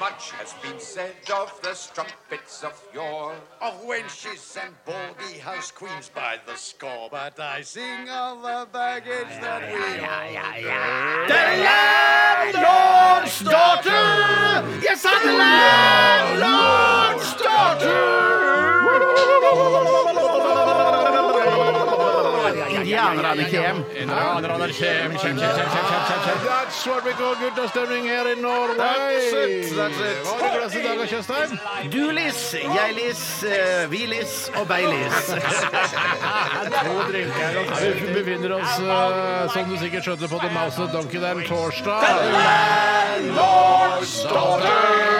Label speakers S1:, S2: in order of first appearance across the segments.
S1: Much has been said of the strumpets of yore, of wenches and baldy house queens by the score, but I sing of the baggage that we all
S2: Indianerne kjem.
S1: Ah,
S2: Indianerne kjem, kjem, kjem, kjem, kjem, kjem, kjem. That's what we call guttastemning her i Norway. That's it, that's it. Hva er det glass i dag, Kjøstheim?
S3: Du lis, jeg lis, eh, vi lis og beilis.
S2: To drinker. og- Vi befinner oss, eh, som du sikkert skjønte, på The Mouse og Donkey den torsdag. The Landlord's Daughter!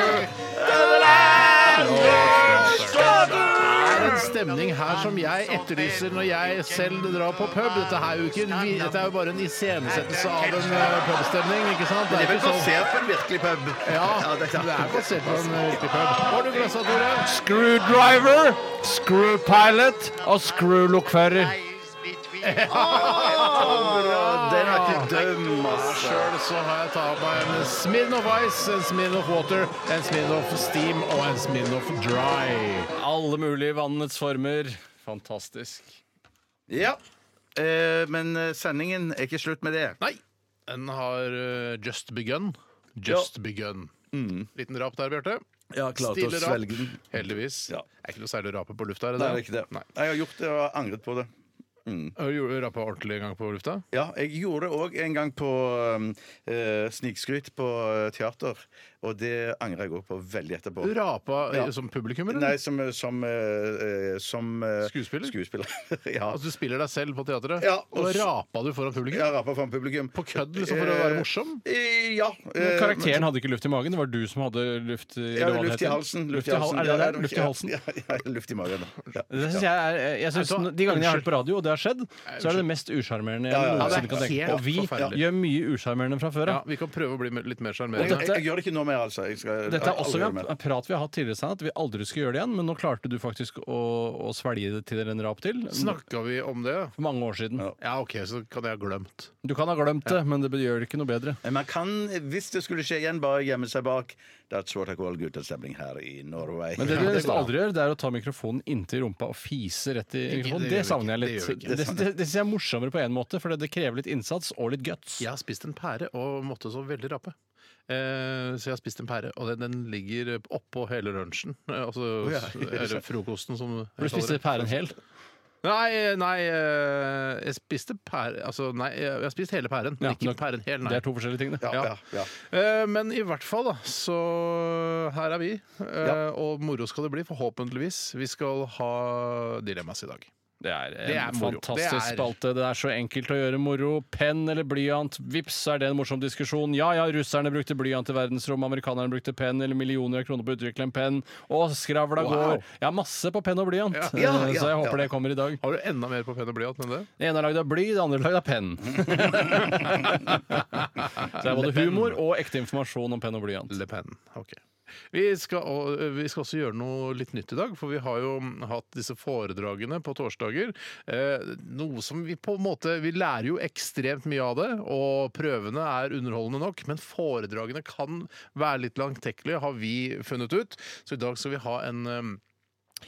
S2: Det er en stemning her som jeg etterlyser når jeg selv drar på pub. Dette er jo, ikke, en vi- dette er jo bare en iscenesettelse av en eh, pubstemning, ikke sant?
S3: Det er vel
S2: ikke sånn-
S3: basert på en virkelig pub.
S2: Ja, det
S3: det er klart.
S2: er basert på en riktig pub. Har du glassa, Tore? Screwdriver, screwpilot og screwlokkfører.
S3: Å, Den er ikke døm, altså.
S2: Sjøl så har jeg tatt meg en Smirnoff Ice, en Smirnoff Water, en Smirnoff Steam og en Smirnoff Dry.
S4: Alle mulige vannets former. Fantastisk.
S3: Ja. Eh, Men eh, sendingen er ikke slutt med det.
S2: Nei, den har eh, just begun. Just begun.
S3: Mm.
S2: Liten rap der, Bjarte.
S3: Ja, klarte å
S2: Stille rap.
S3: svelge den.
S2: Heldigvis.
S3: Ja.
S2: Det er ikke noe særlig å rape på lufta? Er det
S3: Nei, det er ikke det. Jeg har gjort det og angret på det.
S2: Har du gjort- rapet ordentlig en gang på lufta?
S3: Ja, jeg gjorde det òg en gang på um, eh, snikskryt på eh, teater. Og det angrer jeg òg på veldig etterpå.
S2: Du rapa eh,
S3: Ja.
S2: som publikum, eller?
S3: Nei, som, eh, som, eh, eh, som eh,
S2: Skuespiller?
S3: ja.
S2: Altså, du spiller deg selv på teateret,
S3: Ja,
S2: og,
S3: og s-
S2: rapa du foran publikum?
S3: Jeg rappa foran publikum.
S2: På kødd, liksom, for å være morsom?
S3: Eh, ja. eh,
S4: Karakteren hadde ikke luft i magen. Det var du som hadde luft i,
S3: Ja,
S4: eller hva det
S3: luft i
S4: heter.
S3: halsen.
S4: Luft i
S3: halsen.
S4: halsen. Er det
S3: Ja,
S4: det? Luft i
S3: ja,
S4: halsen.
S3: Ja, ja, luft i magen. da. Ja.
S4: Det synes jeg er, jeg
S2: Vet
S4: synes,
S2: du hva?
S4: de gangene jeg har hørt på radio, og det har skjedd, så er det det mest usjarmerende jeg
S3: ja, ja.
S4: noensinne kan
S2: Ja, det er
S4: tenke på. Og
S2: helt
S4: vi
S2: forferdelig.
S4: gjør mye usjarmerende fra før
S2: Ja,
S4: av.
S2: vi kan prøve å bli litt mer
S3: Jeg,
S2: sjarmerende.
S3: jeg, jeg gjør det ikke nå mer, altså. Jeg skal,
S4: Dette er også
S3: aldri gjøre
S4: en
S3: det mer.
S4: prat vi har hatt tidligere, Stein, at vi aldri skulle gjøre det igjen, men nå klarte du faktisk å, å svelge det til en rap til.
S2: Snakka vi om det?
S4: For mange år siden.
S2: Ja, OK, så kan jeg ha glemt.
S4: Du kan ha glemt det, men det gjør det ikke noe bedre.
S3: Men Man kan, hvis det skulle skje igjen, bare gjemme seg bak. That's what I call guttastemning her i Norway.
S4: Men det
S3: Ja,
S4: du nesten
S3: går an.
S4: aldri gjør, det er å ta mikrofonen inntil rumpa og fise rett i mikrofonen.
S2: det
S4: Det
S2: gjør vi
S4: savner jeg
S2: ikke.
S4: litt.
S2: Det gjør vi ikke.
S4: Det, det, det, synes jeg er morsommere på én måte, for det, det krever litt innsats og litt guts.
S2: Jeg har spist en pære og måtte så veldig rape. Eh, så jeg har spist en pære, og den, den ligger oppå hele lunsjen. Eh, altså eller frokosten, som jeg
S4: For du
S2: kaller
S4: spiste
S2: det.
S4: pæren hel.
S2: Nei, nei eh, jeg spiste pære Altså, nei, jeg har spist hele pæren, men
S4: Ja,
S2: ikke
S4: nok-
S2: pæren hel, nei.
S4: Det er to forskjellige ting, det.
S3: Ja, ja, ja.
S2: Eh, Men i hvert fall, da, så her er vi. eh,
S3: Ja.
S2: Og moro skal det bli, forhåpentligvis. Vi skal ha dilemmas i dag.
S4: Det er en
S2: Det er moro.
S4: fantastisk
S2: Det er-
S4: spalte. Det er så enkelt å gjøre moro. Penn eller blyant, vips er det en morsom diskusjon. Ja ja, russerne brukte blyant i verdensrommet, amerikanerne brukte penn, eller millioner av kroner på å utvikle en penn. Og skravla går. Jeg har masse på penn og blyant,
S2: Ja.
S3: Ja,
S4: eh,
S3: ja,
S4: så
S3: ja.
S4: jeg håper det kommer i dag.
S2: Har du enda mer på penn og blyant enn det?
S4: Det ene er lagd av bly, det andre er lagd av penn. Så det er både humor og ekte informasjon om penn og blyant.
S2: Le Pen. Ok. Vi skal, og, ø, vi skal også gjøre noe litt nytt i dag, for vi har jo hatt disse foredragene på torsdager. Eh, noe som vi på en måte Vi lærer jo ekstremt mye av det, og prøvene er underholdende nok, men foredragene kan være litt langtekkelige, har vi funnet ut. Så i dag skal vi ha en ø,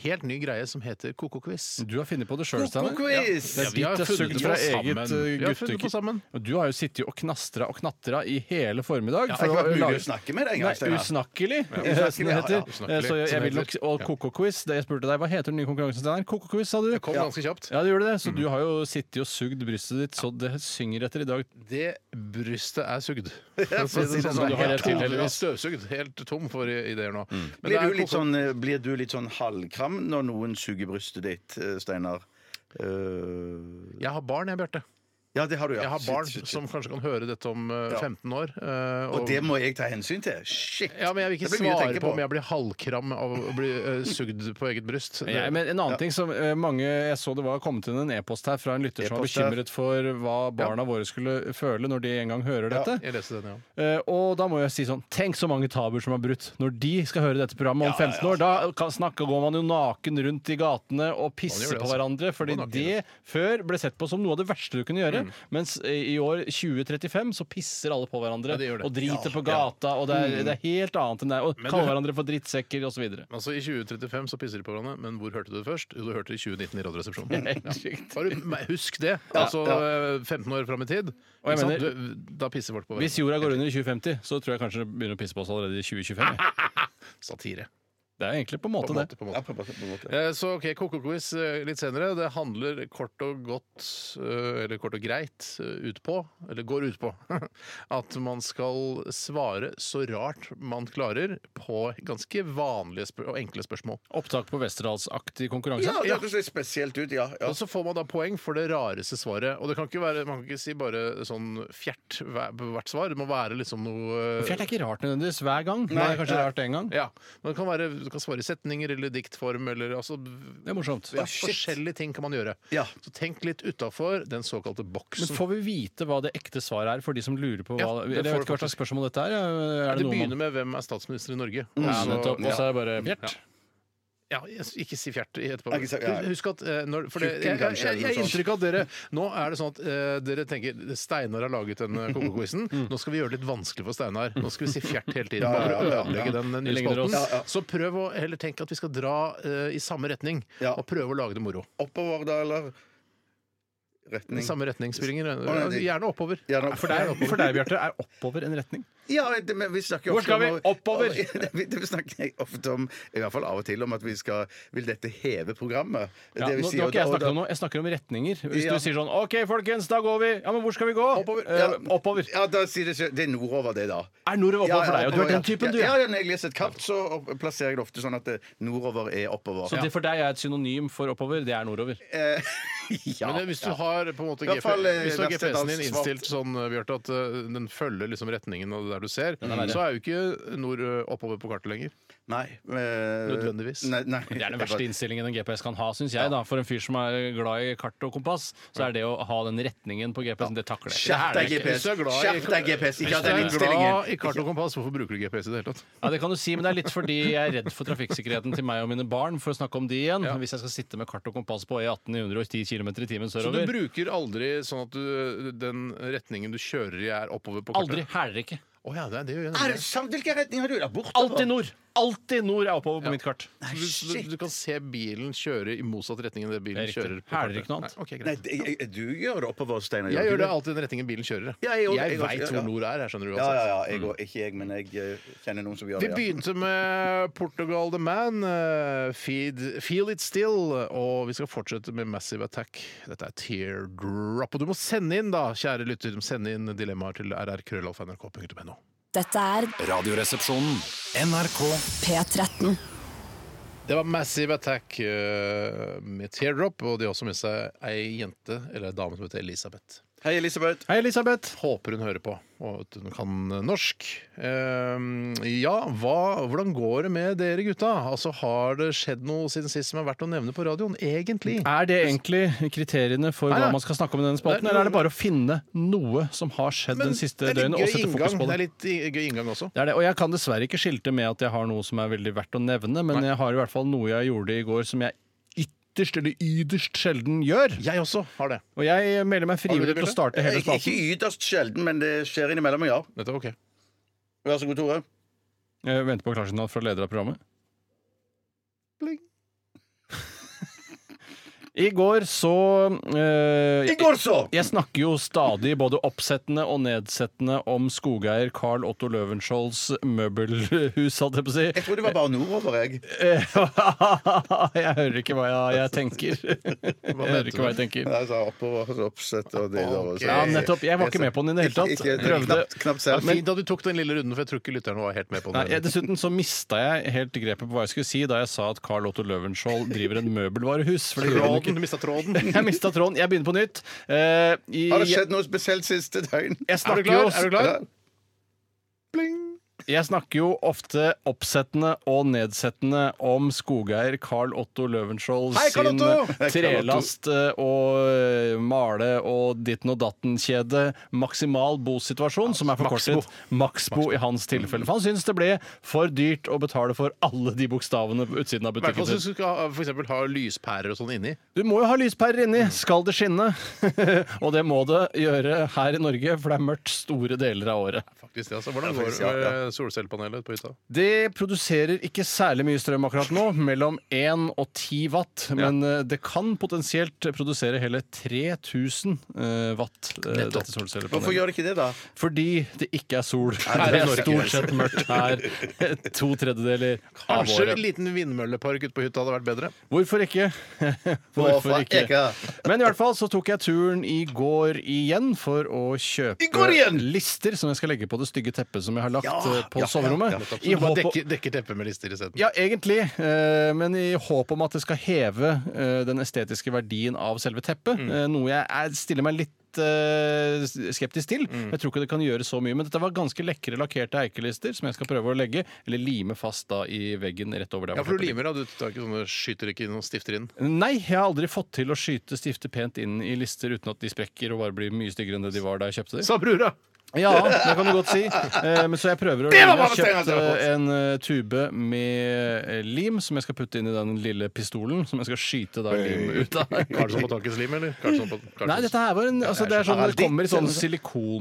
S2: helt ny greie som heter Koko-quiz.
S4: Du har funnet på det sjøl, Steinar.
S3: Quiz!
S4: Det er
S2: vi har
S4: ditt
S2: funnet
S4: sugd
S2: på
S4: fra
S2: sammen.
S4: eget eh,
S2: Vi har funnet på
S4: guttekitt.
S2: sammen.
S4: Og du har jo sittet og knastra og knatra i hele formiddag.
S3: Det har ikke vært mulig å snakke med deg
S4: Nei,
S3: engang. Steinar.
S4: usnakkelig,
S3: Usnakkelig,
S4: som det
S3: ja, ja,
S4: heter.
S2: usnakkelig,
S4: Så jeg,
S2: som
S4: jeg vil
S2: det
S4: nok,
S2: heter.
S4: og
S2: Ja.
S4: Koko-quiz, det jeg spurte deg, hva heter den nye konkurransen, Steinar? Koko-quiz, sa du?
S2: Det kom ganske kjapt.
S4: Ja, Mm. det gjorde det. Så du har jo sittet og sugd brystet ditt så det synger etter i dag.
S2: Det brystet er sugd.
S3: for å si det
S2: Du
S3: sånn. Du
S4: har
S2: har
S4: rett til, heldigvis.
S2: Støvsugd. Helt tom for i- ideer nå. Men det
S3: Blir
S2: er
S3: du, litt
S2: koko-
S3: sånn, eh, blir du litt sånn halvkram når noen suger brystet ditt, eh, Steinar? Eh,
S2: Jeg har barn, jeg, Bjarte.
S3: Ja, det har du, ja.
S2: Jeg har
S3: Shit,
S2: barn
S3: shit, shit.
S2: som kanskje kan høre dette om eh,
S3: Ja.
S2: 15 år. eh,
S3: Og det må jeg ta hensyn til? Shit!
S2: ja, men Jeg vil
S3: Det
S2: ikke
S3: blir mye å
S2: svare
S3: tenke
S2: på om jeg blir halvkram av å bli eh, sugd på eget bryst.
S4: Ja, men en annen ting som eh, mange Jeg så det var kommet inn en e-post her fra en lytter som var
S3: E-post her.
S4: bekymret for hva barna våre skulle føle når de en gang hører dette.
S2: Jeg leste den, ja.
S4: Eh, og da må jeg si sånn Tenk så mange tabuer som er brutt når de skal høre dette programmet om 15 år. Da kan, snakke, går man jo naken rundt i gatene og
S2: altså. gjør
S4: pisser
S2: det,
S4: på
S2: altså.
S4: hverandre. Fordi
S2: Gå naken
S4: det før ble sett på som noe av det verste du kunne gjøre.
S2: Mm.
S4: Mens eh, i år 2035 så pisser alle på hverandre
S2: Ja, det gjør det.
S4: og driter på gata, og det er, det er helt annet enn det er. Og
S2: Men
S4: kaller
S2: du-
S4: hverandre for drittsekker osv.
S2: Altså I 2035 så pisser de på hverandre, men hvor hørte du det først? Jo, du hørte det i 2019 i Radioresepsjonen.
S4: Helt riktig.
S2: Bare me- husk det. Altså eh, 15 år fram i tid.
S4: Og
S2: Ikke
S4: jeg
S2: sant?
S4: mener-
S2: Du- da pisser folk på
S4: Hvis
S2: hverandre.
S4: jorda går under i 2050, så tror jeg kanskje det begynner å pisse på oss allerede i 2025.
S2: Satire.
S4: Det er egentlig på en måte,
S2: På en måte,
S4: det.
S2: på en måte.
S3: Ja, på, på, på en måte.
S2: Eh, Så ok, Koko-quiz eh, litt senere. Det handler kort og godt, eh, eller kort og greit, eh, ut på, eller går ut på, at man skal svare så rart man klarer på ganske vanlige spør og enkle spørsmål.
S4: Opptak på Westerdalsaktig konkurranse.
S3: Ja, det hørtes litt spesielt ut, ja. ja.
S2: Og så får man da poeng for det rareste svaret. Og det kan ikke være, man kan ikke si bare sånn fjert hver- på hvert svar. Det må være liksom noe eh,
S4: Fjert er ikke rart nødvendigvis hver gang. Nei, det er kanskje rart en gang.
S2: Ja, men det kan være, Du kan svare i setninger eller diktform eller altså
S4: Det er morsomt.
S2: ja, Forskjellige ting kan man gjøre.
S3: Ja.
S2: Så tenk litt utafor den såkalte
S4: Men
S2: boksen.
S4: får vi vite hva det ekte svaret er for de som lurer på hva
S2: Ja, det
S4: Jeg vet
S2: får
S4: ikke hva slags spørsmål dette er. ja. Er
S2: Det
S4: det noe
S2: begynner
S4: man
S2: med 'Hvem er statsminister i Norge?' Og
S4: ja,
S2: så-
S4: nettopp, og så er det bare
S2: Ja.
S4: Fjert.
S2: Ja, jeg- ikke si fjert i etterpå.
S3: Ikke si- ja.
S2: Husk at eh, når, for det,
S3: Tjukken,
S2: jeg, jeg,
S3: kanskje,
S2: jeg,
S3: eller noe
S2: jeg har
S3: sånt.
S2: inntrykk av at dere Nå er det sånn at eh, dere tenker Steinar har laget denne koko-quizen.
S4: Mm.
S2: Nå skal vi gjøre det litt vanskelig for Steinar. Nå skal vi si fjert hele tiden.
S3: Ja,
S2: Bare
S3: ja,
S2: for å
S3: ja,
S2: ødelegge
S3: ja.
S2: den eh, nye
S4: Legger dere
S2: spalten.
S4: oss-
S2: Så prøv å heller tenke at vi skal dra eh, i samme retning,
S3: Ja.
S2: og prøve å lage det moro.
S3: Oppover, da, eller? Retning.
S2: I samme retningsspillinger.
S3: nei, det-
S2: Gjerne oppover.
S3: Gjerne opp-
S4: For deg, for deg, Bjarte, er oppover en retning.
S3: Ja, det, men vi snakker
S4: Hvor
S3: ofte
S4: skal vi?
S3: om å-
S4: Oppover?
S3: Det- vi- Det snakker jeg ofte om, i hvert fall av og til, om at vi skal Vil dette heve programmet?
S4: Ja,
S3: Det vi
S4: nå,
S3: sier,
S4: nå har
S3: og
S4: ikke jeg
S3: da- og
S4: snakket
S3: da-
S4: om noe, jeg snakker om retninger. Hvis
S3: Ja.
S4: du sier sånn OK, folkens, da går vi. Ja, men hvor skal vi gå? Oppover.
S3: Ja.
S4: oppover.
S3: Ja, da sier det, seg- det er nordover, det, da.
S4: Er nordover oppover for deg? Og du er den typen, du.
S3: Ja, ja, når jeg leser et kart, så opp- plasserer jeg det ofte sånn at det, nordover er oppover.
S4: Så det for deg er et synonym for oppover, det er nordover.
S3: ja.
S2: Men det, hvis du har på en måte
S3: I hvert fall, eh,
S2: hvis du har
S3: Verstedt
S2: GPS-en din
S3: Alsvart.
S2: innstilt sånn, eh, Bjarte, at eh, den følger liksom retningen av det der du ser, så er jo ikke nord eh, oppover på kartet lenger.
S3: Nei. eh,
S2: Nødvendigvis.
S3: Nei, nei.
S4: Det er den verste innstillingen en GPS kan ha, syns jeg. da For en fyr som er glad i kart og kompass, så er det å ha den retningen på GPS-en, det takler jeg
S3: Skjerp
S4: ikke.
S3: deg,
S4: Det er det ikke.
S3: GPS.
S2: Hvis du er glad i-
S3: Skjerp deg, GPS. Ikke
S2: Hvis
S3: ha
S2: du
S3: den
S2: er glad i
S3: innstillingen.
S2: kart og kompass, hvorfor bruker du GPS i det hele tatt?
S4: Ja, det kan du si, men det er litt fordi jeg er redd for trafikksikkerheten til meg og mine barn, for å snakke om de igjen. Hvis jeg skal sitte med kart og kompass på E18 i 110 km i timen
S2: Så du
S4: sørover.
S2: bruker aldri sånn at du, den retningen du kjører i, er oppover på
S4: Aldri.
S2: kartet?
S4: Hæler ikke.
S2: Å ja, det, det gjør jeg
S3: Er
S2: nemlig.
S3: det sant? Hvilken retning har du? Da? Bortover?
S4: Alltid nord! Alltid nord er oppover på mitt kart.
S2: Så du, du, du kan se bilen kjøre i motsatt retning enn det bilen
S4: Det er riktig.
S2: kjører. på
S4: Hæler
S2: kartet.
S4: ikke noe annet.
S2: Nei, ok,
S3: Nei,
S2: greit.
S3: det- jeg, du gjør det oppover, Steinar.
S2: Jeg gjør
S3: ikke
S2: det alltid i den retningen bilen kjører.
S3: Ja, jeg også-
S2: jeg
S3: jeg også,
S2: veit
S3: ja.
S2: hvor nord er, her, skjønner du.
S3: Ja, ja,
S2: uansett.
S3: ja. Jeg, og- ikke jeg, men jeg eh, kjenner noen som
S2: Vi
S3: gjør det. ja.
S2: begynte med Portugal the Man, eh, feed, Feel It Still, og vi skal fortsette med Massive Attack. Dette er Teardrop. Og du må sende inn, da, kjære lytter, du må sende inn dilemmaer til rrkrøllalfa.nrk.no.
S5: Dette er
S6: Radioresepsjonen.
S7: NRK
S5: P13.
S2: Det var Massive Attack eh, med Teardrop, og de har også med seg ei jente, eller ei dame som heter Elisabeth.
S3: Hei, Elisabeth.
S4: Hei, Elisabeth.
S2: Håper hun hører på, og at hun kan norsk. Eh, ja, hva, hvordan går det med dere gutta? Altså, Har det skjedd noe siden sist som er verdt å nevne på radioen, egentlig?
S4: Er det egentlig kriteriene for
S2: Nei,
S4: hva
S2: nei.
S4: man skal snakke om i denne
S2: Nei,
S4: spalten,
S2: nå-
S4: eller er det bare å finne noe som har skjedd
S2: Men
S4: den siste
S2: det er litt
S4: døgnet, og
S2: gøy
S4: sette
S2: inngang.
S4: fokus på
S2: Det
S4: det?
S2: er litt i- gøy inngang også.
S4: Det er det. Og jeg kan dessverre ikke skilte med at jeg har noe som er veldig verdt å nevne, men jeg har i hvert fall noe jeg gjorde i går som jeg ytterst eller yderst sjelden gjør.
S2: Jeg også har det.
S4: Og jeg melder meg
S2: Har du det,
S4: frivillig til å
S2: Bjarte?
S4: starte hele
S3: Eh, Ikke
S4: spalten.
S3: ikke ytterst sjelden, men det skjer innimellom, ja.
S2: Dette er ok.
S3: Vær så god, Tore.
S4: Jeg venter på klarsignal fra leder av programmet. I går så eh,
S3: I går så!
S4: Jeg snakker jo stadig både oppsettende og nedsettende om skogeier Carl Otto Løvenskiolds møbelhus, holdt jeg på å si.
S3: Jeg trodde det var bare nordover, jeg.
S4: jeg hører ikke hva jeg, jeg tenker. Jeg hører ikke hva jeg tenker.
S3: Nei, så oppover, så oppsett Altså, og det der. altså. og så-
S4: Ja, nettopp. Jeg var ikke med på den i det hele tatt.
S3: Eh, Ikke- ikke-
S4: Prøvde.
S3: Knapt, knapt selv.
S4: Men-
S2: Fint at du tok den lille runden, for jeg tror ikke lytterne var helt med på
S4: Nei, jeg,
S2: den.
S4: dessuten så mista jeg helt grepet på hva jeg skulle si da jeg sa at Carl Otto Løvenskiold driver en møbelvarehus. For det gjør han
S2: tråden, du mista tråden.
S4: Jeg mista tråden. Jeg begynner på nytt. Eh, i-
S3: Har det skjedd noe spesielt siste døgn?
S4: Jeg
S2: Er du
S4: snakker,
S2: klar?
S4: jo,
S2: Er du klar?
S3: Ja.
S4: jeg snakker jo ofte oppsettende og nedsettende om skogeier Carl Otto Løvenskiold
S3: Hei, Carl
S4: sin
S3: Otto! Hei, Carl
S4: trelast eh, og eh, male- og ditten og datten-kjede maksimal bosituasjon, som er forkortet Maxbo i hans tilfelle. For han syns det ble for dyrt å betale for alle de bokstavene på utsiden av
S2: I hvert fall
S4: butikken
S2: hvis
S4: sin.
S2: du skal ha, for eksempel, ha lyspærer og sånn inni.
S4: Du må jo ha lyspærer inni, skal det skinne. og det må det gjøre her i Norge, for det er mørkt store deler av året.
S2: Faktisk, det, altså. Hvordan går
S3: faktisk,
S2: det
S3: ja, ja.
S2: med solcellepanelet på hytta?
S4: Det produserer ikke særlig mye strøm akkurat nå, mellom 1 og 10 watt. Men eh, det kan potensielt produsere hele 3000 eh, watt. eh, dette
S3: Hvorfor
S4: solcellepanelet.
S3: gjør det ikke det, da?
S4: Fordi det ikke er sol.
S3: det er
S4: Det
S3: Norge.
S4: er
S3: altså.
S4: stort sett mørkt her to tredjedeler av
S2: Kanskje en
S4: året.
S2: liten vindmøllepark ute på hytta hadde vært bedre?
S4: Hvorfor ikke?
S3: Hvorfor ikke?
S4: Men i hvert fall så tok jeg turen i går igjen for å
S3: I går
S4: kjøpe
S3: igjen!
S4: lister som jeg skal legge på det stygge teppet som jeg har lagt
S3: Ja,
S4: eh, på
S3: ja, ja,
S4: soverommet.
S3: ja,
S2: Så
S4: I
S2: du bare
S4: håp om-
S2: dekker, dekker teppet med lister isteden?
S4: Ja, egentlig. eh, Men i håp om at det skal heve eh, den estetiske verdien av selve teppet.
S2: Mm.
S4: eh, Noe jeg er- stiller meg litt eh, skeptisk til.
S2: Mm.
S4: Jeg tror ikke det kan gjøre så mye. Men dette var ganske lekre lakkerte eikelister som jeg skal prøve å legge, eller lime fast da i veggen rett over der.
S2: Ja,
S4: hvor
S2: for du
S4: teppet ligger.
S2: limer, da. Du tar ikke sånne, skyter ikke inn og stifter inn.
S4: Nei, jeg har aldri fått til å skyte stifter pent inn i lister uten at de sprekker og bare blir mye styggere enn det de var da jeg kjøpte dem.
S2: Sa brura!
S4: Ja, det kan du godt si. Eh, Men så jeg prøver å
S3: Det
S4: Jeg
S3: var
S4: har
S3: bare
S4: kjøpt
S3: Steinar
S4: eh, en eh, tube med eh, lim som jeg skal putte inn i den lille pistolen som jeg skal skyte da lim ut av.
S2: Karlsson på taket slim, eller? Karlsson på, Karlsson.
S4: Nei, dette her var en altså, Det er sånn, det kommer i sånn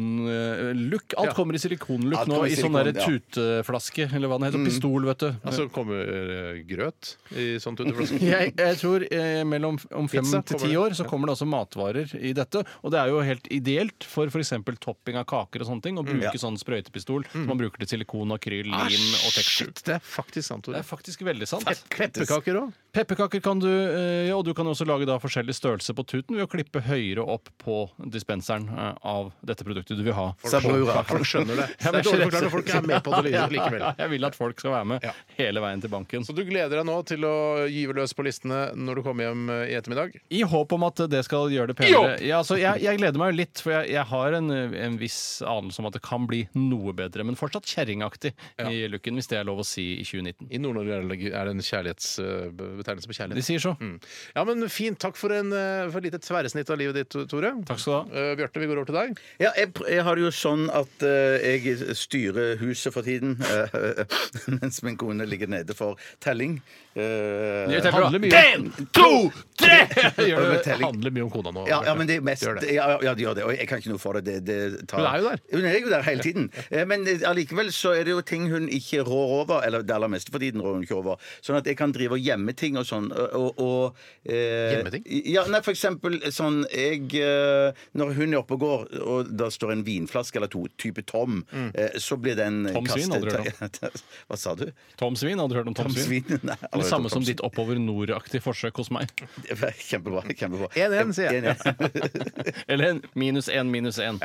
S4: silikonlook.
S2: Ja.
S4: Alt kommer i silikonlook
S3: eh, Alt
S4: nå,
S3: kommer i
S4: i sånn
S3: silikon,
S4: der
S3: ja. Mm.
S4: tuteflaske, eller hva den heter. Pistol, vet du.
S2: Altså kommer eh, grøt i sånn tutteflaske?
S4: jeg, jeg tror eh, mellom f- om fem
S2: Pizza
S4: til
S2: kommer
S4: ti
S2: det.
S4: år så kommer det også matvarer i dette. Og det er jo helt ideelt for f.eks. topping av kaker og sånne ting. Å bruke sånn sprøytepistol som man bruker til silikon, akryl,
S2: Mm. Ah,
S4: lim og texture.
S2: shit, Det er faktisk sant,
S4: Det
S2: Tore.
S4: er faktisk veldig sant.
S2: Pepperkaker òg.
S4: Pepperkaker kan du, eh, ja, og du kan også lage da forskjellig størrelse på tuten ved å klippe høyere opp på dispenseren eh, av dette produktet du vil ha.
S3: Sabrura.
S2: Folk skjønner det. Det
S4: Ja, men
S2: er dårlig forklart når folk er med på det
S4: Ja,
S2: likevel.
S4: ja, Jeg vil at folk skal være med
S2: Ja.
S4: hele veien til banken.
S2: Så du gleder deg nå til å gyve løs på listene når du kommer hjem eh, i ettermiddag?
S4: I håp om at det skal gjøre det penere. Ja, altså, jeg, jeg gleder meg jo litt, for jeg, jeg har en, en viss anelse om at det kan bli noe bedre. Men fortsatt kjerringaktig i looken, hvis det er lov å si i 2019.
S2: I Nord-Norge er det- er det en kjærlighetsbetegnelse på
S4: De
S2: kjærlighet.
S4: sier så.
S2: Mm. Ja, men Fint. Takk for, en, eh, for et lite tverrsnitt av livet ditt, Tore.
S4: Takk skal du ha.
S2: Eh, Bjarte, vi går over til deg.
S3: Ja, jeg, pr- jeg har det jo sånn at eh, jeg styrer huset for tiden, eh, mens min kone ligger nede for telling. Eh,
S4: Det handler mye,
S3: to, tre!
S2: Eh,
S4: Gjør det,
S3: telling.
S4: handler mye om kona nå.
S3: Ja, ja, men det er
S2: Bjarte.
S3: mest
S2: Gjør det.
S3: Ja, ja, ja, det gjør det. Og jeg kan ikke noe for det. det, det tar...
S2: Hun er jo der.
S3: Hun er jo der hele tiden. Eh, Men eh, allikevel så er det jo ting hun ikke rår over. Eller det aller meste for tiden rår hun ikke over. Sånn at jeg kan drive og gjemme ting og sånn. Og, og, eh,
S2: Gjemme ting?
S3: Ja, nei, for eksempel sånn jeg eh, Når hun er oppe og går, og da står en vinflaske eller to type tom, eh, så blir den
S4: Mm. Tom svin, aldri
S3: Hva sa du?
S4: Tom Svin, hadde du hørt om Tom,
S3: Tom
S4: Svin?
S3: svin? Nei, aldri hørt om
S4: Det samme
S3: Tom
S4: som
S3: Svin.
S4: ditt oppover nord-aktig forsøk hos meg.
S3: Kjempebra. kjempebra.
S2: 1-1, sier jeg.
S3: 1-1.
S4: Eller en minus én, minus én.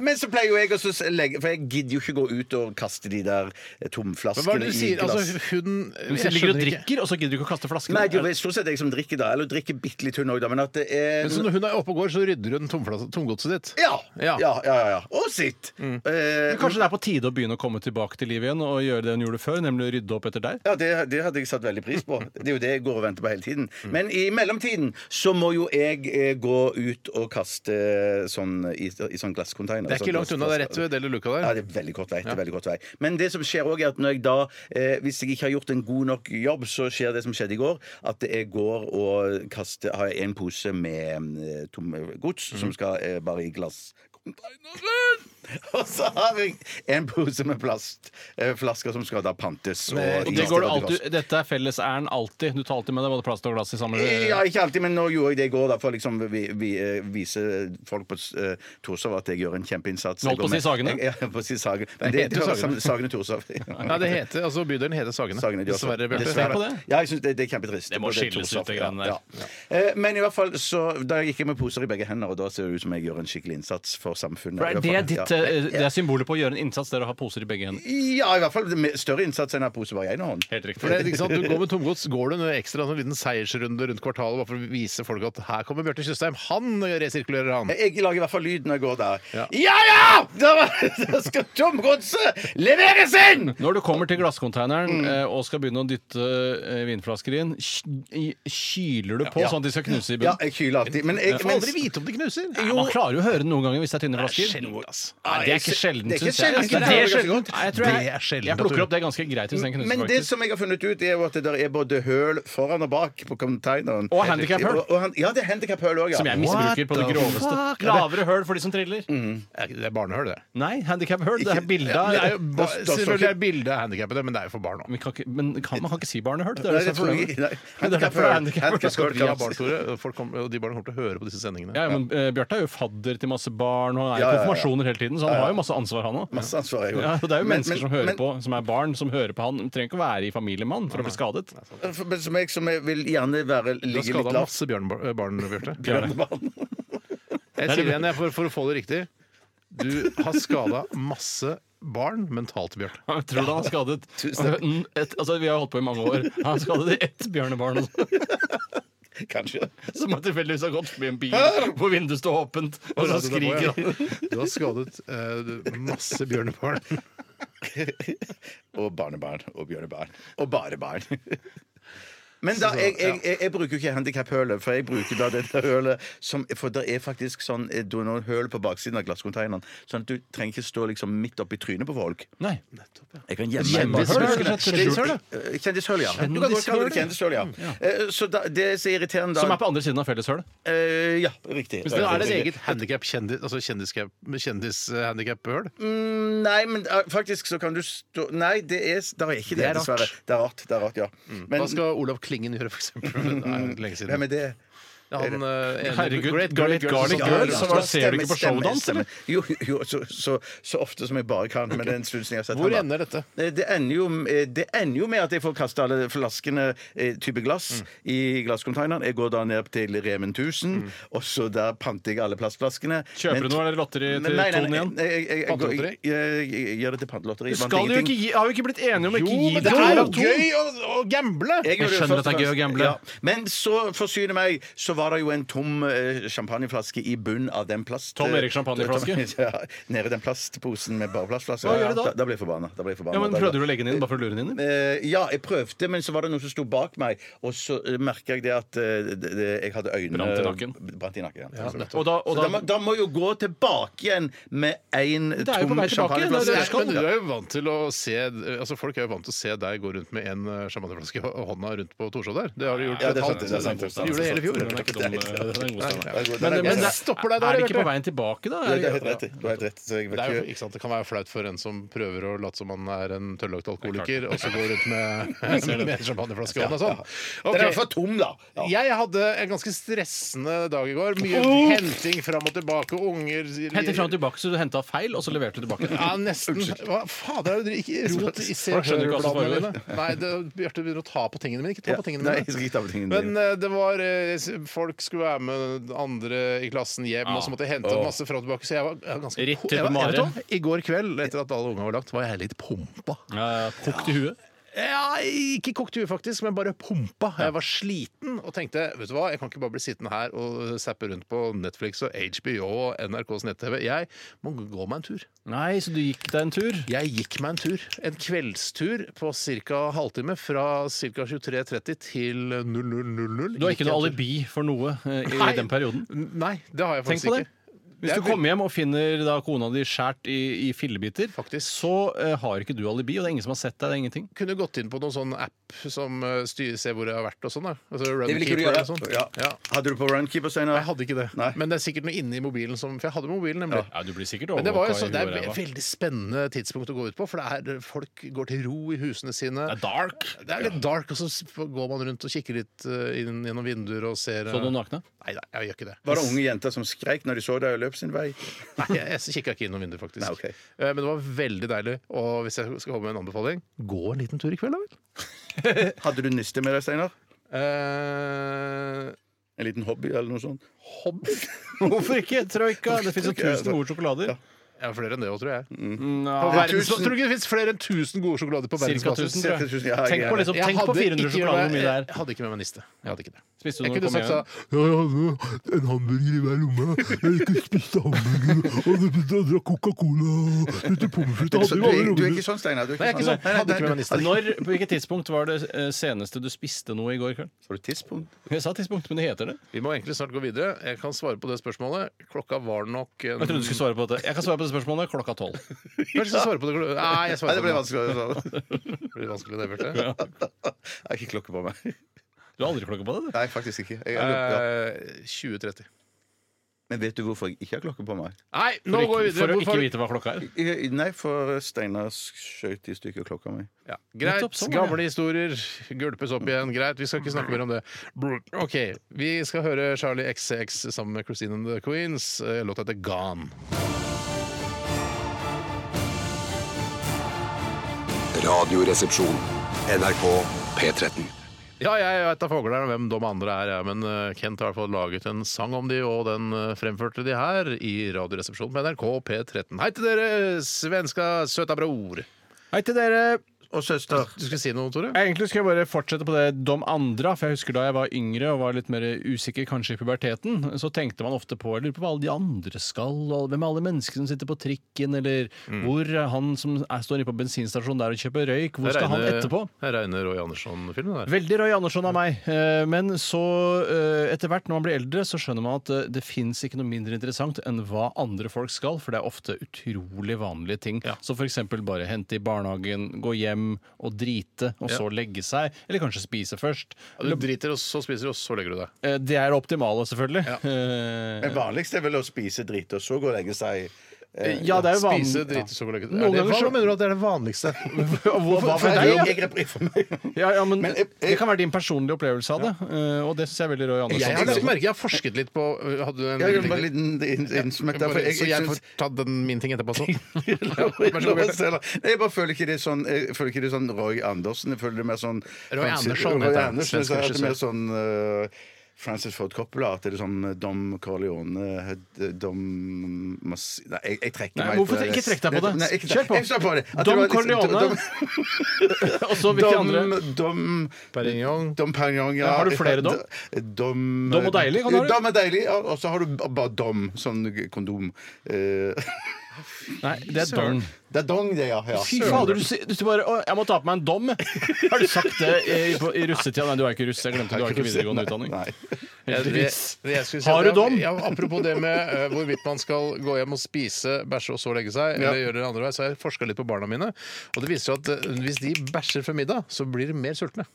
S3: Men så pleier jo jeg også å legge For jeg gidder jo ikke gå ut og kaste de der eh,
S2: Men hva er
S3: tomflaskene
S2: det du
S3: i
S2: sier?
S3: glass.
S2: Altså, hun
S4: Hvis
S2: jeg
S4: du ligger og
S2: skjønner ikke.
S4: drikker, og så gidder du ikke å kaste flaskene.
S3: Nei, det er jo stort sett jeg som drikker, da. Eller drikker bitte litt, hun òg, da. Men at det er
S2: Men så Altså, når hun er oppe og går, så rydder hun tomflas- tomgodset ditt?
S3: ja,
S2: Ja.
S3: ja,
S2: Mm.
S3: ja, ja, ja. Og sitt! Eh,
S4: Men Kanskje det er på tide å begynne å komme tilbake til livet igjen og gjøre det hun gjorde før, nemlig å rydde opp etter deg?
S3: ja, det, det hadde jeg satt veldig pris på. Det er jo det jeg går og venter på hele tiden.
S2: Mm.
S3: Men i mellomtiden så må jo jeg eh, gå ut og kaste sånn i, i sånn glasscontainer.
S2: Det er ikke langt unna. Det er rett ved Deli Luca
S3: Ja,
S2: der.
S3: det er veldig kort vei. det er veldig kort vei. Men det som skjer også er at når jeg da, eh, hvis jeg ikke har gjort en god nok jobb, så skjer det som skjedde i går, at jeg går og kaster, har en pose med eh, tom gods
S4: Mhm.
S3: som skal eh, bare i glass. Og så har jeg en pose med plastflasker eh, flasker som skal da pantes. Og,
S4: Og det går det alltid, dette er fellesæren alltid. Du tar alltid med deg både plast og glass i samme
S3: Ja, ikke alltid, men nå gjorde jeg det i går da, for å liksom vi, vi, eh, vise folk på eh, Torshov at jeg gjør en kjempeinnsats.
S4: Du holdt på å si Sagene?
S3: Jeg, ja, på å si Sagene.
S2: Det
S3: Men det,
S2: heter
S3: det
S2: jo
S3: var
S2: Sagene.
S3: Sagene. Sagene Torshov.
S2: Nei, det heter, altså Bydelen heter Sagene.
S3: Sagene de også.
S2: Dessverre,
S3: Dessverre.
S2: Bjarte.
S4: på det?
S3: Ja, jeg synes det, det er kjempetrist.
S4: Det må
S3: Og er
S4: skilles
S3: Torshov,
S4: ut, det greiene der.
S3: Ja. Eh, Men i hvert fall, så da gikk jeg med poser i begge hender, og da ser det ut som jeg gjør en skikkelig innsats for samfunnet.
S4: For
S3: I
S4: det er det
S3: hvert fall,
S4: ditt
S3: ja.
S4: eh, det er symbolet på å gjøre en innsats, det er å ha poser i begge hender.
S3: Ja, i hvert fall med større innsats enn å ha pose bare i én hånd.
S4: Helt riktig.
S2: For det, er ikke sant? Du går med tomgods, går du en ekstra sånn liten seiersrunde rundt kvartalet bare for å vise folk at her kommer Bjarte Tjøstheim, han resirkulerer han.
S3: Eh, Jeg jeg lager i hvert fall lyd når jeg går der.
S2: Ja.
S3: Ja ja! Da, da skal tomgodset leveres inn!
S4: Når du kommer til glasskonteineren
S3: Mm.
S4: eh, og skal begynne å dytte eh, vinflasker inn, ky- i- kyler du på sånn at de skal knuse i
S3: Ja,
S4: bunnen?
S3: jeg kyler alltid. Men jeg,
S2: Jeg får
S3: men-
S2: aldri vite om de knuser.
S4: Nei, Man klarer jo å høre det noen ganger hvis det er tynne flasker.
S2: Altså,
S4: Nei, det er ikke sjelden,
S3: Det er ikke
S4: syns jeg.
S3: sjelden.
S4: Ikke det
S3: Det er
S4: er sjeldent. Nei, jeg, tror jeg,
S2: Det er sjelden
S4: jeg
S2: at du-
S4: plukker opp det ganske greit hvis den knuser,
S3: Men det
S4: faktisk.
S3: som jeg har funnet ut, er jo at det der er både høl foran og bak på containeren.
S4: Og handicap-høl.
S3: Og- og han- Ja, det er handikap-høl òg, ja.
S4: Som jeg
S2: What
S4: misbruker på det
S2: the
S4: groveste.
S2: fuck?
S4: Lavere høl for de som triller.
S2: Det er barnehull, det.
S4: Nei, handikap-høl. Det er bildet
S2: Ja, det er jo ba
S3: står- står
S2: selvfølgelig
S3: ikke-
S2: er bildet av handikappede, men det er jo for barn òg.
S4: Men, kan, ikke- men kan, man kan ikke si barnehull. Det er
S3: Nei,
S4: det
S3: det
S4: som
S3: tror
S4: er
S3: jeg ikke. Nei.
S4: problemet. Men det er derfor det er handicap-høl.
S3: Handicap-høl,
S2: Vi
S3: ja.
S2: har barn, Tore. Folk kommer- og de barna kommer til å høre på disse sendingene.
S4: Ja, ja, men eh, Bjarte er jo fadder til masse barn og er
S3: Ja,
S4: i
S3: ja, ja.
S4: konfirmasjoner hele tiden, så han har jo masse ansvar, han òg.
S3: Masse ansvar, jeg
S4: Ja,
S3: også.
S4: og det er jo
S3: Men-
S4: mennesker
S3: men-
S4: som hører
S3: men-
S4: på, som er barn, som hører på han. De trenger ikke å være i familiemann for å bli skadet.
S3: For- Men som jeg, som jeg vil gjerne
S2: Du har
S3: være ligge litt
S2: skada
S3: lavt.
S2: masse bjørn, barn, Bjarte.
S3: Bjørnebarn.
S2: Jeg sier det igjen jeg, for, for å få det riktig. Du har skada masse barn mentalt, Bjarte.
S4: Jeg tror du han har skadet
S3: takk.
S4: Mm, et, altså, Vi har holdt på i mange år. Han har skadet ett bjørnebarn også,
S3: Kanskje.
S4: som har tilfeldigvis har gått forbi en bil hvor vinduet står åpent, og
S2: Altså,
S4: så skriker han.
S2: Du har skadet eh, masse bjørnebarn.
S3: Og barnebarn. Og bjørnebarn. Og bare barn. Men da, jeg, jeg, jeg, jeg bruker jo ikke handikaphølet, for jeg bruker da dette hølet som For det er faktisk sånn eh, Du har noen høl på baksiden av glasskonteineren, sånn at du trenger ikke stå liksom midt oppi trynet på folk.
S4: Nei.
S3: Jeg kan gjemme meg bak-
S4: Kjendishøl,
S2: Kjendishøl,
S4: rett og
S2: kjendishøl,
S3: Eh,
S4: slett.
S3: Kjendishøl, ja. Du kan godt kalle det kjendishøl, ja. Eh, Så da, det som er irriterende da
S4: Som er på andre siden av felleshølet.
S3: eh, Ja, riktig.
S2: Men Er det et eget handikap-kjendis, altså kjendiskap- kjendishandikap-høl?
S3: Nei, men eh, faktisk så kan du stå Nei, det er Da er ikke det,
S2: Det er rart.
S3: dessverre. Det er rart. Det er rart, ja. Men
S4: Mm.
S2: Hva skal Olav Klingen gjøre, for eksempel? Det er jo lenge siden.
S3: hvem er det?
S2: Han, eh,
S4: Herregud,
S2: Great
S4: Great Garlic
S2: som-
S4: Girl,
S2: Ja,
S4: så
S2: ja.
S4: var- ser du ikke på
S3: Stemmer,
S4: showdans,
S3: stemmer, stemmer. Jo, jo så, så, så ofte som jeg bare kan. Men det er en stund siden jeg har sett
S2: Hvor
S3: ham, da.
S2: ender dette?
S3: Eh, Det ender, jo, eh, det ender jo med at jeg får kaste alle flaskene eh, type
S4: Mm.
S3: glass i glasscontaineren. Jeg går da ned til Remen 1000, og så der panter jeg alle plastflaskene.
S4: Mm. Kjøper du noe, eller lotteri
S3: Men-
S4: til
S3: nei, nei,
S4: tonen igjen?
S3: nei, jeg- jeg- jeg-
S2: Pantelotteri?
S3: jeg- jeg- jeg- jeg Gjør det til pantelotteri.
S4: Du
S3: Vant
S4: skal jo
S3: ingenting.
S4: ikke gi, har jo ikke blitt enige om å
S2: Jo,
S4: ikke gi
S2: men det
S4: det
S2: er
S4: her
S2: jo
S4: av to.
S2: gøy å, å gamble!
S3: Jeg gjorde
S4: Jeg skjønner
S3: først
S4: at det er gøy å
S3: og fremst-
S4: gamble.
S3: Men så, for synet meg, så var det jo en tom eh, champagneflaske i bunnen av den plast... eh,
S4: Tom Erik champagneflaske?
S3: Ja, nede i den plastposen med bare plastflasker.
S4: Hva gjør du da?
S3: Da, da ble jeg forbanna. Da ble jeg forbanna.
S4: Ja, men
S3: Da-
S4: Prøvde du å legge den inn bare for å lure den inn?
S3: Eh, ja, jeg prøvde, men så var det noen som sto bak meg, og så uh, merka jeg det at eh, det, det, jeg hadde øynene
S4: Brant i nakken.
S3: Brant i nakken, ja.
S4: Og da,
S3: så
S4: og
S3: da, må,
S4: da,
S3: da må jeg jo gå tilbake igjen med én
S4: Det er jo på
S3: tom
S4: vei tilbake, det er det jeg
S3: champagneflaske.
S4: skal.
S2: Men du er jo vant til å se Altså Folk er jo vant til å se deg gå rundt med en eh, champagneflaske i hå- hånda rundt på Torshov der. Det har du gjort
S3: Ja,
S2: et
S3: det er sant,
S2: halvt
S3: det er sant, det er sant.
S2: Du gjorde det hele i fjor.
S4: den er ikke dum. eh, Den er god Steinar.
S3: Men,
S4: Men, men det,
S2: stopper deg der,
S4: er det ikke
S2: Bjarte.
S4: på veien tilbake, da?
S3: Du
S4: Er
S3: har
S4: det-
S3: helt rett. i. Du har helt rett. Så jeg
S2: Det,
S3: vet
S2: er jo,
S3: ikke
S2: ikke sant? det kan være flaut for en som prøver å late som han er en tørrlagt alkoholiker, og så går rundt med, med en champagneflaske i hånda. Sånn.
S3: Den er
S2: Ok.
S3: i hvert fall tom, da. Ja.
S2: Jeg hadde en ganske stressende dag i går. Mye henting fram og tilbake, unger
S4: Hentet fram og tilbake, så du henta feil, og så leverte du tilbake.
S2: Ja, nesten. Hva fader er det dere ikke rot i se
S4: Folk skjønner ikke hva som
S2: hør-bladene
S4: foregår.
S2: mine? Nei, det, Bjarte begynner å ta på tingene mine. Ikke ta
S3: Ja,
S2: på tingene
S3: nei,
S2: mine.
S3: jeg skal ikke ta på tingene
S2: Men
S3: dine.
S2: eh, det var eh, s- Folk skulle være med andre i klassen hjem, og så måtte jeg hente masse fram og tilbake. Så jeg var, jeg var ganske
S4: Ritt til
S2: jeg var- jeg vet
S4: Mare.
S2: hva, I går kveld, etter at alle ungene var lagt, var jeg litt pumpa.
S4: Ja, Kokt i huet.
S2: Ja, ikke kokt hue, faktisk, men bare pumpa. Jeg var sliten og tenkte vet du hva, jeg kan ikke bare bli sittende her og zappe rundt på Netflix og HBO og NRKs nett-TV. Jeg må gå meg en tur.
S4: Nei, så du gikk deg en tur?
S2: Jeg gikk meg en tur. En kveldstur på ca. halvtime fra ca. 23.30 til 00.00.
S4: Du har ikke
S2: Gikk jeg en
S4: noe
S2: tur.
S4: alibi for noe eh, i
S2: Nei.
S4: den perioden?
S2: Nei, det har jeg
S4: Tenk
S2: faktisk
S4: på det.
S2: ikke.
S4: Hvis
S2: Jeg
S4: du kommer hjem og finner da kona di skåret i, i fillebiter,
S2: Faktisk.
S4: så eh, har ikke du alibi, og det er ingen som har sett deg. det er ingenting
S2: kunne gått inn på noen sånn app som eh, styrer, ser hvor jeg har vært og sånn. da. Altså
S3: Det vil ikke du
S2: Runkeeper
S3: gjøre.
S2: og sånn.
S3: Ja.
S2: Ja.
S3: Hadde du på Runkeeper,
S2: Jeg
S3: Steinar?
S2: hadde ikke det.
S3: Nei.
S2: Men det er sikkert noe inne i mobilen som For jeg hadde mobilen, nemlig.
S4: Ja, du blir sikkert
S2: Men det, var jo
S4: overvåka
S2: sånn, det er
S4: i huet og
S2: et
S4: ræva.
S2: veldig spennende tidspunkt å gå ut på, for det er, folk går til ro i husene sine.
S4: Det er dark.
S2: Det er litt dark, og så s- går man rundt og kikker litt eh, inn gjennom vinduer og ser eh,
S4: Så du noen nakne?
S2: Nei, nei, jeg gjør ikke det.
S3: Var det unge jenter som skreik når de så deg og løp sin vei?
S2: Nei, jeg jeg kikka ikke innom vinduet, faktisk.
S3: Nei, ok.
S2: Eh, Men det var veldig deilig. Og hvis jeg skal komme med en anbefaling, gå en liten tur i kveld, da vel.
S3: Hadde du niste med deg, Steinar?
S2: Eh,
S3: En liten hobby eller noe sånt?
S2: hobby?
S4: Hvorfor ikke? Troika. Det fins jo
S3: Troika, ja,
S4: tusen
S3: da.
S4: gode sjokolader.
S2: Ja, flere enn det òg, tror jeg. På
S4: Nei,
S2: verdens, tror du ikke Mm. det fins flere enn 1000 gode sjokolader på
S4: Cirka
S2: verdensbasis?
S4: 1000,
S3: Cirka
S4: tror
S3: 1000,
S4: jeg.
S3: ja,
S4: Tenk på,
S3: jeg-
S4: liksom,
S2: Jeg
S4: tenk på
S2: hadde
S4: 400
S2: ikke
S4: sjokolader,
S2: med-
S4: hvor mye det er.
S2: Jeg hadde ikke med meg niste. Jeg hadde ikke det.
S4: Spiste du
S2: Jeg
S4: når
S2: kunne
S4: du kom
S2: sagt sånn
S4: hjem?
S2: Ja, jeg hadde en hamburger i hver lomme. Jeg gikk og spiste hamburger. Og du begynte å dra Coca-Cola. Spiste pommes frites. Jeg
S3: Du,
S2: hadde jo alle
S3: er- du er
S2: lommene.
S3: ikke sånn, Steinar. Du er
S2: Nei, jeg er
S3: ikke
S2: ikke
S3: sånn.
S2: sånn. Jeg hadde ikke med meg niste.
S4: Når, på hvilket tidspunkt var det eh, seneste du spiste noe i går kveld?
S3: Får du tidspunkt?
S4: Jeg sa tidspunkt, men det heter det.
S2: Vi må egentlig snart gå videre. Jeg kan svare på det spørsmålet. Klokka var nok en...
S4: Jeg trodde du skulle svare på dette. Jeg kan svare på det spørsmålet klokka tolv.
S2: Kanskje jeg skal svare på det klokka- Nei, jeg
S3: Nei, det
S2: svarer på
S3: ble
S2: det.
S3: vanskelig. altså.
S2: Det blir vanskelig, det, Bjarte.
S3: Jeg har ikke klokke på meg.
S4: Du har aldri klokke på deg, du.
S3: Nei, faktisk ikke. Jeg, ja.
S2: Eh, 2030.
S3: Men vet du hvorfor jeg ikke har klokke på meg?
S2: Nei, nå går vi
S4: For,
S2: videre.
S4: å ikke
S2: Hvorfor-
S4: vite hva klokka er.
S3: I- Nei, for Steinar skjøt i stykker klokka mi.
S2: Ja. Greit.
S4: Nettopp sånn, ja.
S2: Gamle historier gulpes opp igjen. Greit, vi skal ikke snakke mer om det. Brr. OK, vi skal høre Charlie XX sammen med Christine and the Queens. Eh, Låta heter Gone.
S6: Radioresepsjon. NRK P13.
S2: Ja, jeg veit da fogler hvem de andre er, jeg, men eh, Kent har i hvert fall laget en sang om de, og den eh, fremførte de her i Radioresepsjonen på NRK P13. Hei til dere, svenska søta bror.
S4: Hei til dere.
S3: Og søster.
S2: Du skulle si noe, Tore?
S4: Egentlig skulle jeg bare fortsette på det de andre, for jeg husker da jeg var yngre og var litt mer usikker, kanskje i puberteten, så tenkte man ofte på jeg lurer på hva alle de andre skal, og hvem er alle menneskene som sitter på trikken, eller hvor er han som er, står inne på bensinstasjonen der og kjøper røyk, hvor skal han etterpå?
S2: Jeg regner Roy Andersson-filmen der.
S4: Veldig Roy Andersson av meg. Eh, Men så, eh, etter hvert når man blir eldre, så skjønner man at eh, det fins ikke noe mindre interessant enn hva andre folk skal, for det er ofte utrolig vanlige ting.
S2: Ja.
S4: Så f.eks. bare hente i barnehagen, gå hjem og drite, og så legge seg. Eller kanskje spise først.
S2: Du driter, og så spiser du, og så legger du deg.
S4: Eh, Det er det optimale, selvfølgelig. Eh,
S3: Men vanligst er vel å spise dritt og så gå og legge seg.
S4: Ja, det er jo vanlig.
S2: eh, Spise, drite, så går det
S4: Noen ganger så-
S2: mener du at det er det vanligste?
S4: Hva, hva
S3: Nei,
S4: for deg?
S3: jeg, jeg grep for meg.
S4: Ja, ja, men
S3: Men
S2: eh,
S3: jeg-
S4: det kan være din personlige opplevelse av det, eh, og det syns jeg er veldig Roy
S2: Jeg
S4: Andersson.
S2: har lagt merke, jeg har forsket litt på øh, Hadde du en
S3: Jeg gjør
S2: liten-
S3: bare en liten inn- innsmett der. For jeg,
S2: Så
S3: jeg,
S2: jeg
S3: syns-
S2: får ta den, min ting etterpå også? Vær så god, Bjarte.
S3: Nei, jeg bare føler ikke det er sånn Jeg føler ikke det er sånn Roy Andersen. Jeg føler det er mer sånn
S2: Roy
S3: Francis-
S2: Andersson heter
S3: Roy
S2: han,
S3: Andersen
S2: svensk
S3: så er det mer
S2: regissør.
S3: sånn eh, Francis Ford Coppola. At det er sånn Dom Corleone eh, Dom Mas- Nei, jeg, jeg trekker
S4: Nei,
S3: meg.
S4: hvorfor
S3: fra
S4: ikke trekke deg på det?
S3: Nei, ikke-
S4: Kjør på.
S3: Jeg står på det. At det
S4: Dom
S3: var liksom-
S4: Corleone. Og så hvilke
S3: Dom,
S4: andre?
S3: Dom, Dom
S2: Perignon.
S3: Dom Perignon, ja.
S4: Ja, har du flere dom?
S3: Dom, eh,
S4: Dom og deilig, kan du ha det?
S3: Dom og deilig, ja. Og så har du bare Dom, sånn kondom. Eh,
S4: Nei, det er Don.
S3: Det er Dong, det, ja. ja.
S4: Fy fader, du, sier- du sier bare å, 'jeg må ta på meg en dom'. jeg». Har du sagt det i, på, i russetida? Nei, du er ikke russ. Jeg glemte du har ikke videregående utdanning.
S3: Nei.
S4: Heldigvis.
S2: Jeg- jeg skulle
S4: Har du
S2: at jeg-
S4: dom?
S2: Ja, apropos det med eh, hvorvidt man skal gå hjem og spise, bæsje og så legge seg, eller gjøre det andre vei, så har jeg forska litt på barna mine. Og det viser seg at eh, hvis de bæsjer før middag, så blir de mer sultne.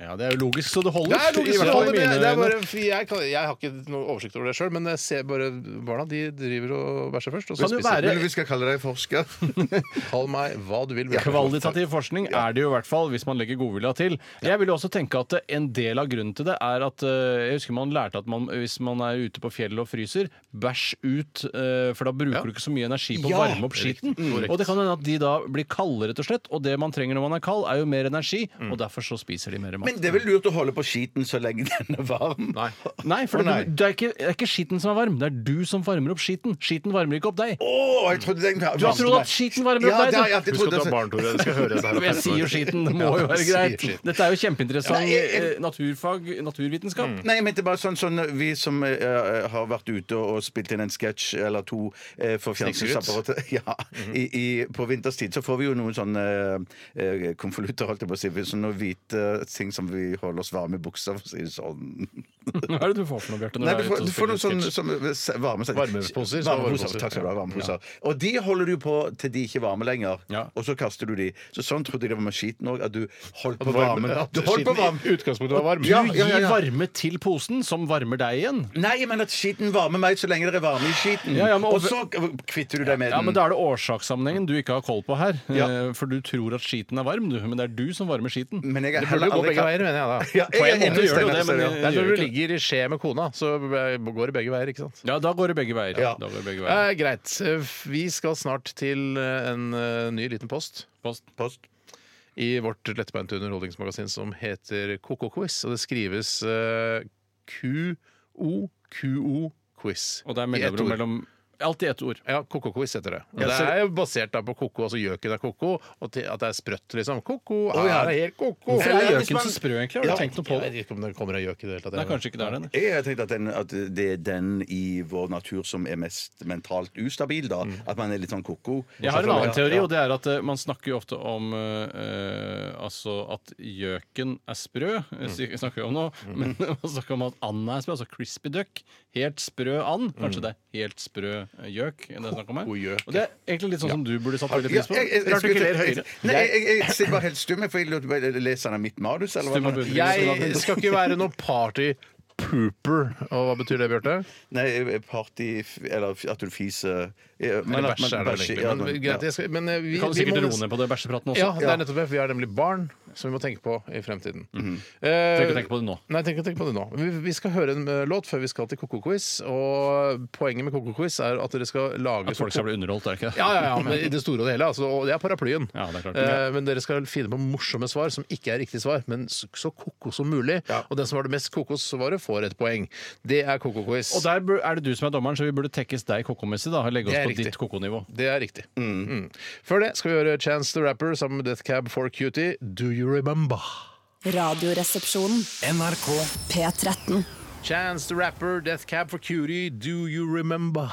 S4: Ja, det er jo logisk, så det
S2: Det
S4: holder.
S2: er
S4: I
S2: logisk,
S4: hvert
S2: det
S4: fall i
S2: holder, men
S4: mine
S2: jeg- det er
S4: øyne.
S2: bare, for jeg, kan, jeg har ikke noe oversikt over det sjøl, men jeg ser bare barna de driver og bæsjer først, og så
S4: Kan det
S2: spiser de.
S4: være-
S3: Men vi skal kalle deg forsker.
S2: Kall meg hva du vil. Bjarte.
S4: Kvalitativ forskning er det jo i hvert fall, hvis man legger godvilja til. Jeg vil jo også tenke at eh, en del av grunnen til det er at eh, jeg husker man lærte at man, hvis man er ute på fjellet og fryser, bæsj ut, eh, for da bruker du ikke så mye energi på å
S2: Ja,
S4: varme opp
S2: riktig,
S4: skiten.
S3: Mm.
S2: korrekt.
S4: Og det kan hende at de da blir kalde, rett og slett, og det man trenger når man er kald, er jo mer energi, og derfor så spiser de mer mat.
S3: Mm. Men det er vel lurt å holde på skiten så lenge den er varm?
S2: Nei.
S4: Nei,
S3: Å,
S4: for
S3: nei.
S4: Det, det, er ikke, det er ikke skiten som er varm, det er du som varmer opp skiten. Skiten varmer ikke opp deg.
S3: Å, jeg trodde den
S4: Du har trodd at skiten varmer opp
S3: ja,
S4: deg,
S3: det,
S4: du.
S3: har jeg alltid
S2: Husk at du
S3: trodd
S2: har barn, Tore. Du skal høre dette her.
S4: Men Jeg sier jo skiten, det må jo være
S2: Ja, jeg
S4: greit.
S2: sier skiten.
S4: Dette er jo kjempeinteressant
S3: Nei, jeg-
S4: eh, naturfag, naturvitenskap.
S3: Nei, jeg mente bare sånn, sånn Vi som eh, har vært ute og spilt inn en sketsj eller to eh, for fjernsynsapparatet ja, i, i, På vinterstid så får vi jo noen sånne eh, konvolutter, holdt jeg på å si. Sånne hvite ting som vi holder oss varme i buksa, for å si det sånn.
S4: Hva er det du får for noe, sånn Bjarte? når
S3: Nei,
S4: er
S3: du
S4: ute
S3: får,
S4: og
S3: du får noen
S4: spiller
S3: sånne
S4: sketsj?
S3: sånne s- varme
S2: Varmeposer, så varmeposer.
S3: Varmeposer. Takk skal du ha. varmeposer. Og de holder du på til de ikke er varme lenger,
S4: Ja.
S3: og så kaster du de. Så sånn trodde jeg det var med skiten òg, at du holdt på
S2: varme-
S3: varmen.
S2: at
S3: Du holdt på
S2: skiten i
S3: varmen.
S2: utgangspunktet var varm.
S3: Ja,
S4: Du
S3: ja, ja,
S4: gir
S3: ja.
S4: varme til posen, som varmer deg igjen.
S3: Nei, men at skiten varmer meg så lenge det er varme i skiten.
S4: Ja, ja, men-
S3: og, så kvitter du deg med
S4: Ja, men
S3: den.
S4: Da er det årsakssammenhengen du ikke har koll på her.
S3: Ja.
S4: Eh, For du tror at skiten er varm, du, men det er du som varmer skiten.
S3: Men jeg er
S2: Det burde
S3: heller
S2: gå
S3: aldri
S2: begge
S3: kald-
S2: veier, mener jeg da.
S3: Ja, jeg
S4: På
S3: er
S4: en
S3: enig
S4: måte
S3: med
S4: gjør det jo det,
S3: Steinar,
S4: men
S3: Steinar.
S2: Det er
S4: gjør
S2: når du
S4: ikke det.
S2: ligger i skje med kona, så går det begge veier, ikke sant?
S4: Ja, da går det begge veier.
S3: Ja.
S4: Da går det begge veier.
S2: Eh, greit. Eh, Vi skal snart til eh, en eh, ny liten post
S4: Post.
S3: Post.
S2: i vårt lettbeinte underholdningsmagasin som heter KK-quiz, og det skrives eh, Q-O-Q-O-quiz.
S4: Og det er mellomrom mellom Alt i ett ord.
S2: Ja, Ko-ko-quiz heter det. Og
S3: Ja,
S2: det
S3: så-
S2: er jo basert da på ko-ko, altså gjøken er ko-ko, og til at det er sprøtt, liksom. Ko-ko,
S3: Å, ja.
S2: er det helt ko-ko?
S4: Hvorfor
S3: Eller
S4: er
S3: hvis
S4: gjøken
S3: man-
S4: så sprø, egentlig? Har du tenkt noe på
S2: Jeg
S4: det?
S2: vet ikke om det kommer av gjøk i det hele tatt.
S4: Nei, kanskje ikke det er den.
S3: Jeg har tenkt at, den, at det er den i vår natur som er mest mentalt ustabil, da. At man er litt sånn ko-ko.
S4: Mm. Jeg har en
S3: Ja,
S4: annen teori,
S3: ja.
S4: og det er at eh, man snakker jo ofte om eh, eh, altså at gjøken er sprø. eh,
S2: Mm.
S4: snak- snakker vi om nå. Men man snakker om at anda er sprø, altså crispy duck. Helt sprø and.
S2: Mm.
S4: Kanskje det er helt sprø eh, gjøk. Det er snakk om her.
S2: gjøk,
S4: Og det er egentlig litt sånn som du burde satt veldig
S3: Ja,
S4: pris på. Rart du ikke ler høyere.
S3: Nei, jeg, jeg, jeg sitter bare helt stum, for jeg lurte på Leser han av mitt manus, eller
S4: Stum av
S3: hva?
S4: beundring.
S2: Jeg skal ikke være noen party pooper. Og hva betyr det, Bjarte?
S3: Nei, party Eller at du fiser ja, men
S2: Eller
S3: at man-
S2: bæsj er det
S3: bæsj-
S2: egentlig.
S3: ja,
S2: Men,
S3: ja.
S2: greit, jeg skal, men eh, vi,
S4: Vi kan
S2: vi
S4: sikkert
S2: må-
S4: roe ned på det bæsjepraten også.
S2: Ja, det er nettopp det. for Vi er nemlig barn som vi må tenke på i fremtiden. Eh,
S4: Trenger ikke Mhm. tenke på det nå.
S2: Nei, tenk å tenke på det nå. Vi, vi skal høre en eh, låt før vi skal til Koko-quiz. Og poenget med Koko-quiz er at dere skal lage
S4: At folk skal bli underholdt, er det ikke det?
S2: Ja, ja, ja, men i det store og det hele. Altså, og det er paraplyen.
S4: Ja, det er klart.
S2: Eh, men dere skal finne på morsomme svar som ikke er riktig svar, men så, så koko som mulig. Og den som har det mest kokos-svaret, får et poeng. Det er Koko-quiz.
S4: Og der bur- er det du som er dommeren, så vi burde tekkes deg kokomessig. da, og
S2: Det
S4: Legge oss
S2: er
S4: på
S2: riktig.
S4: ditt kokonivå.
S2: Det er riktig. Mm. Før det skal vi høre Chance the Rapper sammen med Death Cab for Cutie. Do you remember?
S5: Radioresepsjonen.
S7: NRK
S5: P13.
S2: Chance the Rapper, Death Cab for Cutie, Do You Remember?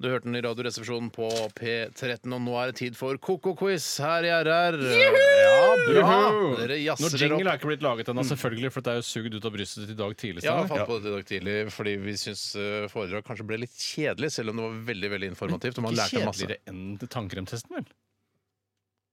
S2: Du hørte den i Radioresepsjonen på P13, og nå er det tid for Koko-quiz her i RR. Ja, bra!
S4: Juhu!
S2: Dere
S4: Når
S2: jazzer dere
S4: jingle
S2: opp. Mm.
S4: er ikke blitt laget ennå, selvfølgelig, for det er jo sugd ut av brystet til i dag tidlig.
S2: Ja,
S4: Steinar.
S2: jeg fant på det i dag tidlig, fordi vi syns eh, foredrag kanskje ble litt kjedelig, selv om det var veldig veldig informativt. og man
S4: Ikke
S2: lærte masse.
S4: kjedeligere enn tannkremtesten, vel?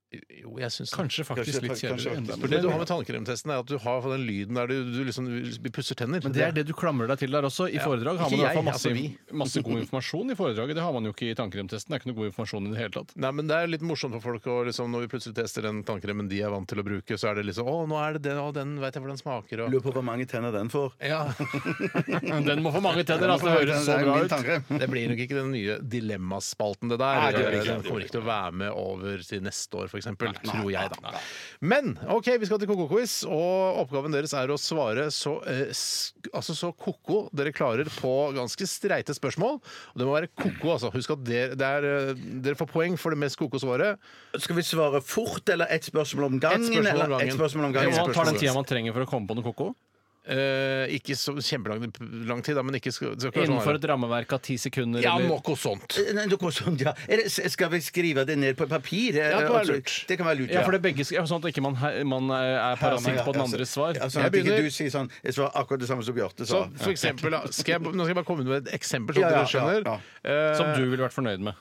S2: Jo, jeg syns det.
S4: Kanskje faktisk
S3: Kanskje-
S4: litt
S3: kanskje-
S4: kjedeligere. enn
S3: kanskje-
S2: For det du har med
S4: det.
S2: tannkremtesten, er at du har den lyden der du, du liksom vi pusser tenner.
S4: Men det er det du klamrer deg til der også. I foredrag har man i
S2: Ikke
S4: hvert
S2: jeg,
S4: fall masse,
S2: altså
S4: masse god informasjon i foredraget. Det har man jo ikke i tannkremtesten. Det er ikke noe god informasjon i det hele tatt.
S2: Nei, men Det er litt morsomt for folk å liksom, når vi plutselig tester den tannkremen de er vant til å bruke. Så er det liksom 'Å, nå er det den, og den vet jeg hvordan den smaker', og
S3: Lurer på hvor mange tenner den får.
S2: ja.
S4: Den må få mange tenner, altså. Det høres så
S3: Det er
S4: bra
S3: min
S4: ut.
S3: tanke.
S2: Det blir nok ikke den nye dilemmaspalten, det der.
S4: Nei, det gjør det ikke.
S2: den kommer ikke til å være med over til neste år, f.eks. Tror jeg, da. Men OK, vi skal til koko-quiz, og oppgaven deres er å svare så, eh, sk altså så koko dere klarer på ganske streite spørsmål. Og det må være koko, altså. Husk at dere, det er, eh, dere får poeng for det mest koko svaret.
S3: Skal vi svare fort, eller ett spørsmål om gangen?
S2: Ett spørsmål om
S3: eller?
S2: gangen.
S3: Et spørsmål om
S4: Ja,
S3: gangen.
S4: man tar den tida man trenger for å komme på noe koko.
S2: Eh, ikke så kjempelang lang tid, da, men ikke skal, det skal ikke være
S4: Innenfor
S2: sånn
S4: et rammeverk av ti sekunder.
S2: Ja,
S4: eller-
S2: noe sånt.
S3: Nei, det går sånn, ja. Er det- Skal vi skrive det ned på papir?
S2: det kan være
S3: Altså,
S2: lurt.
S3: Det kan være lurt,
S4: Ja, for det er begge, sk- ja, sånn at ikke man, he- man er parasitt på den andres svar.
S3: Ja, sånn at
S2: Jeg
S3: ikke
S2: begynner.
S3: du sier sånn Jeg svarer akkurat det samme som Bjarte
S2: Så
S3: sa.
S2: for eksempel, da, skal jeg, nå skal jeg bare komme med et eksempel, så
S3: Ja, ja,
S2: dere skjønner.
S3: ja,
S2: Eh,
S4: Som du ville vært fornøyd med.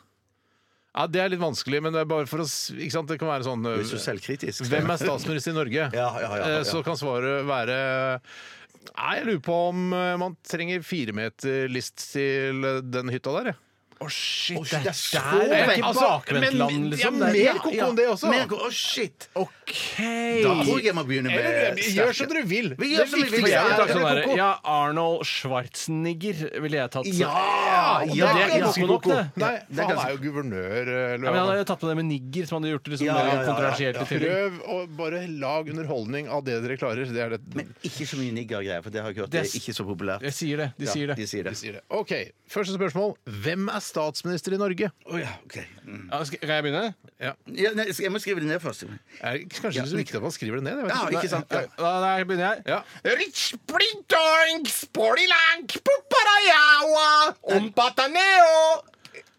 S2: Ja, Det er litt vanskelig, men det er bare for å s- ikke sant? Det kan være sånn
S3: Hvis du er selvkritisk.
S2: Hvem er statsminister i Norge?
S3: Ja, ja, ja, ja.
S2: Eh, Så kan svaret være Nei, jeg lurer på om eh, man trenger firemeterlist til eh, den hytta der, jeg.
S3: Å, shit, det er så
S4: er
S3: vekk.
S4: ikke
S2: Altså,
S4: bakvendtland,
S2: men-
S4: liksom.
S2: Ja,
S4: Det er-
S2: mer koko enn det også.
S3: Mer ko- Å, shit!
S2: OK!
S3: Da tror jeg jeg må begynne med
S2: Eller, gjør som dere vil.
S3: Vi gjør som vi vil.
S2: viktigste
S4: Jeg
S3: Ja,
S4: ville
S2: er
S4: tatt
S3: ja,
S4: sånn
S2: koko.
S4: der, ja, Arnold Schwarzenegger ville jeg tatt.
S3: Ja! ja,
S4: Og det er
S3: ja,
S4: ganske
S3: ja.
S4: nok, det.
S2: Nei,
S3: Det er
S2: for han
S3: ganske-
S2: er jo guvernør. eh,
S4: Ja, men
S2: Løvan.
S4: han hadde tatt på det med nigger, som hadde gjort det liksom
S3: Ja, ja,
S4: mer
S3: ja,
S4: kontroversielt. i tillegg.
S2: Prøv å bare lag underholdning av det dere klarer. Det er det.
S3: Men ikke så mye niggergreier, for det har jeg hørt. Det
S4: Det
S3: er
S4: er-
S3: ikke så populært.
S4: Jeg sier det. De sier
S3: Ja, de
S4: det.
S3: sier
S2: Vi
S3: det.
S2: sier det. OK, første spørsmål. Hvem er statsminister i Norge?
S3: Å, ja, ok. Mm.
S4: Ja, skal kan jeg begynne?
S3: Ja, nei, jeg må skrive det ned først.
S2: Er det kanskje ikke så viktig at man skriver det ned? Jeg vet
S3: Ja,
S2: ikke.
S3: ikke sant?
S4: Ja,
S3: Ja.
S4: Da da begynner jeg.
S2: Ja.
S4: Rich blitoink, sporilank, puparajawa, ombataneo.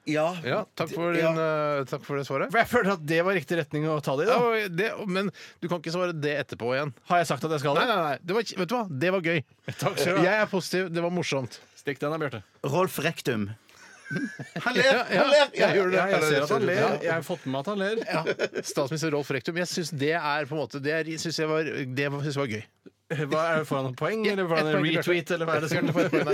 S3: Ja.
S2: Ja, takk for,
S3: Ja.
S2: din, eh, takk for det svaret.
S4: For Jeg føler at det var riktig retning å ta det i.
S2: Ja,
S4: da.
S2: og det, men du kan ikke svare det etterpå igjen.
S4: Har jeg sagt at jeg skal
S2: Nei,
S4: det?
S2: nei, nei. Det var, ikke- vet du hva? Det var gøy.
S4: Takk skal du ha.
S2: Jeg er positiv. Det var morsomt.
S4: Stikk den da, Bjarte.
S3: Rolf Rektum. Han ler!
S2: Ja, ja,
S3: han ler.
S2: jeg gjorde det.
S4: Ja, jeg ser at han ler.
S2: Ja.
S4: Jeg har fått med meg at han ler.
S2: Ja. Statsminister Rolf Rektum. Jeg syns det er på en måte Det, er, synes jeg var, det var, synes jeg var gøy.
S4: Hva er det Får han en poeng, eller får han
S2: Et poeng
S4: en
S2: til Bjarte.
S4: retweet, eller hva er det som skal til?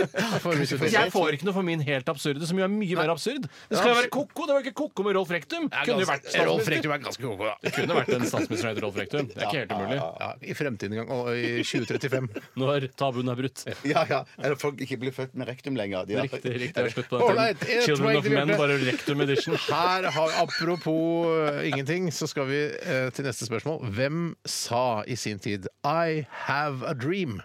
S4: Jeg får ikke noe for min helt absurde, som jo er mye mer absurd. Det skal jo være koko! Det var ikke koko med Rolf Rektum! Kunne jo vært
S2: Rolf
S4: statsminister.
S2: Rektum er ganske koko, da.
S4: Det kunne vært en statsminister som heter Rolf Rektum. Det er ikke helt umulig.
S2: Ja, I fremtiden en gang. Og i 2035.
S4: Når tabuen er brutt.
S3: Ja, ja. Eller folk ikke blir født med rektum lenger. De har-
S4: Riktig. riktig, det er slutt på
S2: All
S4: den
S2: right,
S4: termen.
S2: et
S4: Children
S2: poeng
S4: of
S2: til
S4: Men,
S2: Bjarte.
S4: bare Rektum edition.
S2: Her har, Apropos eh, ingenting, så skal vi eh, til neste spørsmål. Hvem sa i sin tid 'I have a dream'?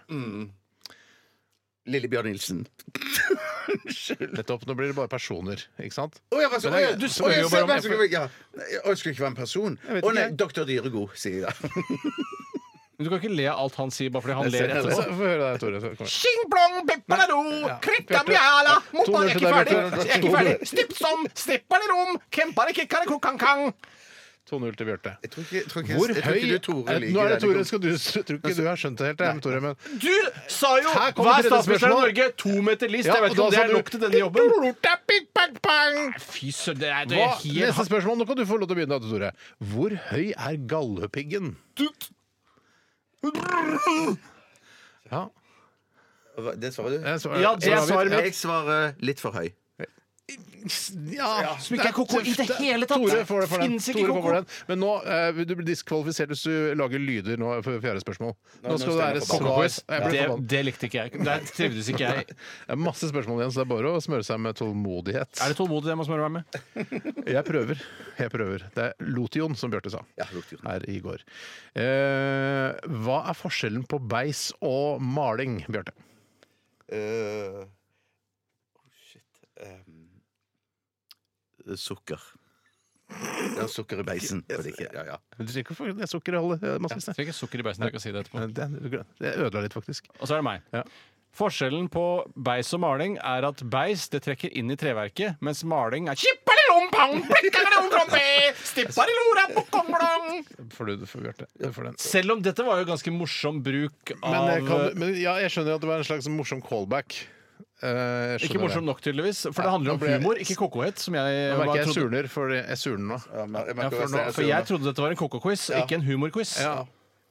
S3: Lillebjørn Nilsen.
S2: Nettopp. Nå blir det bare personer, ikke sant?
S3: Å, ja, hva så-
S2: Men det-
S3: å, ja,
S2: altså, du
S3: å,
S2: spør
S3: ja,
S2: jo
S3: se,
S2: bare om
S3: hvem
S2: jeg-
S3: som- ja. Nei, Å, jeg skulle ikke være en person?
S2: vet
S3: Å nei,
S2: ikke.
S3: doktor Dyregod, sier jeg da.
S4: Men du kan ikke le av alt han sier bare fordi han
S2: Så-
S4: ler
S2: så-
S4: etterpå.
S2: Få høre deg, Tore. så- kom igjen.
S4: Shing plong, pepperlero, krittamjala, motbar er ikke ferdig, er ikke ferdig, stipp som, stipper i rom, kempar ikke karakokankang.
S2: 2-0 til Bjarte.
S3: Jeg tror ikke, jeg tror ikke,
S2: Hvor
S3: jeg tror ikke
S2: høy
S3: du, Tore,
S2: Nå
S3: liker
S2: er det
S3: det.
S2: Tore. Skal du, jeg tror
S3: Altså-
S2: ikke du har skjønt det helt, jeg, men Tore. Men
S4: Du sa jo
S2: Her kommer
S4: hva er
S2: tredje
S4: statsministeren i
S2: spørsmål.
S4: Norge? To meter list.
S2: Ja,
S4: jeg
S2: og
S4: vet ikke om
S2: da
S4: det
S2: sa
S4: er
S2: du-
S4: nok til denne jobben.
S2: Hva?
S4: Fy søren, det er, det er helt
S2: Neste spørsmål. Nå kan du få lov til å begynne, da, Tore. Hvor høy er galdhøpiggen? Ja,
S3: Hva- Det svarer du?
S2: jeg svarer-
S4: Ja,
S2: svarer
S4: det
S2: vi.
S4: svarer vi.
S3: Jeg svarer litt for høy.
S2: Ja,
S4: som ikke er koko i det hele tatt.
S2: Tore får det for den.
S4: Finnes ikke
S2: Tore får
S4: koko.
S2: for den. Men nå, eh, du blir diskvalifisert hvis du lager lyder nå for fjerde spørsmål. Nå skal det
S3: stemmer
S2: være
S3: jeg
S4: Koko
S2: svar.
S4: Quiz.
S2: Jeg blir
S4: Det,
S2: forbannet.
S4: det likte ikke jeg. Der trivdes ikke jeg.
S2: Det er masse spørsmål igjen, så det er bare å smøre seg med tålmodighet.
S4: Er det tålmodig det jeg må smøre meg med?
S2: Jeg prøver. Jeg prøver. Det er Lotion, som Bjarte sa
S3: Ja, Lotion.
S2: her i går. Eh, hva er forskjellen på beis og maling, Bjarte?
S3: Eh, oh, shit. Eh, sukker. Ja, sukker i beisen. var det ikke? Ja, ja.
S2: Du trenger ikke å få det sukkerholdet. eh, massevis,
S4: Jeg
S2: det.
S4: trenger sukker i beisen. Jeg kan si det etterpå.
S2: Det det ødela litt, faktisk.
S4: Og så er det meg.
S2: Ja.
S4: Forskjellen på beis og maling er at beis det trekker inn i treverket, mens maling er Skipperlillompang, blikkakadonkrompe, stipparilora, pokonglong.
S2: Får du for Bjarte. Du får den.
S4: Selv om dette var jo ganske morsom bruk
S2: Men,
S4: av
S2: eh, kan, men ja, jeg skjønner at det var en slags morsom callback. Eh, jeg skjønner
S4: Ikke morsom
S2: det.
S4: nok, tydeligvis. For det handler
S2: nå
S4: om
S2: ble jeg-
S4: humor, ikke kokohet. Som jeg,
S2: Jeg
S4: var-
S2: merker jeg
S4: trodde,
S2: surner, for jeg surner nå.
S3: Ja, men- jeg
S4: ja,
S3: merker
S4: for,
S3: også
S4: nå,
S3: det,
S4: for
S3: så-
S4: jeg trodde dette var en koko-quiz, og ikke en humor-quiz.
S2: Ja.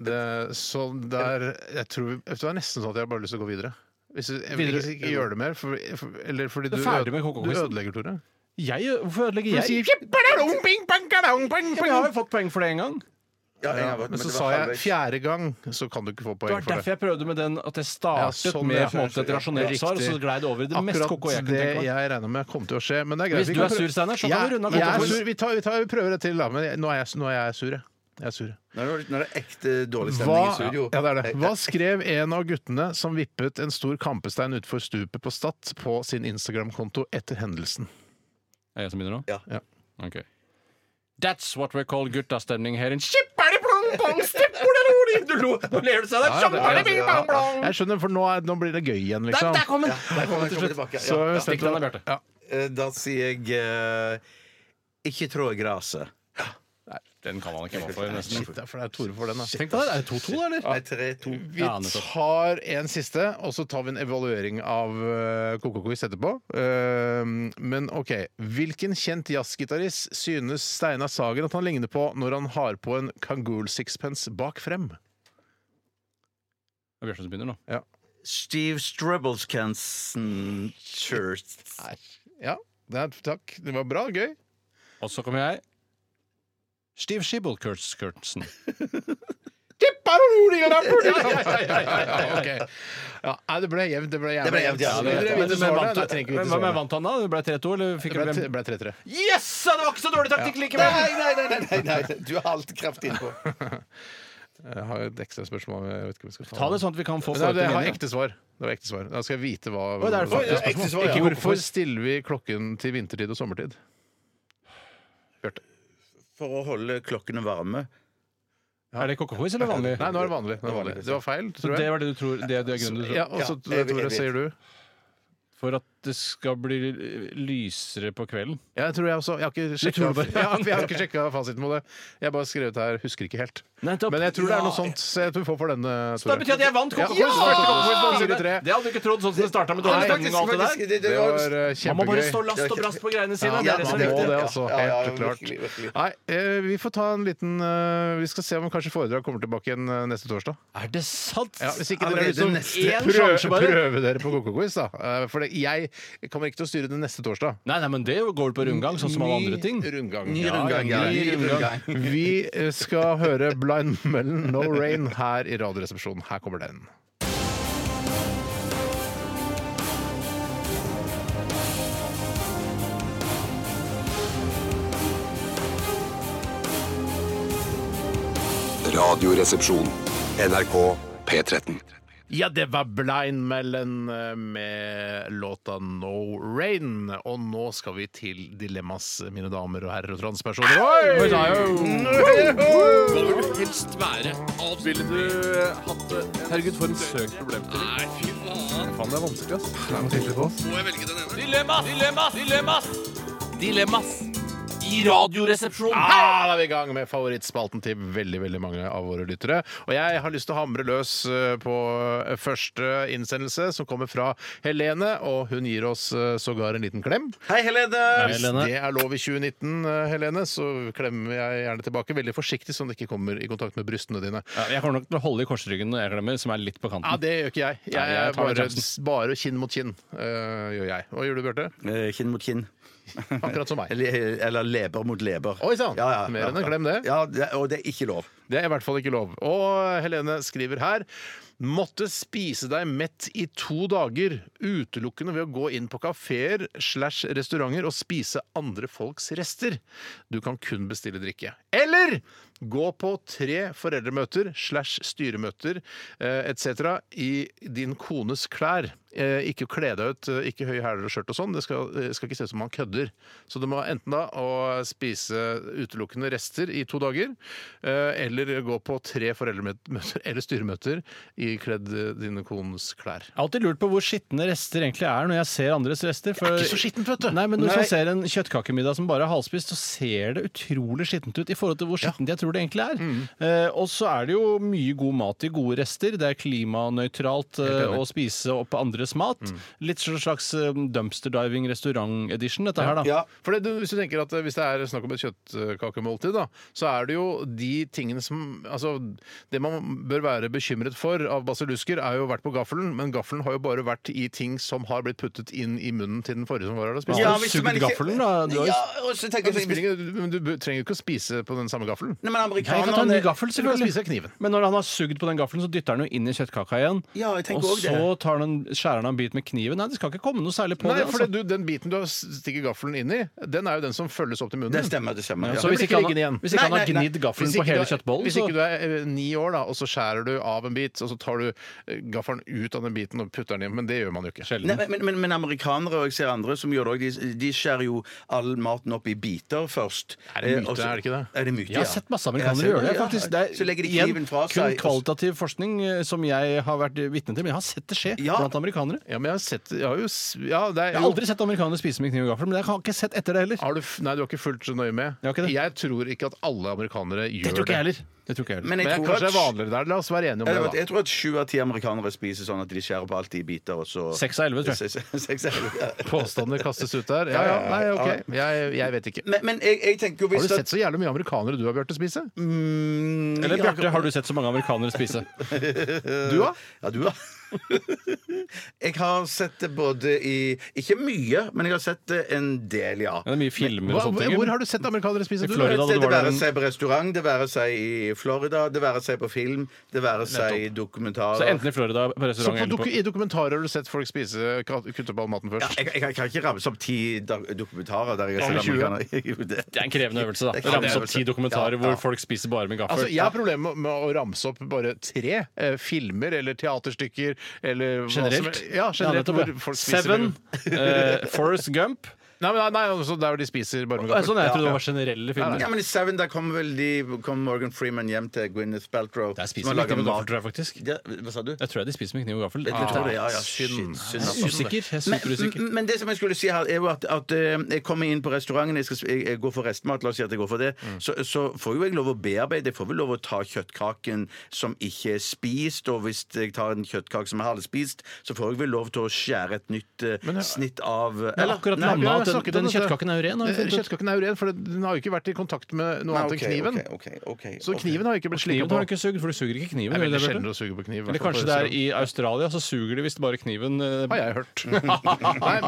S2: Det, så der jeg tror, vet du, Det er nesten sånn at jeg bare har lyst til å gå videre. Hvis du, jeg vil
S4: Videre?
S2: ikke ikke gjøre det mer, for, for, eller fordi
S4: Du
S2: du,
S4: er ferdig med
S2: øde- du
S4: kokoquizen.
S2: ødelegger, Tore.
S4: Jeg, hvorfor ødelegger
S2: Du
S4: jeg?
S2: sier,
S4: Ja, men Jeg har jo fått poeng for det en gang.
S3: Ja, jeg har-
S2: Men
S3: det
S2: så
S3: var
S2: sa jeg
S3: halvveis.
S2: fjerde gang, så kan du ikke få
S4: Det
S2: poeng
S4: var
S2: for
S4: derfor
S2: det.
S4: jeg prøvde med den at jeg
S2: Ja,
S4: startet
S2: sånn
S4: med
S2: det
S4: på en måte et
S2: føles, ja.
S4: rasjonelt svar, og så
S2: Riktig.
S4: glei det over i det mest koko jeg
S2: Akkurat
S4: kunne
S2: det
S4: tenke meg.
S2: jeg regna med kom til å skje. Men det er greit.
S4: Hvis
S2: vi
S4: du
S2: kan
S4: er
S2: prøve-
S4: sur, Steinar, så kan
S2: Jeg-
S4: vi runde av
S2: jeg er
S4: kokoquiz.
S2: sur. Vi, tar, vi, tar, vi prøver det til, da. Men jeg, nå, er jeg, nå er jeg sur, jeg. jeg er sur. jeg.
S3: Nå er det- nå er det ekte dårlig stemning i
S2: Hva,
S3: studio. Eh,
S2: ja, det er det. Hva skrev en av guttene som vippet en stor kampestein utfor stupet på Stad, på sin Instagram-konto etter hendelsen?
S4: Er jeg som begynner nå?
S3: Ja.
S2: Ja.
S4: Ok. That's what we call guttastemning her in Skipperliplongpong, stippolerori! Du lo, nå ler du seg der. altså- Skjamperlipongpong!
S2: Jeg skjønner, for nå, er, nå blir det gøy igjen,
S4: Der
S2: liksom.
S4: der kom den!
S3: Der kommer jeg kommer tilbake.
S2: Så
S3: Ja.
S2: jeg bestemte
S4: Stikk den da,
S2: meg-
S4: Bjarte.
S2: Ja.
S3: Eh, Da sier jeg eh, ikke trå i graset.
S4: Den kan man ikke gå for, nesten.
S2: Shit, det er for det er Tore for den, da.
S4: Tenk deg det. Er det 2-2, da, eller?
S3: Nei, tre, to.
S2: Vi tar en siste, og så tar vi en evaluering av eh, Coco Quiz etterpå. Ehm, men OK. Hvilken kjent jazzgitarist synes Steinar Sagen at han ligner på når han har på en Kangool sixpence bak frem?
S4: Det er Bjørnsen som begynner nå.
S3: Steve Strubbelscanson Church.
S2: Ja, det er, takk. Det var bra. Gøy.
S4: Og så kommer jeg. Steve Shibbelkurtsen.
S2: Ja, ok. ja, nei, det ble jevnt. Det ble jævlig
S3: Det ble jevnt, ja.
S2: jevnt. Vil dere
S4: Men
S2: vite
S4: hvem
S2: svarene?
S4: vant,
S2: Nei, trenger ikke vite
S4: hvem
S2: svarene.
S4: vant han, da? Det ble 3-2, eller fikk
S2: Det ble-
S4: hvem?
S2: Det ble 3-3.
S4: Yes! Det var ikke så dårlig taktikk likevel!
S3: Nei, nei, nei, nei, nei, nei. Du har alt kraft innpå.
S2: Jeg har et ekstra spørsmål. men Jeg vet ikke om vi skal ta,
S4: Ta det sånn at vi kan få
S2: Men det,
S4: folk
S2: det
S4: til å
S2: har
S4: vinne.
S2: ekte svar. Det var ekte svar. Da skal jeg vite hva
S4: Å, det er faktisk
S2: Ikke
S3: ekte svar, ja.
S2: Hvorfor stiller vi klokken til vintertid og sommertid? Bjarte.
S3: For å holde klokkene varme.
S4: Er det kokkequiz eller vanlig?
S2: Nei, nå er det vanlig. Nå er det, vanlig. det var feil, tror
S4: Det
S2: jeg.
S4: var det du tror, det er det grunnen du tror?
S2: Ja, og så
S3: Ja, jeg vet, jeg
S2: Tore,
S3: vet.
S2: sier du?
S4: For at det skal bli lysere på kvelden?
S2: Ja, jeg tror jeg også. Jeg har ikke
S4: tror
S2: sjekka
S4: bare-
S2: ja, jeg har ikke sjekket fasiten på det. Jeg har bare skrevet her 'husker ikke helt'.
S4: Nettopp.
S2: Men jeg tror det er noe
S4: Ja.
S2: sånt. Så jeg tror vi får for den, eh,
S4: Så det betyr at jeg vant
S2: Ja,
S4: konkurransen!
S2: ja!
S4: Første konkurransen på
S2: Fire-tre.
S4: side. Det hadde du ikke trodd, sånn som det starta med dårlig stemning og alt det der.
S2: Det var eh,
S4: Man må bare stå
S2: kjempegøy.
S4: last og brast på greiene
S2: Ja,
S4: sine.
S2: ja,
S4: det er det
S2: man må
S4: som er
S3: viktig.
S2: det, altså.
S3: Ja, ja,
S2: Helt klart.
S3: virkelig, virkelig.
S2: Nei, eh, vi får ta en liten eh, Vi skal se om kanskje foredrag kommer tilbake igjen eh, neste torsdag.
S4: viktig. Er det sant?
S2: Ja, hvis ikke dere har
S3: Allerede
S2: lyst til å
S3: neste-
S4: Én sjanse
S2: prøve,
S4: bare.
S2: prøve dere på Coco-quiz, da. Eh, For det, jeg kommer ikke til å styre det neste torsdag.
S4: Nei, nei, men det går på rundgang, sånn som alle andre ting.
S2: Ny Rundgang.
S3: Ny
S2: Ja,
S3: rundgang,
S2: ja,
S3: ja.
S2: ny
S3: Ny
S2: rundgang. Vi eh, skal høre Blind Melon No Rain her i Radioresepsjonen. Her kommer den.
S6: Radioresepsjon. NRK P13.
S2: Ja, det var Blind Melon eh, med låta No Rain. Og nå skal vi til dilemmas, mine damer og herrer og transpersoner. Oi! Ah, da er vi i gang med favorittspalten til veldig veldig mange av våre lyttere. Og jeg har lyst til å hamre løs eh, på første innsendelse, som kommer fra Helene. Og hun gir oss eh, sågar en liten klem.
S3: Hei, Helene!
S2: Hvis det er lov i 2019, eh, Helene, så klemmer jeg gjerne tilbake. Veldig forsiktig, sånn at det ikke kommer i kontakt med brystene dine.
S4: Ja, jeg kommer nok til å holde i korsryggen når jeg glemmer, som er litt på kanten.
S2: Ja, Det gjør ikke jeg.
S4: Nei,
S2: Jeg
S4: jeg
S2: er
S4: tar den
S2: bare,
S4: sjansen.
S2: bare kinn mot kinn. eh, gjør jeg. Hva gjør du, Bjarte?
S3: Eh, Kinn mot kinn.
S2: Akkurat som meg.
S3: Eller, eh, eller leber mot leber.
S2: Oi, sann. Mer enn en klem, det.
S3: Ja, det. Og det er ikke lov.
S2: Det er i hvert fall ikke lov. Og Helene skriver her Måtte spise deg mett i to dager utelukkende ved å gå inn på kafeer slash restauranter og spise andre folks rester. Du kan kun bestille drikke. Eller gå på tre foreldremøter slash styremøter eh, etc. i din kones klær. Eh, Ikke kle deg ut, eh, ikke høye hæler og skjørt og sånn. Det skal, eh, skal ikke se ut som man kødder. Så du må enten da å spise utelukkende rester i to dager, eh, eller gå på tre foreldremøter eller styremøter ikledd eh, dine kones klær.
S4: Jeg har alltid lurt på hvor skitne rester egentlig er når jeg ser andres rester. For...
S2: ikke så skittent, vet du.
S4: Nei, men Når
S2: Nei.
S4: man ser en kjøttkakemiddag som bare er halvspist, så ser det utrolig skittent ut i forhold til hvor skittent jeg tror det egentlig er.
S2: Mm.
S4: Eh, og så er det jo mye god mat i gode rester. Det er klimanøytralt eh, å spise opp andres mat.
S2: Mm.
S4: Litt sånn slags eh, dumpster diving restaurant edition, dette her, da.
S3: Ja.
S2: For det, du- hvis du tenker at eh, hvis det er snakk om et kjøttkakemåltid, da, så er det jo de tingene som Altså, det man bør være bekymret for av basillusker, er jo vært på gaffelen, men gaffelen har jo bare vært i ting som har blitt puttet inn i munnen til den forrige som var her og spiste.
S4: Ja, hvis du ikke- gaffelen, da, du har-
S3: ja, og så tenker
S2: Men det
S3: jeg
S2: spiller ingen- men du trenger jo ikke å spise på den samme gaffelen.
S3: Nei, men
S4: Nei, Jeg kan ta en
S3: amerikanerne
S4: ny gaffel,
S2: Du kan
S4: selvfølgelig.
S2: spise av kniven.
S4: Men når han har sugd på den gaffelen, så dytter han jo inn i kjøttkaka igjen.
S3: Ja, jeg tenker
S4: og
S3: også det.
S4: så tar han, skjærer han av en bit med kniven. Nei, det skal ikke komme noe særlig på
S2: Nei,
S4: det.
S2: for det, du, Den biten du har stikker gaffelen inn i, den er jo den som følges opp til munnen.
S3: Det stemmer, det stemmer.
S4: Så
S3: Ja.
S2: men ikke
S4: hvis ikke han,
S2: liggende igjen.
S4: hvis ikke
S3: Nei,
S4: han har
S3: nei, nei.
S4: gnidd gaffelen
S2: Hvis
S4: på
S2: ikke
S4: hele
S2: du er-
S4: kjøttbollen,
S2: Hvis
S4: så
S2: ikke du er eh, ni år, da, og så skjærer du av en bit, og så tar du eh, gaffelen ut av den biten og putter den inn, men det gjør man jo ikke.
S3: Nei, men, men, men amerikanere og jeg ser andre som gjør det òg, de, de skjærer jo all maten opp i biter først.
S2: Er det myte,
S3: Eh, og så-
S2: er det ikke det?
S3: Er det myte,
S4: Jeg har sett masse
S3: Ja,
S4: amerikanere
S3: ser-
S4: gjøre det.
S3: ja.
S4: faktisk. Det er
S3: så legger de
S4: igjen
S3: kniven fra
S4: kun
S3: seg. og så-
S4: kvalitativ forskning eh, som jeg har vært vitne til, men jeg har sett det skje
S3: Ja.
S4: blant amerikanere.
S2: Ja, men jeg har sett jeg har jo, s- ja, det er,
S4: Jeg har aldri sett amerikanere spise med kniv og gaffel, men jeg har ikke sett etter det heller.
S2: har du, f- Nei, du har ikke fulgt så nøye med.
S4: Jeg har ikke det.
S2: Jeg tror ikke at alle amerikanere gjør det.
S4: heller. Det tror ikke jeg heller.
S3: Men
S2: Men
S3: jeg
S2: jeg,
S3: tror
S2: kanskje det er
S3: at-
S2: vanligere der. La oss være enige om det.
S3: Eller, vet du,
S2: da
S3: jeg tror at sju av ti amerikanere spiser sånn at de skjærer på alt i biter, og så
S4: Seks av elleve, tror jeg.
S3: Seks av elleve, ja.
S2: Påstander kastes ut der. Ja, ja, nei, ok. Jeg, jeg vet ikke.
S3: Men, men jeg, jeg tenker jo
S2: Har
S3: hvis Mm,
S2: du sett så jævlig mye amerikanere du har, Bjarte, spise?
S4: Eller Bjarte, har du sett så mange amerikanere spise?
S2: Du da?
S3: Ja, du, ja. jeg har sett det både i Ikke mye, men jeg har sett det en del, ja.
S4: Det er mye filmer og
S2: Hva,
S4: sånne ting.
S2: hvor har du sett amerikanere spise?
S4: I
S2: du?
S4: Florida. da
S3: Det,
S4: det
S3: det
S4: var
S3: være
S4: den-
S3: seg på restaurant, det være seg i Florida, det være seg på film, det være seg i dokumentarer
S4: Så enten i Florida på
S2: Så
S4: restaurant
S2: på
S4: eller
S2: doku
S4: på
S2: I dokumentarer har du sett folk spise kat- kutte opp all maten
S3: ja,
S2: først?
S3: jeg, jeg, jeg kan ikke ramse opp ti da- dokumentarer der jeg har
S2: Over
S3: sett
S2: 20.
S3: amerikanere. Det-
S4: Det er en krevende øvelse, da.
S3: Det er
S4: Ramse
S3: krevende
S4: opp ti
S3: øvelse.
S4: dokumentarer
S3: Ja, ja.
S4: hvor folk spiser bare med gaffel.
S2: Altså, jeg har problemer med å ramse opp bare tre eh, filmer eller teaterstykker eller hva som-
S4: Generelt?
S2: Ja, generelt
S4: nettopp,
S2: hvor
S4: ja.
S2: folk spiser
S4: Seven,
S2: med-
S4: eh, Forrest Gump
S2: Nei, men, nei altså, der hvor de spiser bare med
S4: Sånn,
S2: gaffel.
S4: jeg trodde det var generelle filmer.
S3: Ja, men I Seven der kom vel de, kom Morgan Freeman hjem til Gwyneth Paltrow.
S4: Der
S3: som
S4: spiser
S3: har
S4: de
S3: laget
S4: ikke med gaffel,
S3: mat.
S4: tror jeg faktisk.
S3: Ja, Hva sa du?
S4: Jeg tror jeg de spiser med kniv og gaffel.
S3: Jeg tror det, ja, ja.
S2: Synd.
S3: Synd, synd,
S4: Jeg
S3: altså.
S4: er usikker. Jeg er superusikker.
S3: Men, men det som jeg skulle si her, er jo at, at eh, jeg kommer inn på restauranten, jeg, skal, sp- jeg, jeg går for restmat, la oss si at jeg går for det, så, så får jo jeg lov å bearbeide, jeg får vel lov å ta kjøttkaken som ikke er spist, og hvis jeg tar en kjøttkake som er halvspist, så får jeg vel lov til å skjære et nytt eh,
S2: Men, ja.
S3: snitt av
S4: Jeg har akkurat
S3: Nei,
S4: landa
S2: har
S4: at den,
S2: snakket om
S4: den
S2: dette.
S4: kjøttkaken er jo ren. har vi
S2: Eh,
S4: funnet ut.
S2: Kjøttkaken er jo ren, for den har jo ikke vært i kontakt med noe
S3: Nei,
S2: annet
S3: ok,
S2: enn kniven.
S3: ok, ok, ok,
S2: Så
S3: ok.
S2: kniven har jo ikke blitt slikka
S4: Kniven har du
S2: på.
S4: ikke sugd, for du suger ikke kniven.
S2: Det er
S4: gjør du
S2: veldig
S4: det, Bjarte?
S2: sjelden å suge på kniv. i hvert
S4: Eller
S2: fall på
S4: kanskje det er
S2: restaurant.
S4: i Australia, så suger de visst bare kniven. eh,
S2: har jeg hørt. Nei,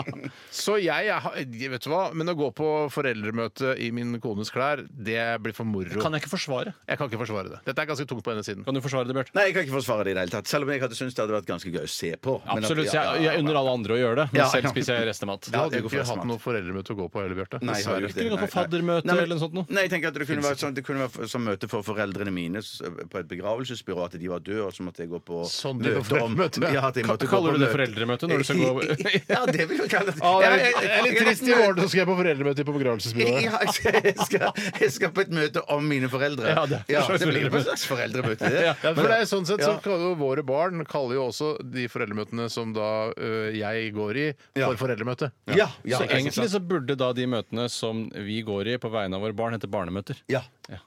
S2: så jeg, jeg har- Vet du hva? Men å gå på foreldremøte i min kones klær, det blir for moro.
S4: Kan jeg ikke forsvare?
S2: Jeg kan ikke forsvare det. Dette er ganske tungt på denne siden.
S4: Kan du forsvare det, Bjarte?
S3: Nei, jeg kan ikke forsvare det i det hele tatt, selv om jeg hadde syntes det hadde vært ganske gøy å se på. Men at-
S4: Absolutt.
S3: ja,
S4: Jeg,
S3: ja,
S4: jeg unner alle andre å gjøre det,
S3: Ja,
S4: men
S3: ja.
S4: selv spiser jeg restemat.
S2: Du
S3: Ja,
S2: hadde
S3: jeg
S2: jo ikke
S3: går for
S2: hatt
S3: smart.
S2: noe foreldremøte å gå på heller, Bjarte.
S3: Nei, jeg har
S2: Dessverre.
S3: jo ikke det.
S4: Kunne gått på
S3: Nei, nei.
S4: faddermøte
S3: Nei, men-
S4: eller noe sånt noe.
S3: Nei, jeg tenker at det kunne vært sånn, det kunne vært som møte for foreldrene mine s- på et begravelsesbyrå, at de var døde, og så måtte jeg gå på
S2: Sånn de på foreldremøte, ja.
S3: ja, at jeg måtte gå
S4: Kaller
S3: på
S4: du det
S3: møte.
S4: foreldremøte når du skal gå
S3: Ja, det vil jeg kalle det.
S4: Å, det er litt-
S3: Jeg- jeg-
S2: Det er litt
S3: jeg-
S2: trist i morgen, så skal jeg på foreldremøte på begravelsesbyrået.
S3: Ja, altså, jeg, skal, jeg skal på et møte om mine foreldre.
S4: Ja, det er et slags
S3: det blir jo
S4: foreldremøte.
S3: et slags foreldremøte. Det.
S2: Ja, for det er sånn sett så
S3: Ja.
S2: kaller jo Våre barn kaller jo også de foreldremøtene som da ø, jeg går i,
S3: Ja.
S2: for foreldremøte.
S3: Ja, ja,
S4: Så
S3: det er
S4: egentlig
S3: sant.
S4: så burde da de møtene som vi går i på vegne av våre barn, hete barnemøter.
S3: ja.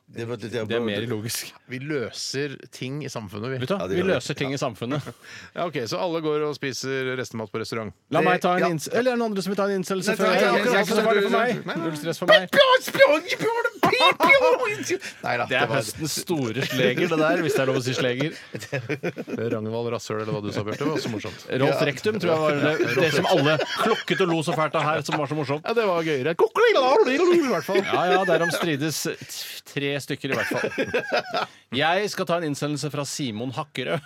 S3: Det, var- det, det,
S4: Det er mer logisk.
S2: Vi løser ting i samfunnet,
S4: Vet
S2: vi.
S4: du, hva?
S3: Ja, det
S4: vi
S3: gjør det.
S4: løser ting i samfunnet.
S2: Ja, ok, Så alle går og spiser restemat på restaurant.
S4: La meg ta en
S3: Ja.
S4: incel. Eller er det noen andre som vil ta en incel?
S3: Nei,
S4: Selvfølgelig.
S3: nei, nei,
S4: Det er ikke så farlig for
S3: nei,
S4: meg. Null stress for meg.
S3: Nei da.
S4: Det er
S3: var-
S4: høstens store sleger, det der, hvis det er lov å si sleger.
S2: Ragnvald Rasshøl, eller hva du sa, Bjarte. var så morsomt.
S4: Rolf Rektum tror jeg var det, det som alle klokket og lo så fælt av her, som var så morsomt.
S2: Ja, det var gøyere. I hvert fall.
S4: Ja ja, derom strides t- tre stykker i hvert fall. Jeg skal ta en innsendelse fra Simon Hakkerød.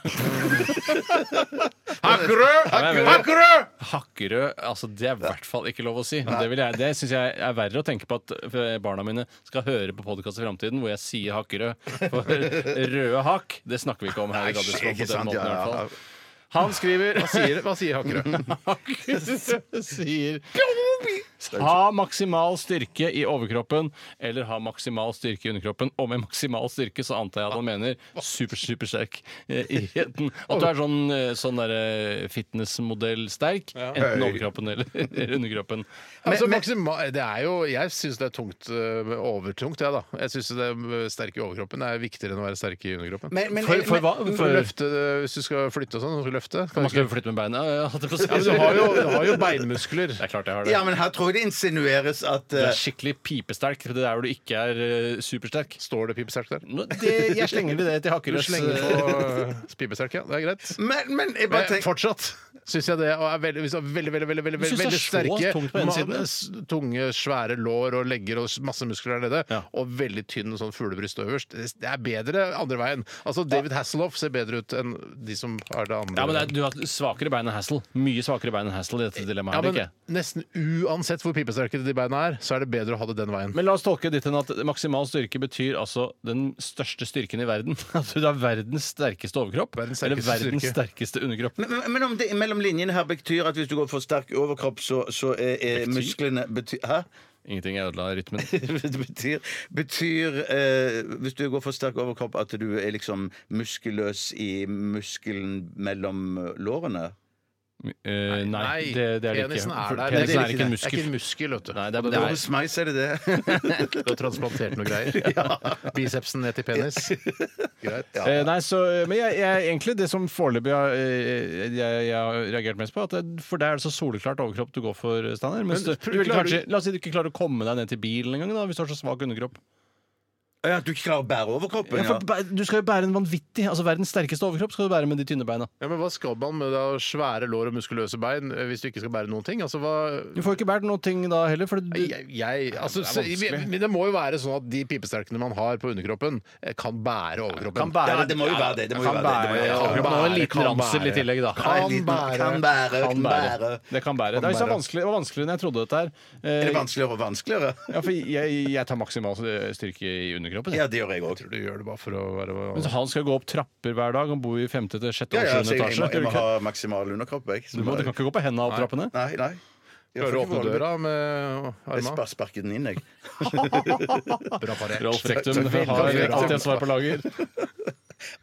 S2: Hakkerød!
S4: Hakkerød, altså det er i hvert fall ikke lov å si. Det, vil jeg- det syns jeg er verre å tenke på at eh, barna mine skal høre på podkast i framtiden hvor jeg sier Hakkerød. For røde hakk, det snakker vi ikke om her i Radiosport på
S3: Ikke
S4: den
S3: sant,
S4: måten i
S3: ja,
S4: hvert
S3: ja.
S4: fall. Han skriver
S2: Hva sier, hva sier Hakkerød?
S4: Hakkerød sier Ha maksimal styrke i overkroppen eller ha maksimal styrke i underkroppen. Og med maksimal styrke så antar jeg at han mener super, super sterk eh, i heten. At du er sånn, eh, sånn derre fitnessmodell sterk. Enten overkroppen eller, eller underkroppen.
S2: Altså, maksima- det er jo, jeg syns det er tungt, ø, overtungt, jeg, da. Jeg syns det ø, sterk i overkroppen er viktigere enn å være sterk i underkroppen.
S3: Men- men-
S4: For, for hva?
S2: For å
S4: For,
S2: løfte, eh, Hvis du skal flytte og sånn, så skal du løfte. Kan du
S4: man
S2: ikke-
S4: skal jo flytte med beina. ja, holdt jeg på å si.
S2: Ja, men du har jo, du har jo beinmuskler.
S4: Det er klart jeg har det.
S3: Ja, men her tror jeg det insinueres at
S4: Du
S3: eh,
S4: er skikkelig pipesterk. for Det er hvor du ikke er eh, supersterk.
S2: Står det pipesterk der?
S4: Nå, det, jeg slenger ved det til eh,
S2: Du
S4: Hakkerøs.
S2: slenger på pipesterk, ja. Det er greit.
S3: men, men jeg
S4: Eh,
S3: bare
S2: Men
S3: tenker
S2: fortsatt syns jeg det og er veldig, hvis du er veldig, veldig, veldig, veldig,
S4: synes
S2: veldig,
S4: det er
S2: veldig
S4: så
S2: sterke
S4: tungt på innsiden?
S2: ma- s- Tunge, svære lår og legger og s- masse muskler der nede.
S4: Ja.
S2: Og veldig tynn sånn fuglebryst øverst. Det det er bedre andre veien. Altså, David Hasselhoff ser bedre ut enn de som har det andre.
S4: Ja, men det er, Du har svakere bein enn Hassel. Mye svakere bein enn Hassel i dette dilemmaet.
S2: Ja,
S4: her,
S2: men
S4: ikke?
S2: Nesten uansett hvor pipesterke de beina er, så er det bedre å ha det den veien.
S4: Men la oss tolke ditt hen at maksimal styrke betyr altså den største styrken i verden. At du har verdens sterkeste overkropp.
S2: Verdens
S4: eller
S2: sterkeste
S4: verdens
S2: styrke.
S4: sterkeste underkropp.
S3: men, men om det mellom linjene her betyr at hvis du går for sterk overkropp, så, så er, er musklene betyr, Hæ?
S4: Ingenting jeg ødela rytmen.
S3: Det betyr, betyr eh, Hvis du går for sterk overkropp, at du er liksom muskelløs i muskelen mellom lårene?
S4: Eh, nei, det, det er det ikke.
S2: penisen er der.
S4: Penisen
S2: men Det er
S4: er ikke en
S2: ikke
S4: muskel.
S2: en muskel, vet du.
S4: Nei, det er,
S3: Det
S4: det
S3: var
S4: er,
S3: hos meg, så er det det.
S2: Du har transplantert noe greier. Bicepsen ned til penis. Greit.
S4: Eh, nei, så, eh, men jeg, jeg, egentlig det som foreløpig har, eh, jeg, jeg har reagert mest på, at det, for det er så soleklart overkropp du går for, Steinar. mens
S2: Men
S4: du- du vil
S2: klarer
S4: kanskje- La oss si du ikke klarer å komme deg ned til bilen engang, da, hvis du har så svak underkropp.
S3: Ja, At du ikke klarer å bære overkroppen? Ja,
S4: Ja, for bæ- du skal jo bære en vanvittig Altså verdens sterkeste overkropp skal du bære med de tynne beina.
S2: Ja, men Hva skal man med da svære lår og muskuløse bein eh, hvis du ikke skal bære noen ting? Altså, hva...
S4: Du får ikke båret noe ting da heller. For du,
S2: Jeg, jeg, altså,
S4: Det er vanskelig.
S2: så- men det må jo være sånn at de pipesterkene man har på underkroppen, eh, kan bære overkroppen.
S4: kan bære,
S3: Ja, det må jo være det, det må jo
S4: kan
S3: være det, det må jo være
S4: bære,
S3: det.
S4: overkroppen, og en liten
S2: Kan
S4: ransel i
S2: bære.
S4: tillegg, da.
S3: Kan liten- kan bære, kan bære.
S4: Det kan bære. Det, er jo så vanskelig, det var vanskeligere enn jeg trodde dette her. Eh,
S3: Er det vanskeligere og vanskeligere?
S4: ja, for jeg, jeg tar maksimal eh, styrke i underkroppen. jeg.
S3: Ja, det gjør jeg òg.
S2: Du gjør det bare for å være
S4: Men så han skal gå opp trapper hver dag. Han bor i femte til sjette
S3: Ja,
S4: og
S3: ja, altså,
S4: sjuende
S3: jeg, jeg, må,
S4: etasje.
S3: jeg må ha maksimal underkropp, jeg.
S4: Du, må, du kan ikke gå på hendene opp trappene.
S3: Nei, nei. Jeg
S2: Prøver å
S3: får ikke
S2: åpne
S3: forholde meg-
S2: døra med
S3: Jeg
S2: armene.
S3: spar- sparket den inn, jeg.
S2: Bra parert.
S4: Rolf Rektum har alltid et svar på lager.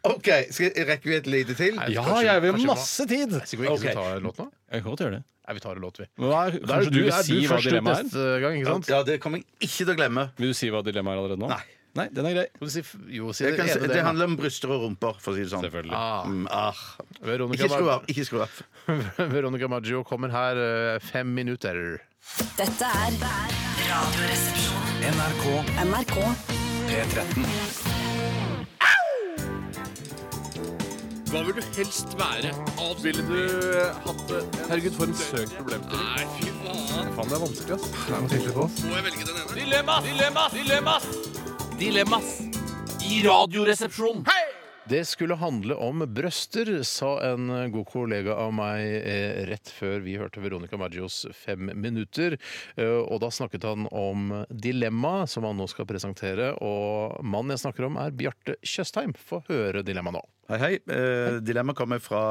S3: OK, skal jeg rekker vi et lite til?
S4: Ja,
S2: kanskje-
S4: jeg vil
S2: kanskje vi må-
S4: masse tid!
S2: Skal vi ikke
S3: Ok.
S2: ta en låt nå?
S4: Jeg kan godt gjøre det.
S2: Nei, vi tar en låt, vi.
S4: Men hva er, kanskje du, vil si hva dilemmaet er?
S2: neste gang, ikke sant?
S3: Ja, det kommer jeg ikke til å glemme.
S4: Vil du si hva dilemmaet er allerede nå?
S3: Nei.
S4: Nei, den er grei.
S2: Skal du si f- Jo, si
S3: Jeg
S2: det
S3: kan, si-
S2: ene
S3: det
S2: delen.
S3: handler om bryster og rumper, for å si det sånn.
S4: Selvfølgelig.
S2: Ah.
S3: Mm, ah.
S2: Veronica
S3: Ikke skru
S2: Mag-
S3: av. ikke skru av
S2: Veronica Maggio kommer her eh, fem minutter.
S5: Dette er Radioresepsjonen.
S7: NRK
S5: NRK
S7: P13.
S8: Dilemmas! Dilemmas! Dilemmas! I radioresepsjonen.
S2: Det skulle handle om brøster, sa en god kollega av meg eh, rett før vi hørte Veronica Maggios Fem minutter. Eh, og da snakket han om dilemmaet som han nå skal presentere. Og mannen jeg snakker om, er Bjarte Tjøstheim. Få høre dilemmaet nå.
S3: Hei, hei. Eh, dilemma kommer fra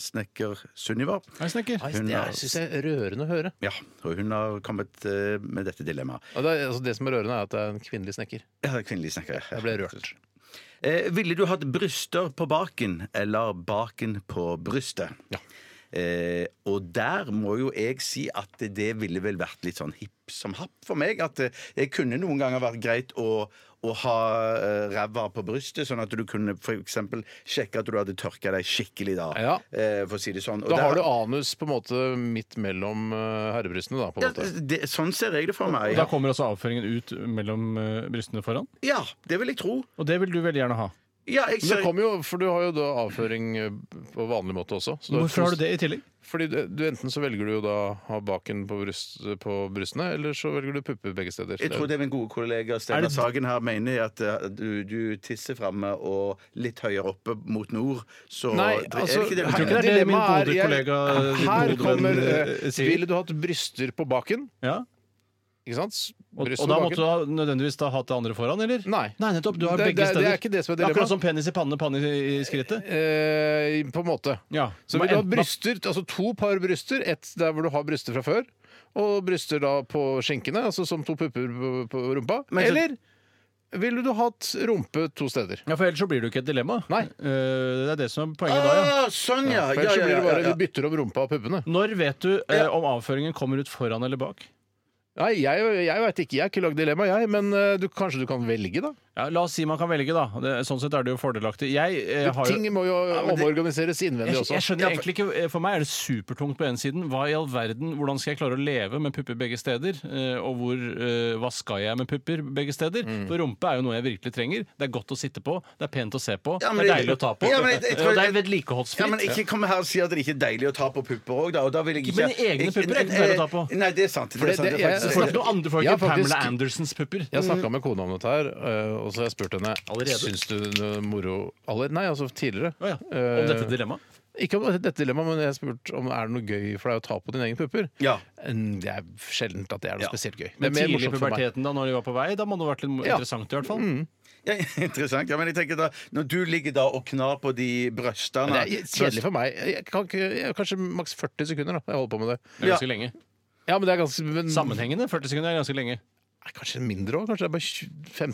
S3: snekker Sunniva.
S4: snekker.
S3: Hun
S2: Det
S3: har-
S2: syns jeg er rørende å høre.
S3: Ja, og hun har kommet eh, med dette dilemmaet.
S2: Og det, er- altså, det som er rørende, er at det er en kvinnelig snekker.
S3: Ja, kvinnelige snekkere.
S2: Jeg ble rørt.
S3: Eh, ville du hatt bryster på baken eller baken på brystet?
S2: Ja.
S3: Eh, og der må jo jeg si at det ville vel vært litt sånn hipp som happ for meg. At eh, det kunne noen ganger vært greit å, å ha eh, ræva på brystet, sånn at du kunne f.eks. sjekke at du hadde tørka deg skikkelig da,
S2: Ja.
S3: eh, for å si det sånn. Og
S2: Da
S3: der-
S2: har du anus på en måte midt mellom eh, herrebrystene, da. på en
S3: ja,
S2: måte.
S3: det, Sånn ser jeg det for meg.
S4: Da kommer også avføringen ut mellom eh, brystene foran.
S3: Ja, det vil jeg tro.
S4: Og det vil du veldig gjerne ha.
S3: Ja, jeg
S2: Men det
S3: ser...
S2: kommer jo, for du har jo da avføring eh, på vanlig måte også. Så
S4: Hvorfor har du det i tillegg?
S2: Fordi du, du enten så velger du jo da å ha baken på, bryst, på brystene, eller så velger du pupper begge steder.
S3: Jeg tror det min gode kollega Steinar
S4: det-
S3: Sagen her mener at eh, du, du tisser framme og litt høyere oppe mot nord, så
S2: Nei,
S3: det-
S2: altså,
S3: er det ikke det
S4: Jeg
S3: du
S4: tror ikke
S3: mener?
S4: det er det min
S2: Dilemmaet
S4: gode
S2: jeg-
S4: kollega
S2: Her
S4: min gode
S2: kommer
S4: venn,
S2: eh,
S4: eh, sier.
S2: Ville du hatt bryster på baken?
S4: Ja.
S2: Ikke sant?
S4: Og,
S2: Bryst
S4: og
S2: på
S4: da
S2: baken.
S4: måtte du ha, nødvendigvis da hatt det andre foran, eller?
S2: Nei.
S4: Nei, nettopp. Du har
S2: Det-
S4: begge
S2: det-
S4: steder.
S2: det er ikke det som er dilemma.
S4: Akkurat som penis i panne, panne i, i skrittet.
S2: Eh, på en måte.
S4: Ja.
S2: Så
S4: Men
S2: vil du ha
S4: enten-
S2: bryster, altså to par bryster. Ett der hvor du har bryster fra før, og bryster da på skinkene, altså som to pupper på- på rumpa.
S3: Men så-
S2: Eller ville du hatt rumpe to steder?
S4: Ja, for ellers så blir det jo ikke et dilemma.
S2: Nei.
S4: Eh, det er det som er poenget da, ja.
S3: Ah, sånn, ja!
S2: For
S3: ja,
S2: ellers så
S3: ja,
S2: blir det
S3: ja,
S2: bare
S3: ja.
S2: du bytter om rumpa og puppene.
S4: Når vet du eh, om avføringen kommer ut foran eller bak?
S2: Nei, jeg, jeg veit ikke. Jeg har ikke lagd dilemma, jeg. Men eh, du, kanskje du kan velge, da?
S4: Ja, la oss si man kan velge, da. Det, sånn sett er det jo fordelaktig. Jeg, eh, har jo
S2: Ting må jo
S3: men det-
S2: omorganiseres innvendig
S4: jeg,
S2: også.
S4: jeg skjønner egentlig ikke, eh, For meg er det supertungt på ene siden. Hva i all verden, Hvordan skal jeg klare å leve med pupper begge steder? Eh, Og hvor, eh, hva skal jeg med pupper begge steder? For rumpe er jo noe jeg virkelig trenger. Det er godt å sitte på, det er pent å se på,
S3: Ja, men
S4: det er
S3: jeg-
S4: deilig å ta på.
S3: Ja, men jeg- jeg tror-
S4: og det er
S3: Ja, men
S4: vedlikeholdsfritt.
S3: Ikke kom her og si at det ikke er deilig å ta på pupper òg, da. Og da vil jeg
S4: Ikke
S3: ikke
S4: mine egne
S3: Ikke- eh,
S4: pupper er ikke deilig å ta på.
S3: Nei, det er sant. Det
S2: det-
S3: er sant,
S2: det-
S3: det er
S2: jeg-
S4: Du
S3: faktisk-
S4: får ikke noe andre folk
S2: Jeg
S4: enn
S2: har faktisk-
S4: Pamela Andersens pupper.
S2: Jeg snakka med kona om dette her, eh, og så har jeg spurt henne
S4: Allerede?
S2: Syns du det er moro Aller, Nei, altså tidligere.
S4: Å ja. Om dette dilemmaet?
S2: Ikke om dette dilemmaet, men jeg har spurt om er det noe gøy for deg å ta på dine egne pupper.
S3: Ja.
S2: Mm, Det er sjelden at det er noe
S3: Ja.
S2: spesielt gøy. Det
S4: Men
S2: er mer
S4: tidlig i
S2: morsomt for meg.
S4: puberteten, da når de var på vei, da må det ha vært litt mo-
S2: Ja.
S4: interessant i hvert fall.
S3: Ja, interessant. Ja, men jeg tenker da, Når du ligger da og knar på de brystene
S2: Det er kjedelig for meg. Jeg kan ikke, jeg, kanskje maks 40 sekunder da, jeg holder på med det.
S4: Det er ganske lenge.
S2: Ja, Mm. men det er ganske men,
S4: Sammenhengende 40 sekunder er ganske lenge.
S2: Nei, Kanskje mindre òg? Kanskje det er bare 20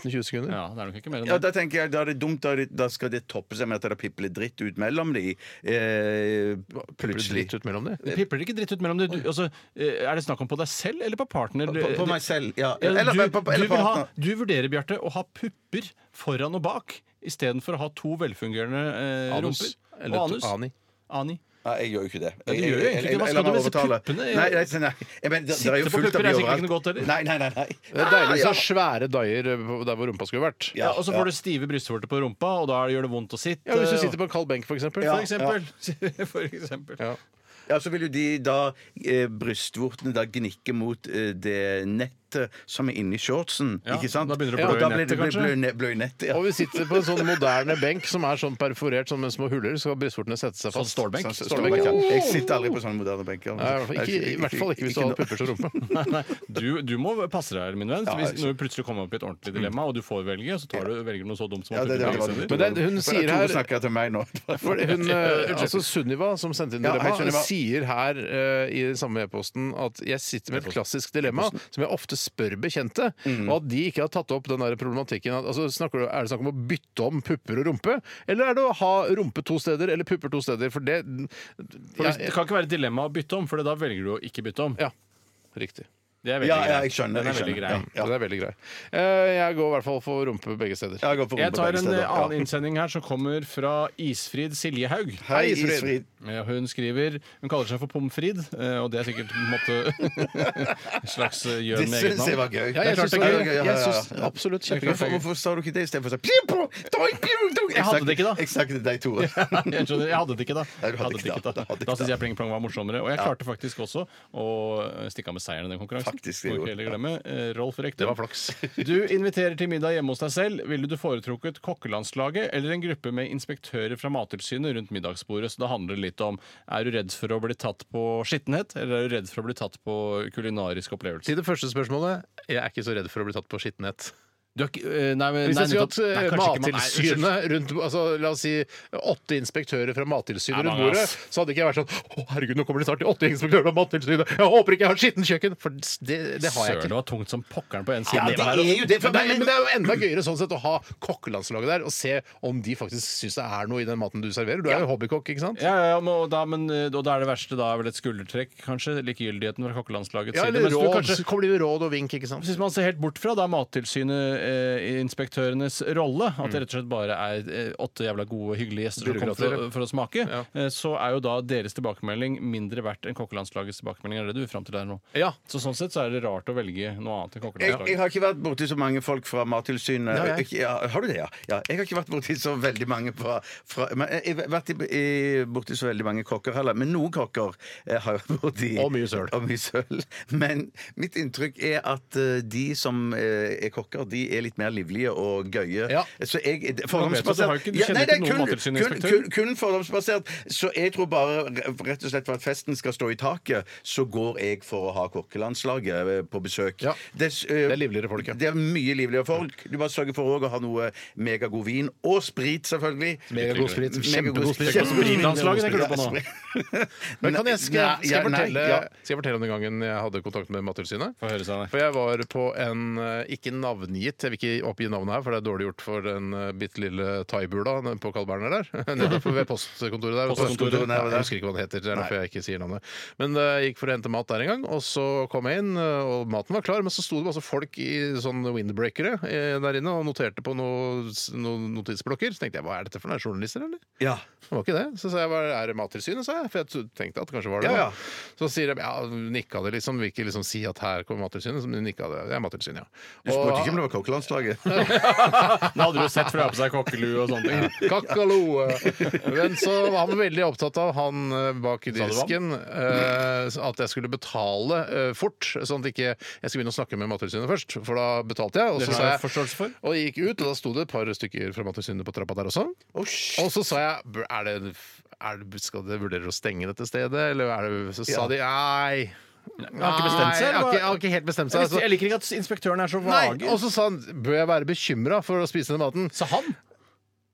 S2: 15-20 sekunder?
S4: Ja, det er nok ikke mer enn
S3: Ja,
S4: det.
S3: da tenker jeg, da er det dumt, da, er det- da skal det toppe seg med at det pipler dritt ut mellom de eh,
S2: Pipper det
S3: plutselig.
S2: litt ut mellom de?
S4: Det pipler ikke dritt ut mellom det. Du, altså, eh, er det snakk om på deg selv eller på partner?
S3: På, på meg selv, ja.
S4: Ja,
S3: Eller,
S4: du,
S3: på- på, eller
S4: du, vil ha,
S3: partner.
S4: du vurderer, Bjarte, å ha pupper foran og bak istedenfor å ha to velfungerende eh,
S2: Anus.
S4: rumper.
S2: Eller
S4: Og anus.
S2: Ani.
S4: Ani.
S3: Nei, jeg gjør jo ikke det.
S4: Ja, du gjør
S3: Jeg-
S4: jo
S3: jeg-
S4: egentlig ikke det. Hva
S3: jeg- jeg lar
S4: skal du med
S3: meg
S4: disse
S3: overtale.
S4: puppene?
S3: Nei, nei, nei. Jeg mener, det, det er jo
S4: Sitte på
S3: fullt av
S4: pupper
S3: de
S4: er sikkert ikke
S3: overalt.
S4: noe godt, eller?
S3: Nei, nei, nei. nei.
S2: Det er deilig
S3: Ah,
S2: så svære daier eh, der hvor rumpa skulle vært.
S3: Ja,
S4: Ja, og så
S3: ja.
S4: får du stive brystvorter på rumpa, og da gjør det vondt å sitte.
S2: Ja, Hvis du sitter på en kald benk, f.eks.
S3: Ja.
S4: For eksempel. For eksempel.
S2: Ja.
S3: ja. ja, så vil jo de da eh, brystvortene da gnikke mot eh, det nettet som er inni shortsen,
S4: Ja,
S3: ikke sant?
S4: da begynner det å
S3: Ja,
S4: blø i
S3: da blir
S4: nettet,
S3: det blø-
S4: kanskje?
S3: blø- ne- Blø i nettet,
S2: Og
S3: ja.
S2: vi sitter på en sånn moderne benk som er sånn perforert sånn med små huller, så skal brystvortene sette seg
S4: Sånn
S2: fast.
S4: stålbenk?
S2: Sånn
S3: Stålbenk,
S2: stålbenk,
S3: ja.
S2: ja.
S3: Jeg sitter aldri på sånne moderne benker.
S2: Nei, i hvert fall ikke, I hvert fall ikke hvis du har pupper som rumpe.
S4: Nei, du, du må passe deg, min venn.
S3: Ja,
S4: Hvis,
S3: jeg-
S4: når du plutselig kommer opp i et ordentlig dilemma, og du får velge, så tar du, velger du noe så dumt som
S3: Ja, det, det,
S4: pupper
S2: Men
S3: det,
S4: begge steder.
S2: det er- hun sier her-
S3: Tore snakker til meg nå.
S2: For hun, eh, altså Sunniva, som sendte inn
S3: Ja, hei,
S2: dilemma,
S3: Sunniva.
S2: sier her eh, i den samme e-posten at jeg sitter med et klassisk dilemma som jeg ofte spør bekjente,
S3: Mm.
S2: og at de ikke har tatt opp den der problematikken. At, altså, snakker du, er det snakk om å bytte om pupper og rumpe, eller er det å ha rumpe to steder eller pupper to steder? For det
S4: For hvis, det
S2: ja,
S4: kan ikke være et dilemma å bytte om, for da velger du å ikke bytte om.
S2: ja, riktig.
S4: Det er veldig
S3: Ja, ja,
S4: greit.
S3: jeg skjønner.
S4: Den er
S3: jeg
S4: veldig
S3: skjønner.
S4: grei.
S3: Ja.
S2: Den er veldig grei. Eh, jeg går i hvert fall for rumpe begge steder.
S3: Jeg, går for
S4: Jeg
S3: rumpe
S4: tar
S3: begge
S4: en
S3: steder,
S4: eh,
S3: ja.
S4: annen innsending her som kommer fra Isfrid Siljehaug.
S3: Hei, Isfrid.
S4: Eh, Hun skriver Hun kaller seg for Pomfrid, eh, og det er sikkert på en måte en slags eh, gjør
S3: Det
S4: med eget
S3: syns jeg
S4: navn.
S3: var gøy.
S2: Ja, jeg
S4: Det er klart
S2: syns det er
S4: det er
S2: gøy.
S3: gøy,
S2: Jeg
S3: ja, ja, ja.
S2: syns absolutt kjempegøy.
S3: Hvorfor, hvorfor sa du ikke det istedenfor sånn «Pju, pju, doi, pju, doi».
S4: Jeg hadde
S3: snak-
S4: det ikke da.
S3: Jeg snakket deg, Tore.
S4: Jeg, skjønner, jeg hadde det ikke da.
S3: Nei, du hadde
S4: Jeg
S3: ikke det. Du hadde ikke
S4: Da
S3: det.
S4: syns jeg Pling Plong var morsommere. Og jeg klarte faktisk også å stikke av med seieren i den konkurransen.
S3: faktisk.
S4: Må
S3: Det,
S4: ikke
S3: gjorde
S4: heller
S3: jeg.
S4: glemme. eh, Rolf Rektum.
S2: Det var flaks.
S4: Du inviterer til middag hjemme hos deg selv. Ville du foretrukket kokkelandslaget eller en gruppe med inspektører fra Mattilsynet rundt middagsbordet? Så det handler litt om er du redd for å bli tatt på skittenhet, eller er du redd for å bli tatt på kulinarisk opplevelse?
S2: Til det første spørsmålet. Jeg er ikke så redd for å bli tatt på skittenhet.
S4: Du er ikke, eh, nei, men,
S2: Hvis
S4: nei,
S2: jeg skulle
S4: nettopp. Det er
S2: hatt eh,
S4: kanskje ikke man- Nei,
S2: Mattilsynet rundt altså, La oss si åtte inspektører fra Mattilsynet
S4: Nei,
S2: rundt
S4: mange,
S2: bordet,
S4: ass.
S2: så hadde ikke jeg vært sånn Å, herregud, nå kommer det snart åtte inspektører fra Mattilsynet! Jeg håper ikke jeg har skittent kjøkken! For det, det har jeg
S4: Søren,
S2: ikke.
S4: det var tungt som pokkeren på en side.
S2: Ja,
S4: det altså. var-
S2: det er jo det, for,
S3: Men-
S2: men, men det er jo enda gøyere sånn sett å ha kokkelandslaget der og se om de faktisk syns det er noe i den maten du serverer. Du er jo hobbykokk, ikke sant?
S4: Ja, ja, ja, men, og, da, men, eh, og da er det verste da er vel et skuldertrekk, kanskje? Likegyldigheten fra kokkelandslagets
S2: Ja,
S4: side.
S2: eller
S4: mens du
S2: råd.
S4: kanskje-
S2: Så kommer de med råd og vink, ikke sant?
S4: Hvis man ser helt bort fra da Mattilsynet-inspektørenes rolle, at det rett og slett bare er eh, åtte jævla gode, hyggelige gjester som Mm. kommer for,
S2: Byråkrater,
S4: å- for å smake,
S2: Ja.
S4: eh, så er jo da deres tilbakemelding mindre verdt enn kokkelandslagets tilbakemelding. Er det det du vil fram til der nå?
S2: Ja.
S4: Så sånn sett så er det rart å velge noe annet enn
S3: Jeg, jeg
S4: kokkelandslaget.
S3: har ikke vært borti så mange folk fra Mattilsynet.
S2: Det har jeg.
S3: Ikke- Ja, har du det, ja? ja? Jeg har ikke vært borti så veldig mange fra, fra men Jeg har vært i- i- borti så veldig mange kokker heller, men noen kokker eh, har jeg vært borti.
S2: Og mye søl.
S3: Og mye søl. Men mitt inntrykk er at eh, de som eh, er kokker, de er litt mer livlige og gøye.
S2: Ja.
S3: Så jeg
S4: vet du, du har jo ikke- du
S3: Ja,
S4: kjenner
S3: nei,
S4: ikke
S3: det er
S4: noen
S3: kun-
S4: Mattilsyninspektør.
S3: kun- kun- Kun fordomsbasert. Så jeg tror bare rett og slett for at festen skal stå i taket, så går jeg for å ha kokkelandslaget eh, på besøk.
S2: Ja.
S3: Des- eh,
S2: Det er livligere folk, ja.
S3: det er mye livligere folk. Du bare sørger for også å ha noe megagod vin. Og sprit, selvfølgelig.
S2: Megagod sprit. Kjempegod
S3: Megagod
S2: sprit.
S3: Kjempegod
S4: Spritlandslaget tenker du på nå?
S3: Ja, sprit.
S2: Men kan jeg, skal, jeg, skal, jeg
S3: Nei,
S2: fortelle,
S3: ja.
S2: skal jeg fortelle om den gangen jeg hadde kontakt med Mattilsynet?
S4: Få høre, Steinar.
S2: For jeg var på en eh, ikke navngitt Jeg vil ikke oppgi navnet her, for det er dårlig gjort for den eh, bitte lille thaibula nede på Carl Berner der. Nede på- ved postkontoret der.
S3: Postkontoret,
S2: Ja,
S3: ja.
S2: jeg husker ikke hva det heter. Det er derfor jeg ikke sier navnet. Men eh, jeg gikk for å hente mat der en gang, og så kom jeg inn, eh, og maten var klar, men så sto det masse folk i sånne windbreakere eh, der inne og noterte på noen noe notisblokker. Så tenkte jeg, hva er dette for noen journalister, eller?
S3: Ja.
S2: Det var ikke det. Så sa jeg hva er det Mattilsynet, sa jeg. For jeg tro- tenkte at det kanskje var det.
S3: Ja,
S2: da.
S3: ja.
S2: Så sier de ja, nikka det liksom. Vil ikke liksom si at her kommer Mattilsynet. Så nikka det. Det er Mattilsynet, ja.
S3: Du spurte ikke om det var kokkelandslaget?
S4: Nå hadde du sett for deg på seg kokkelue og sånne ting.
S2: Kakalo! Men så var han veldig opptatt av, han eh, bak i
S4: Sa du hva?
S2: disken, eh, at jeg skulle betale eh, fort, sånn at ikke jeg skulle begynne å snakke med Mattilsynet først. For da betalte jeg, og
S4: Det
S2: så
S4: har
S2: sa
S4: jeg
S2: jeg
S4: forståelse for.
S2: Og jeg gikk ut, og da sto det et par stykker fra Mattilsynet på trappa der også.
S4: Oh,
S2: og så sa jeg "Bør- er det, er det, Skal dere vurdere å stenge dette stedet, eller er det Så sa de nei.
S4: har ikke bestemt
S2: Nei,
S4: seg, eller
S2: har
S4: hva?
S2: ikke, har ikke helt bestemt seg. altså.
S4: Jeg liker ikke at inspektørene er så
S2: Nei,
S4: vage.
S2: og så sa han bør jeg være bekymra for å spise denne maten.
S4: Sa han?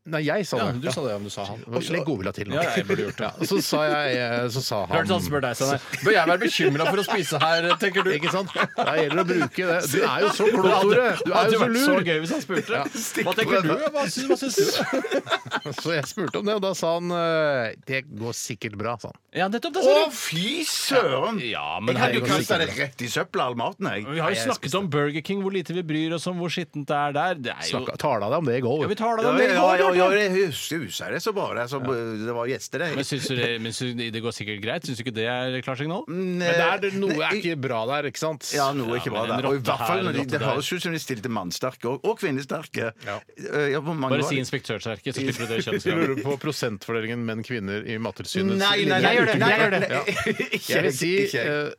S2: Nei, jeg sa
S4: Ja,
S2: det.
S4: du sa det, ja, men du sa han.
S2: Og så legg godvilja til nå.
S4: Ja, jeg burde gjort det.
S2: Ja, så sa jeg eh, Så sa
S4: Hørtes
S2: han
S4: han spør deg, Steinar. Bør jeg være bekymra for å spise her, tenker du?
S2: Ikke sant? Det gjelder å bruke det. Du er jo så klok,
S4: Det hadde-
S2: Tore! Du er
S4: hadde
S2: jo så
S4: vært
S2: lur!
S4: gøy hvis han spurte. Hva tenker du?
S3: Stikkprøve.
S4: Hva syns, hva syns du?
S2: Så jeg spurte om det, og da sa han eh, Det går sikkert bra, sa han.
S4: Ja, nettopp det,
S3: Å,
S4: sa du.
S3: fy søren!
S4: Ja, men
S3: Jeg hadde jo
S4: herregud.
S3: kasta det rett i søpla, all maten, jeg.
S4: Vi har jo snakket om Burger King, hvor lite vi bryr oss om hvor skittent det er der. Det er jo
S2: Snakka, tala deg om det i går.
S4: Ja, Vi tar det
S3: Ja, ja,
S4: da. det
S3: ja,
S4: går,
S3: ja, ja,
S4: Bjarte.
S3: det husker husker jeg det så bra. Det, er så, det var gjester, eh. det.
S4: Men syns du det, men syns du det går sikkert greit? Syns du ikke det er klarsignal?
S3: Mm,
S2: Men det er det, noe er ikke bra der, ikke sant?
S3: eh, Ja, noe er ikke bra
S4: Ja, men en
S3: der. Og i
S4: rotte
S3: hvert fall,
S4: her, en
S3: når de,
S4: rotte
S3: Det
S4: der.
S3: høres ut som de stilte mannsterke og, og kvinnesterke.
S2: Ja.
S3: Eh, ja, hvor mange
S4: Bare
S3: var
S4: si
S3: det?
S4: inspektørsterket, så slipper du det
S2: Jeg
S4: kjønnsgreiene.
S2: lurer på prosentfordelingen menn-kvinner i Mattilsynets
S3: Nei, nei,
S2: linje.
S3: nei,
S4: Jeg gjør det,
S3: nei,
S4: jeg gjør det.
S3: nei, nei, ikke
S2: Jeg vil si
S3: ikke jeg.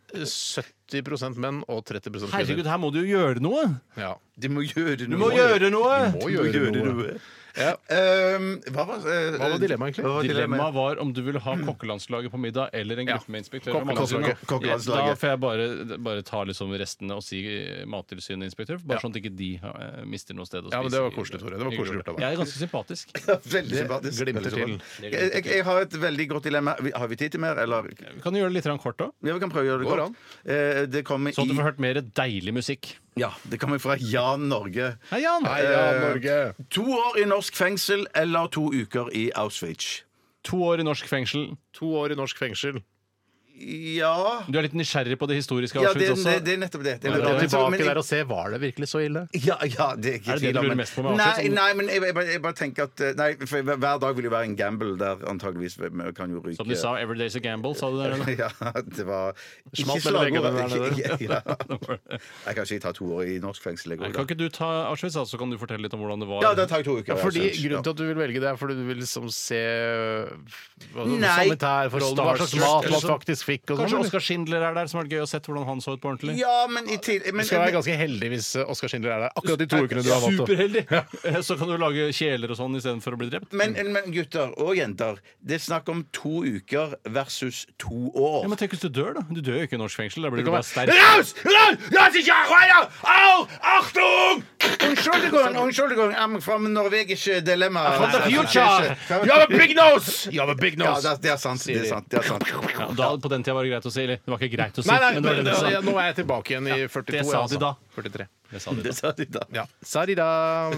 S2: eh, 70 menn og 30 kvinner.
S4: Herregud, her må du jo gjøre noe!
S2: Ja.
S3: De må gjøre noe.
S4: Du må gjøre noe!
S2: Må
S3: De må
S2: gjøre
S3: gjøre
S2: noe.
S3: noe.
S2: Ja.
S3: Ehm, hva var, eh,
S2: Hva var dilemmaet, egentlig?
S3: hva var
S4: Dilemmaet
S3: dilemmaet?
S4: var om du ville ha kokkelandslaget på middag eller en
S2: Ja.
S4: gruppe med inspektører. fra
S2: Kokkelandslaget.
S4: Mattilsynet.
S3: Kokkelandslaget.
S4: Ja, Da får jeg bare, bare ta liksom restene og si eh, Mattilsynet inspektør, bare
S2: Ja.
S4: sånn at ikke de eh, mister noe sted å spise.
S2: Ja, men det var
S4: i-
S2: koselig, Tore. Det var koselig gjort av deg.
S4: Jeg er ganske sympatisk.
S3: Veldig sympatisk.
S2: glimter
S3: Veldig
S2: til.
S3: sympatisk. Jeg, jeg, jeg har et veldig godt dilemma. Vi- Har vi tid til mer, eller?
S4: Vi kan gjøre det litt grann kort òg,
S3: Ja, vi kan prøve å gjøre det
S2: Går
S3: kort. Eh, Det kommer
S4: så at
S3: i
S4: du får hørt mer deilig musikk.
S3: Ja, det kommer fra Jan Norge.
S4: Hei, Jan!
S2: Nei, ja,
S4: Eh,
S2: Norge.
S3: To år i norsk fengsel eller to uker i Auschwitz?
S4: To år i norsk fengsel.
S2: To år i norsk fengsel.
S3: Ja
S4: Du er litt nysgjerrig på det historiske
S3: Ja, det,
S4: Auschwitz også.
S3: det, det er nettopp det. det, er
S2: Dra
S3: nettopp det.
S2: tilbake
S3: Men jeg-
S2: der og se, var det virkelig så ille?
S3: Ja, ja, det er ikke
S4: Er det det
S3: tvil
S4: du
S3: om,
S4: lurer
S3: men-
S4: mest på med
S3: Nei,
S4: Auschwitz?
S3: nei, men jeg, jeg, bare- jeg bare tenker at eh, Nei, for hver- hver dag vil jo være en gamble der antageligvis vi kan jo ryke
S4: Som de sa, 'Every day's a gamble', sa du der? eller?
S3: Ja, det var
S2: Smalt
S3: Ikke
S2: mellom veggene
S3: slagordet.
S2: der
S3: Ikke- ja.
S4: Nei,
S3: Nei, Kanskje jeg tar to år i norsk fengsel. Jeg, går,
S4: Kan
S3: da.
S4: ikke du ta Auschwitz, da, så kan du fortelle litt om hvordan det var?
S3: ja, da tar jeg to uker.
S2: Ja,
S3: altså.
S2: fordi
S3: Auschwitz.
S2: Grunnen til at du vil velge det, er fordi du vil liksom se øh, hva-
S3: Nei.
S2: sanitærforhold, hva slags
S4: Starstruck,
S2: mat
S4: eller
S2: man
S4: sånn.
S2: faktisk Fikk og
S4: Kanskje
S2: sånn. eller?
S4: Oskar Schindler er der, som har vært gøy å sett hvordan han så ut på ordentlig.
S3: Ja, men i til...
S2: Du
S3: Men,
S2: skal være ganske heldig hvis Oskar Schindler er der akkurat de to ukene du har valgt. å-
S4: Superheldig! Eh, Så kan du lage kjeler og sånn istedenfor å bli drept.
S3: men,
S2: Mm.
S3: men, men gutter og jenter, det er snakk om to uker versus to år.
S4: Ja, men tenk hvis du dør, da. Du dør jo ikke i norsk fengsel. Da blir du
S2: kan
S4: bare sterk.
S2: Raus! Raus! Lass ikke arbeide! Au! Achtung!
S3: Entschuldigung, Entschuldigung, I'm from norwegische eh, dilemma. Altså,
S2: From the future! You have a big nose! You have a big
S3: Ja,
S2: nose!
S3: det er, det er sant. Det er sant, det er sant.
S4: Ja, da, på den tida var det greit å si. Eller det var ikke greit å si,
S2: Nei, nei,
S4: men det var det du sa.
S2: ja, nå er jeg tilbake igjen i 42.
S4: det sa
S2: jeg, altså.
S4: de da.
S2: 43.
S4: Det sa du.
S3: Det sa de da.
S2: Ja. Sorry da,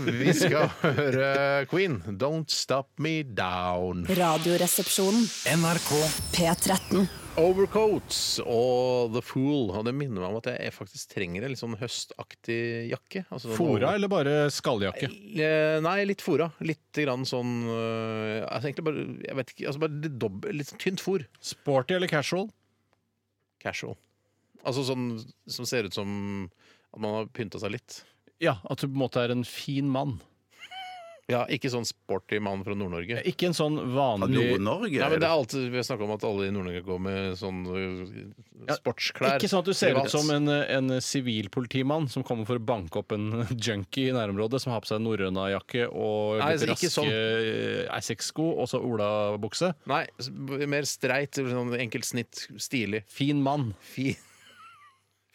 S2: vi skal høre Queen. Don't stop me down.
S5: Radioresepsjonen.
S7: NRK
S5: P13.
S2: Overcoats og The Fool. Og det minner meg om at jeg faktisk trenger en litt sånn høstaktig jakke. Altså sånn
S4: Fora
S2: over-
S4: eller bare skalljakke?
S2: Eh, Nei, litt fora. Litt grann sånn eh, altså Egentlig bare jeg vet ikke, altså bare litt, dobbelt, litt tynt fôr.
S4: Sporty eller casual?
S2: Casual. Altså sånn som ser ut som at man har pynta seg litt.
S4: Ja, at du på en måte er en fin mann.
S2: Ja, Ikke sånn sporty mann fra Nord-Norge.
S4: Ikke en sånn vanlig
S3: Nord-Norge?
S2: Nei, men det
S3: eller?
S2: er alltid, Vi har snakka om at alle i Nord-Norge går med sånn øh, sportsklær.
S4: Ikke sånn at du ser ut
S2: Privat.
S4: som en, en sivilpolitimann som kommer for å banke opp en junkie i nærområdet, som har på seg norrøna jakke og
S2: Nei,
S4: litt
S2: altså, ikke
S4: raske eh, Essex-sko og så olabukse.
S2: Nei, s- b- mer streit, sånn enkelt snitt, stilig.
S4: Fin mann.
S2: Fin,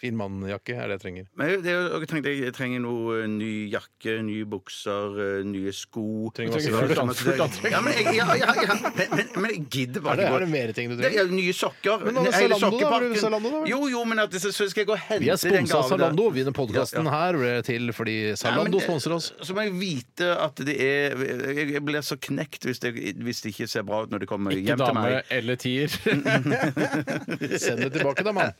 S2: fin mannjakke er det jeg trenger.
S3: Men det er jo- jeg tenkte jeg trenger noe eh, ny jakke, nye bukser, eh, nye sko.
S2: Trenger masse
S3: Ja,
S2: fullt
S3: sånn
S2: an-
S3: at det-
S2: fullt antrekk.
S3: Ja, men jeg, ja, ja, ja. Men, men, men jeg gidder bare
S2: Er det,
S3: ikke
S2: er det
S3: gå-
S2: mer ting du
S3: Det
S2: trenger?
S3: er nye sokker.
S2: Men alle
S3: hele
S2: Zalando da?
S3: sokkepakken.
S2: Blir det Zalando da, vel?
S3: Jo, jo, men at, så, så skal jeg gå og hente
S2: Vi er
S3: den
S2: sponsa av
S3: gaven der.
S2: Zalando. Vi denne podkasten her ble til fordi
S3: Nei, men
S2: Zalando
S3: det-
S2: sponser oss.
S3: Så må jeg vite at det er Jeg, jeg blir så knekt hvis det, hvis det ikke ser bra ut når det kommer
S4: Ikke
S3: hjem til
S4: dame
S3: meg.
S4: eller tier.
S2: Send det tilbake, da, mann.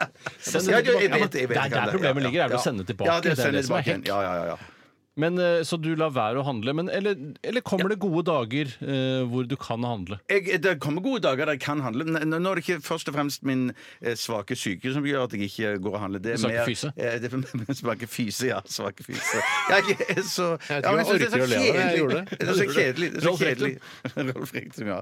S4: Send
S3: Ja, jeg vet-
S4: det tilbake.
S3: jeg vet-
S4: Ja, men
S3: jeg vet
S4: det er
S3: ikke om
S4: der
S3: det-
S4: problemet
S3: ja,
S4: ligger, er vel å
S3: ja.
S4: sende tilbake.
S3: Ja, det er å
S4: Det er
S3: sende
S4: det som er
S3: tilbake igjen.
S4: hekk.
S3: Ja, ja, ja, ja.
S4: Men, eh, så du lar være å handle. Men, eller, eller kommer det gode dager eh, hvor du kan handle?
S3: jeg, det kommer gode dager der jeg kan handle. N- Nå nå er det ikke først og fremst min eh, svake syke som gjør at jeg ikke går og handler. Det er
S4: Svake
S3: mer-
S4: fyse?
S3: eh, det er svake fyse, ja. Svake fyse. Jeg er så
S2: Jeg vet ikke
S3: ja, men
S2: om jeg
S3: synes det er
S2: orker å
S3: så
S2: leve, jeg
S3: kjedelig.
S2: gjorde det.
S3: Det er så kjedelig. Det er så
S4: Rolf Rektum.
S3: kjedelig. Rolf Rektum, ja.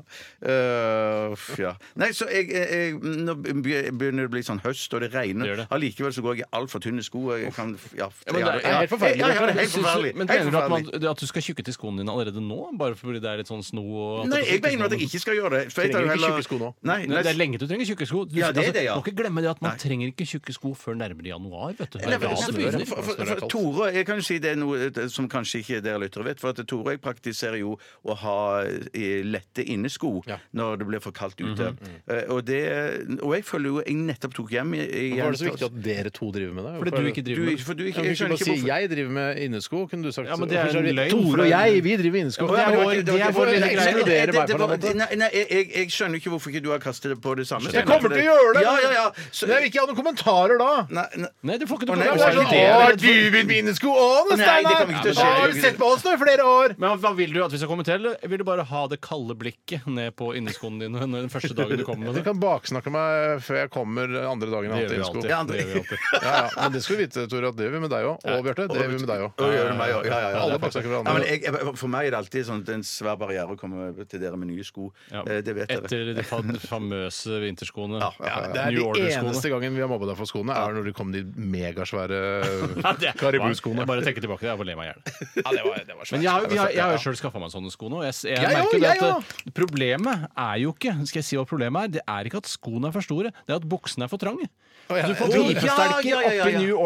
S3: Eh, uff, ja. Nei, så jeg, jeg, jeg Nå begynner det å bli sånn høst, og det
S4: Det gjør
S3: regner.
S4: det.
S3: Allikevel så går jeg i altfor tynne sko. Og jeg kan, ja,
S4: Ja, men det er helt
S2: forferdelig,
S3: Ja, ja, det er
S4: Men
S3: helt
S4: synes-
S3: forferdelig.
S4: Men
S3: Helt
S4: Mener du at,
S3: forferdelig.
S4: man, det at du skal tjukke til skoene dine allerede nå? Bare fordi det er litt sånn sno? Og at
S3: Nei,
S4: det
S3: jeg
S4: er
S3: mener at jeg ikke skal gjøre det. For jeg
S2: Trenger
S3: tar
S2: ikke
S3: heller-
S2: tjukke sko nå.
S3: Nei,
S4: Nei,
S3: nei,
S4: det er lenge til du trenger tjukke sko. Du, altså,
S3: Ja, det er det, ja.
S4: Må ikke glemme det at man
S3: Nei.
S4: trenger ikke tjukke sko før nærmere januar. vet du.
S3: Nei,
S4: Det er da
S3: for-
S4: det
S3: for-
S4: begynner.
S3: for- for- for- Tore, jeg kan jo si det er noe eh, som kanskje ikke dere lyttere vet. For at Tore og jeg praktiserer jo å ha eh, lette innesko
S2: Ja. Mhm,
S3: når det blir for kaldt ute. Eh, Og, det, og jeg føler jo jeg nettopp tok hjem i- i-
S2: Hvorfor er det så viktig at dere to driver med det?
S4: Fordi du ikke driver
S3: du,
S4: med
S3: for du,
S2: Ja,
S3: ikke,
S2: men du kunne
S3: jeg
S2: bare
S3: skjønner ikke
S2: si
S3: hvorfor
S2: 'jeg driver med innesko'. Kunne du sagt
S4: Ja, men det er en
S2: Hvorfor
S4: løgn,
S2: Tore
S4: for
S2: og
S4: det er-
S2: jeg, vi driver med innesko.
S4: det er
S2: Hvorfor-
S4: vår- det er vår
S2: hvorfor
S4: lille greie.
S2: ekskluderer
S3: Det-
S2: meg
S3: det
S2: på
S3: var-
S2: den måten?
S3: Nei, nei jeg, jeg, jeg skjønner ikke hvorfor ikke du har kastet det på det samme.
S2: Jeg kommer til å gjøre det!
S3: Ja, ja, ja. Så-
S2: Men jeg vil ikke ha noen kommentarer da!
S3: Nei, nei.
S4: Nei, du får ikke
S3: Å,
S4: noe
S3: nei,
S4: problem.
S3: det er sånn,
S4: Det
S3: å,
S4: er jeg redd for.
S2: vil mine sko òg,
S3: Nei, det kommer ikke til å skje.
S2: Har du sett på oss nå i flere år?
S4: Men hva vil du at vi skal kommentere? eller Vil du bare ha det kalde blikket ned på inneskoene dine når- den første dagen du kommer
S2: Du
S4: med det?
S2: kan baksnakke meg før jeg kommer andre dagen. jeg
S4: Det gjør
S2: har
S4: vi
S2: hatt innesko.
S4: alltid.
S3: Ja,
S4: Det gjør vi alltid.
S2: Ja, ja. Men det skal du vite, Tore, at det gjør vi med deg òg. Og Bjarte, det gjør vi med deg òg.
S3: Å, gjør det meg, ja, ja, ja, ja.
S2: Alle baksnakker
S3: Ja, men
S2: hverandre.
S3: jeg, jeg- for meg er det alltid sånn at det er en svær barriere å komme til dere med nye sko.
S4: Ja.
S3: Eh, Det vet dere.
S4: Etter de fam- famøse vinterskoene.
S3: ja,
S2: Det er
S4: New
S2: de
S4: Order-skoene.
S2: eneste gangen vi har mobba deg for skoene, er når det kom de megasvære
S4: Ja, det-
S2: Karibu-skoene.
S4: Jeg bare tenker tilbake, jeg bare ler meg i hjel.
S2: det var, det var
S4: Men jeg, har- vi har- jeg har jo sjøl skaffa meg sånne sko nå. og Jeg, s- jeg
S2: Jeg
S4: merker
S2: òg,
S4: jo det
S2: jeg
S4: at eh, Problemet er jo ikke Skal jeg si hva problemet er? Det er ikke at skoene er for store, det er at buksene er for trange.
S2: ja,
S4: Du
S2: jeg
S4: får
S2: tror det.
S4: pipesterker
S3: Ja, ja, ja, ja,
S4: oppi
S3: ja.
S4: New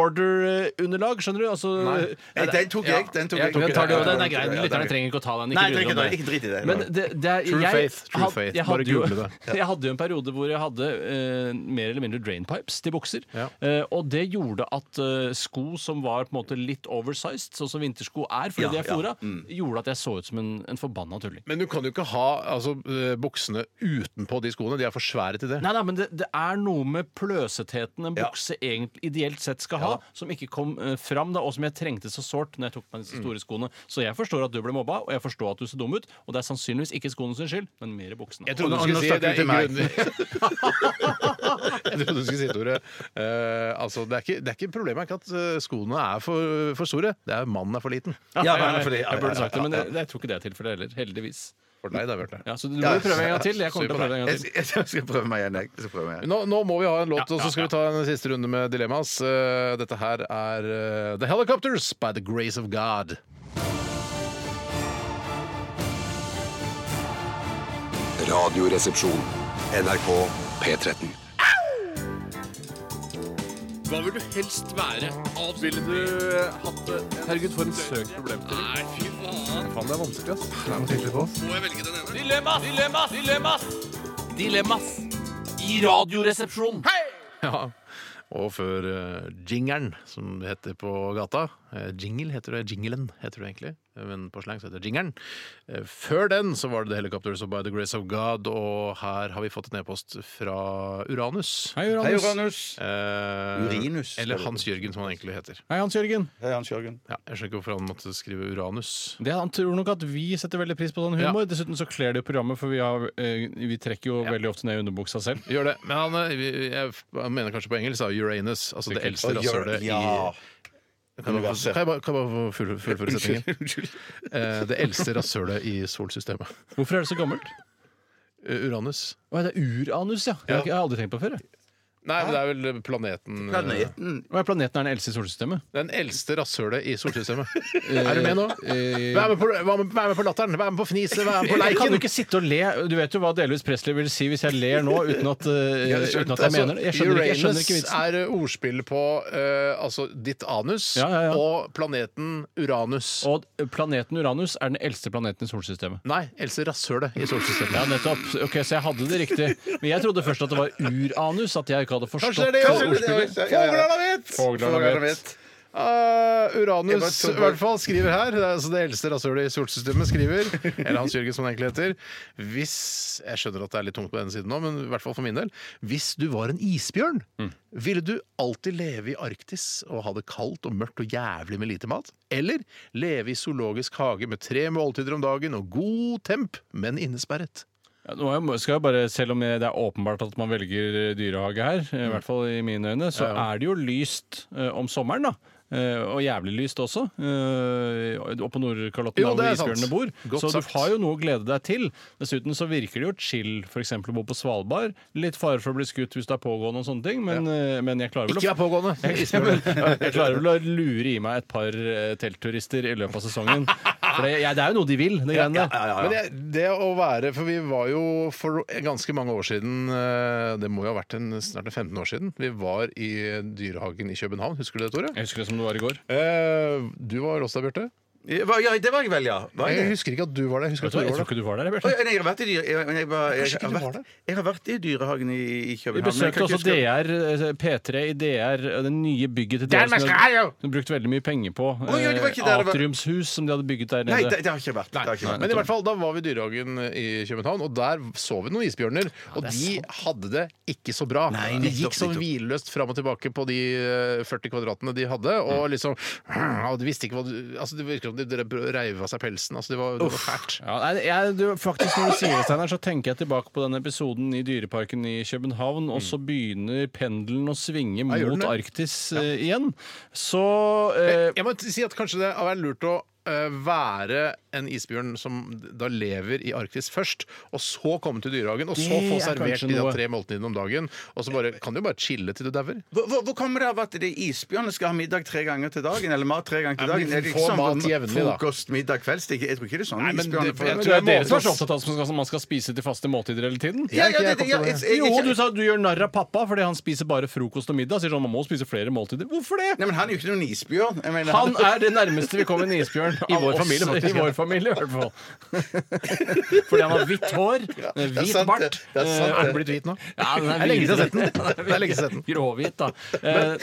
S4: Order-underlag, skjønner du? Altså,
S3: Nei, den tok jeg. Den tok jeg.
S4: Den tar du, og den er grei.
S3: Ja, den er
S4: Lytterne
S3: grei.
S4: trenger ikke å ta den.
S3: Nei,
S4: Ikke
S3: trenger ikke
S4: grunn om
S3: ta den. Ikke drit i det.
S4: Men det, det er,
S2: True
S4: jeg,
S2: faith, true
S4: had-
S2: faith.
S4: Jeg
S2: Bare
S4: hadde, jo,
S2: google
S4: jeg hadde jo en periode hvor jeg hadde eh, mer eller mindre drainpipes til bukser.
S2: Ja.
S4: Eh, og det gjorde at eh, sko som var på en måte litt oversized, sånn som vintersko er fordi
S3: Ja,
S4: de er
S3: ja. Mm.
S4: fora, gjorde at jeg så ut som en, en forbanna tulling.
S2: Men du kan jo ikke ha altså, eh, buksene utenpå de skoene. De er for svære til det.
S4: Nei, nei, men det, det er noe med pløsetheten en bukse egentlig ideelt sett skal ha, som ikke kom eh, fram da, og som jeg trengte så sårt når jeg tok på
S3: Mm.
S4: meg disse store skoene. Så jeg forstår at du ble mobba, og jeg forstår at du ser dum ut, og det er sannsynligvis ikke skoene sin skyld, men mer buksene.
S2: Jeg trodde
S3: Og
S2: du skulle
S3: nå- nå
S2: si
S3: snakker
S2: det
S3: du
S2: er
S3: til meg.
S2: ingen grunn- Jeg trodde du skulle si, Tore eh, altså, det, er ikke, det er ikke Problemet er ikke at eh, skoene er for, for store, det er mannen er for liten.
S3: Ja, men for det- ja,
S4: jeg
S3: ja,
S4: burde
S3: ja,
S4: sagt det, men
S3: ja,
S4: jeg, jeg tror ikke det er tilfellet heller. Heldigvis.
S2: For deg, da, Bjarte.
S4: Ja, så du må jo prøve en gang til. Jeg kommer til å prøve en gang
S3: Jeg,
S4: til.
S3: jeg skal prøve meg igjen. Jeg Jeg skal prøve meg igjen.
S2: Nå, nå må vi ha en låt,
S4: Ja,
S2: og
S4: ja,
S2: så skal vi ta en siste runde med dilemmas. Eh, Dette her er eh, The Helicopters by The Grace of God.
S6: Radioresepsjon. NRK P13.
S2: Ja. Og før eh, jingeren, som det heter på gata. Eh, jingle heter det, jinglen heter det egentlig, eh, men på slang så heter det jingeren. Eh, før den så var det The Helicopters og By the Grace of God, og her har vi fått en e-post fra Uranus.
S4: Hei,
S3: Hei,
S4: Uranus.
S3: Uranus.
S2: Eh,
S3: Urinus,
S2: Eller
S3: står det.
S2: Hans Jørgen, som han egentlig heter.
S4: Hei, Hans Jørgen.
S3: Hei, Hans Jørgen.
S2: Ja, jeg skjønner ikke hvorfor han måtte skrive Uranus.
S4: Det, han tror nok at vi setter veldig pris på sånn humor. Dessuten så kler det jo programmet, for vi, har, eh, vi trekker jo veldig ofte ned underbuksa selv.
S2: Gjør det. Men han, eh, vi- jeg, han mener kanskje på engelsk da, Uranus. Altså det eldste
S3: Og Jør-
S2: rasshølet
S3: Ja.
S2: i Kan jeg bare få-
S3: universet.
S2: kan jeg bare- kan jeg bare få full- fullføre setningen?
S3: Unnskyld.
S2: Eh, Det eldste rasshølet i solsystemet.
S4: Hvorfor er det så gammelt?
S2: Eh, Uranus.
S4: Å, det er uranus, ja. Det har ikke- Jeg har aldri tenkt på det før. jeg.
S2: Nei, men det er vel planeten eh,
S3: Planeten.
S4: Å, ja, Planeten er den eldste i solsystemet.
S2: Den eldste rasshølet i solsystemet. Er du med nå?
S4: eh,
S2: Vær med på, vær med, vær med på latteren! Vær med på fniset! Vær med på
S4: Jeg kan
S2: leiken!
S4: jo ikke sitte og le. Du vet jo hva Delvis Presley vil si hvis jeg ler nå uten at, eh,
S3: Ja, jeg skjønte.
S4: uten at jeg
S3: Altså,
S4: mener det. Jeg skjønner ikke, jeg skjønner
S2: Uranus
S4: ikke vitsen.
S2: er eh, ordspill på eh, altså ditt anus
S4: Ja, ja, ja.
S2: og planeten Uranus.
S4: Og planeten Uranus er den eldste planeten i solsystemet.
S2: Nei, eldste rasshølet i solsystemet.
S4: Ja, nettopp. Ok, Så jeg hadde det riktig. Men jeg trodde først at det var uranus. At jeg ikke hadde forstått
S2: Kanskje det er det,
S4: ordspillet.
S3: Ja, ja, ja.
S2: Foglarna vet!
S4: Foglarna
S3: Foglarna
S4: vet.
S3: vet.
S2: Eh,
S3: Jeg bare
S2: Uranus
S3: tok
S2: i hvert fall skriver her, det, er altså det eldste rasshølet i solsystemet, skriver Eller Hans Jørgen, som han egentlig heter. Hvis Jeg skjønner at det er litt tungt på denne siden nå, men i hvert fall for min del. Hvis du var en isbjørn, ville du alltid leve i Arktis og ha det kaldt og mørkt og jævlig med lite mat? Eller leve i zoologisk hage med tre måltider om dagen og god temp, men innesperret?
S4: Ja, nå må jeg- skal jeg bare, Selv om det er åpenbart at man velger eh, dyrehage her,
S2: Mm.
S4: i hvert fall i mine øyne, så er det jo lyst eh, om sommeren, da. Eh, og jævlig lyst også. eh, og på Nordkalotten,
S2: Jo,
S4: der hvor
S2: det er sant.
S4: isbjørnene bor.
S2: Godt
S4: så
S2: sagt.
S4: du har jo noe å glede deg til. Dessuten så virker det jo chill f.eks. å bo på Svalbard. Litt fare for å bli skutt hvis det er pågående og sånne ting, men, eh, men jeg klarer vel å
S2: Ikke vær pågående! Isbjørn.
S4: jeg klarer vel å lure i meg et par eh, teltturister i løpet av sesongen. For det, ja, det er jo noe de vil, de greiene der.
S2: Men det, det å være For vi var jo for ganske mange år siden eh, Det må jo ha vært en, snart 15 år siden. Vi var i dyrehagen i København. Husker du det, Tore?
S4: Jeg husker det som det var i går.
S2: Eh, du var også der, Bjarte.
S3: Hva- Ja, det var jeg vel, ja. Var jeg
S2: Jeg
S3: det?
S2: husker ikke at du var der. Jeg husker
S4: Jeg
S2: at du
S4: tror, jeg
S2: var
S4: tror
S2: der.
S4: ikke du var der,
S3: Oi,
S4: Bjarte.
S3: nei, jeg har vært i dyre- jeg- jeg var-
S2: Kanskje ikke
S3: jeg- jeg
S2: du var
S3: har vært-
S2: der?
S3: Jeg har vært i dyrehagen i, i
S4: Vi
S3: København. men jeg
S4: besøkte
S3: kan ikke
S4: også
S3: huske-
S4: DR, eh, P3 i DR, eh, det nye bygget til
S2: men
S4: DR som de
S2: skal jeg jo!
S4: hadde- de brukte veldig mye penger på.
S3: Å, ja, det var
S4: Eh,
S3: ikke der det var-
S4: Atriumshus som de hadde bygget der
S3: Nei, det,
S4: nede.
S3: det har ikke jeg vært. Det har ikke jeg vært.
S2: Men i hvert fall, da var vi i dyrehagen i København, og der så vi noen isbjørner. Og de hadde det ikke så bra.
S3: Nei,
S2: de
S3: nettopp,
S2: gikk sånn
S3: nettopp.
S2: hvileløst fram og tilbake på de eh, 40 kvadratene de hadde,
S3: Mm.
S2: og liksom og De visste ikke hva du- altså, Det virket som de de reiv av seg pelsen. Altså, det var, det var fælt.
S4: Ja, nei, jeg, du, faktisk Når du sier det, Steinar, så tenker jeg tilbake på den episoden i Dyreparken i København, og
S3: Mm.
S4: så begynner pendelen å svinge
S2: gjør den
S4: mot
S2: det?
S4: Arktis eh, igjen. Så eh,
S2: Jeg må si at kanskje det hadde vært lurt å eh, være en isbjørn som da lever i Arktis først, og så komme til dyrehagen, og så
S4: Det
S2: få
S4: er
S2: servert
S4: kanskje
S2: de da
S4: noe.
S2: tre måltidene om dagen. Og så bare, kan du jo bare chille til du dauer.
S3: Hvor, hvor- hvor kommer det av at det er isbjørnene skal ha middag tre ganger til dagen? Eller mat tre ganger
S2: Ja,
S3: til
S2: men
S3: dagen?
S2: de
S3: Er det ikke
S2: får
S3: sånn
S2: mat jevnlig, da.
S3: Frokost, middag, kvelds? Det er ikke- Jeg tror ikke det er sånn
S2: Nei, men
S3: isbjørnene
S2: det-
S3: får.
S2: jeg
S4: Men
S2: tror-
S4: tror jeg dere som er
S2: måte-
S4: så opptatt av at man skal- man skal spise til faste måltider hele tiden?
S2: Jeg
S3: Ja, ja,
S2: er ikke
S3: det, det, ja,
S2: opptatt av
S3: jeg,
S2: det.
S3: jeg, jeg,
S4: Jo, du sa du gjør narr av pappa fordi han spiser bare frokost og middag. Sier sånn, man må spise flere måltider. Hvorfor
S3: Nei,
S4: det?
S3: men han er jo ikke noen isbjørn. Jeg mener,
S4: Han er det nærmeste vi kommer en isbjørn.
S2: I
S4: av
S2: vår
S4: oss.
S2: familie, faktisk,
S4: I
S2: ja.
S4: vår familie, i hvert fall. Fordi han har hvitt hår, eh,
S3: det er
S4: hvit
S3: sant,
S4: bart.
S3: det. Det er sant,
S4: Eh,
S3: det.
S2: Er den blitt hvit nå?
S4: Ja, den
S2: Det er lenge siden jeg har sett den.
S4: hvit.
S2: Det er lenge siden jeg har sett den.
S4: Gråhvit, da. Eh,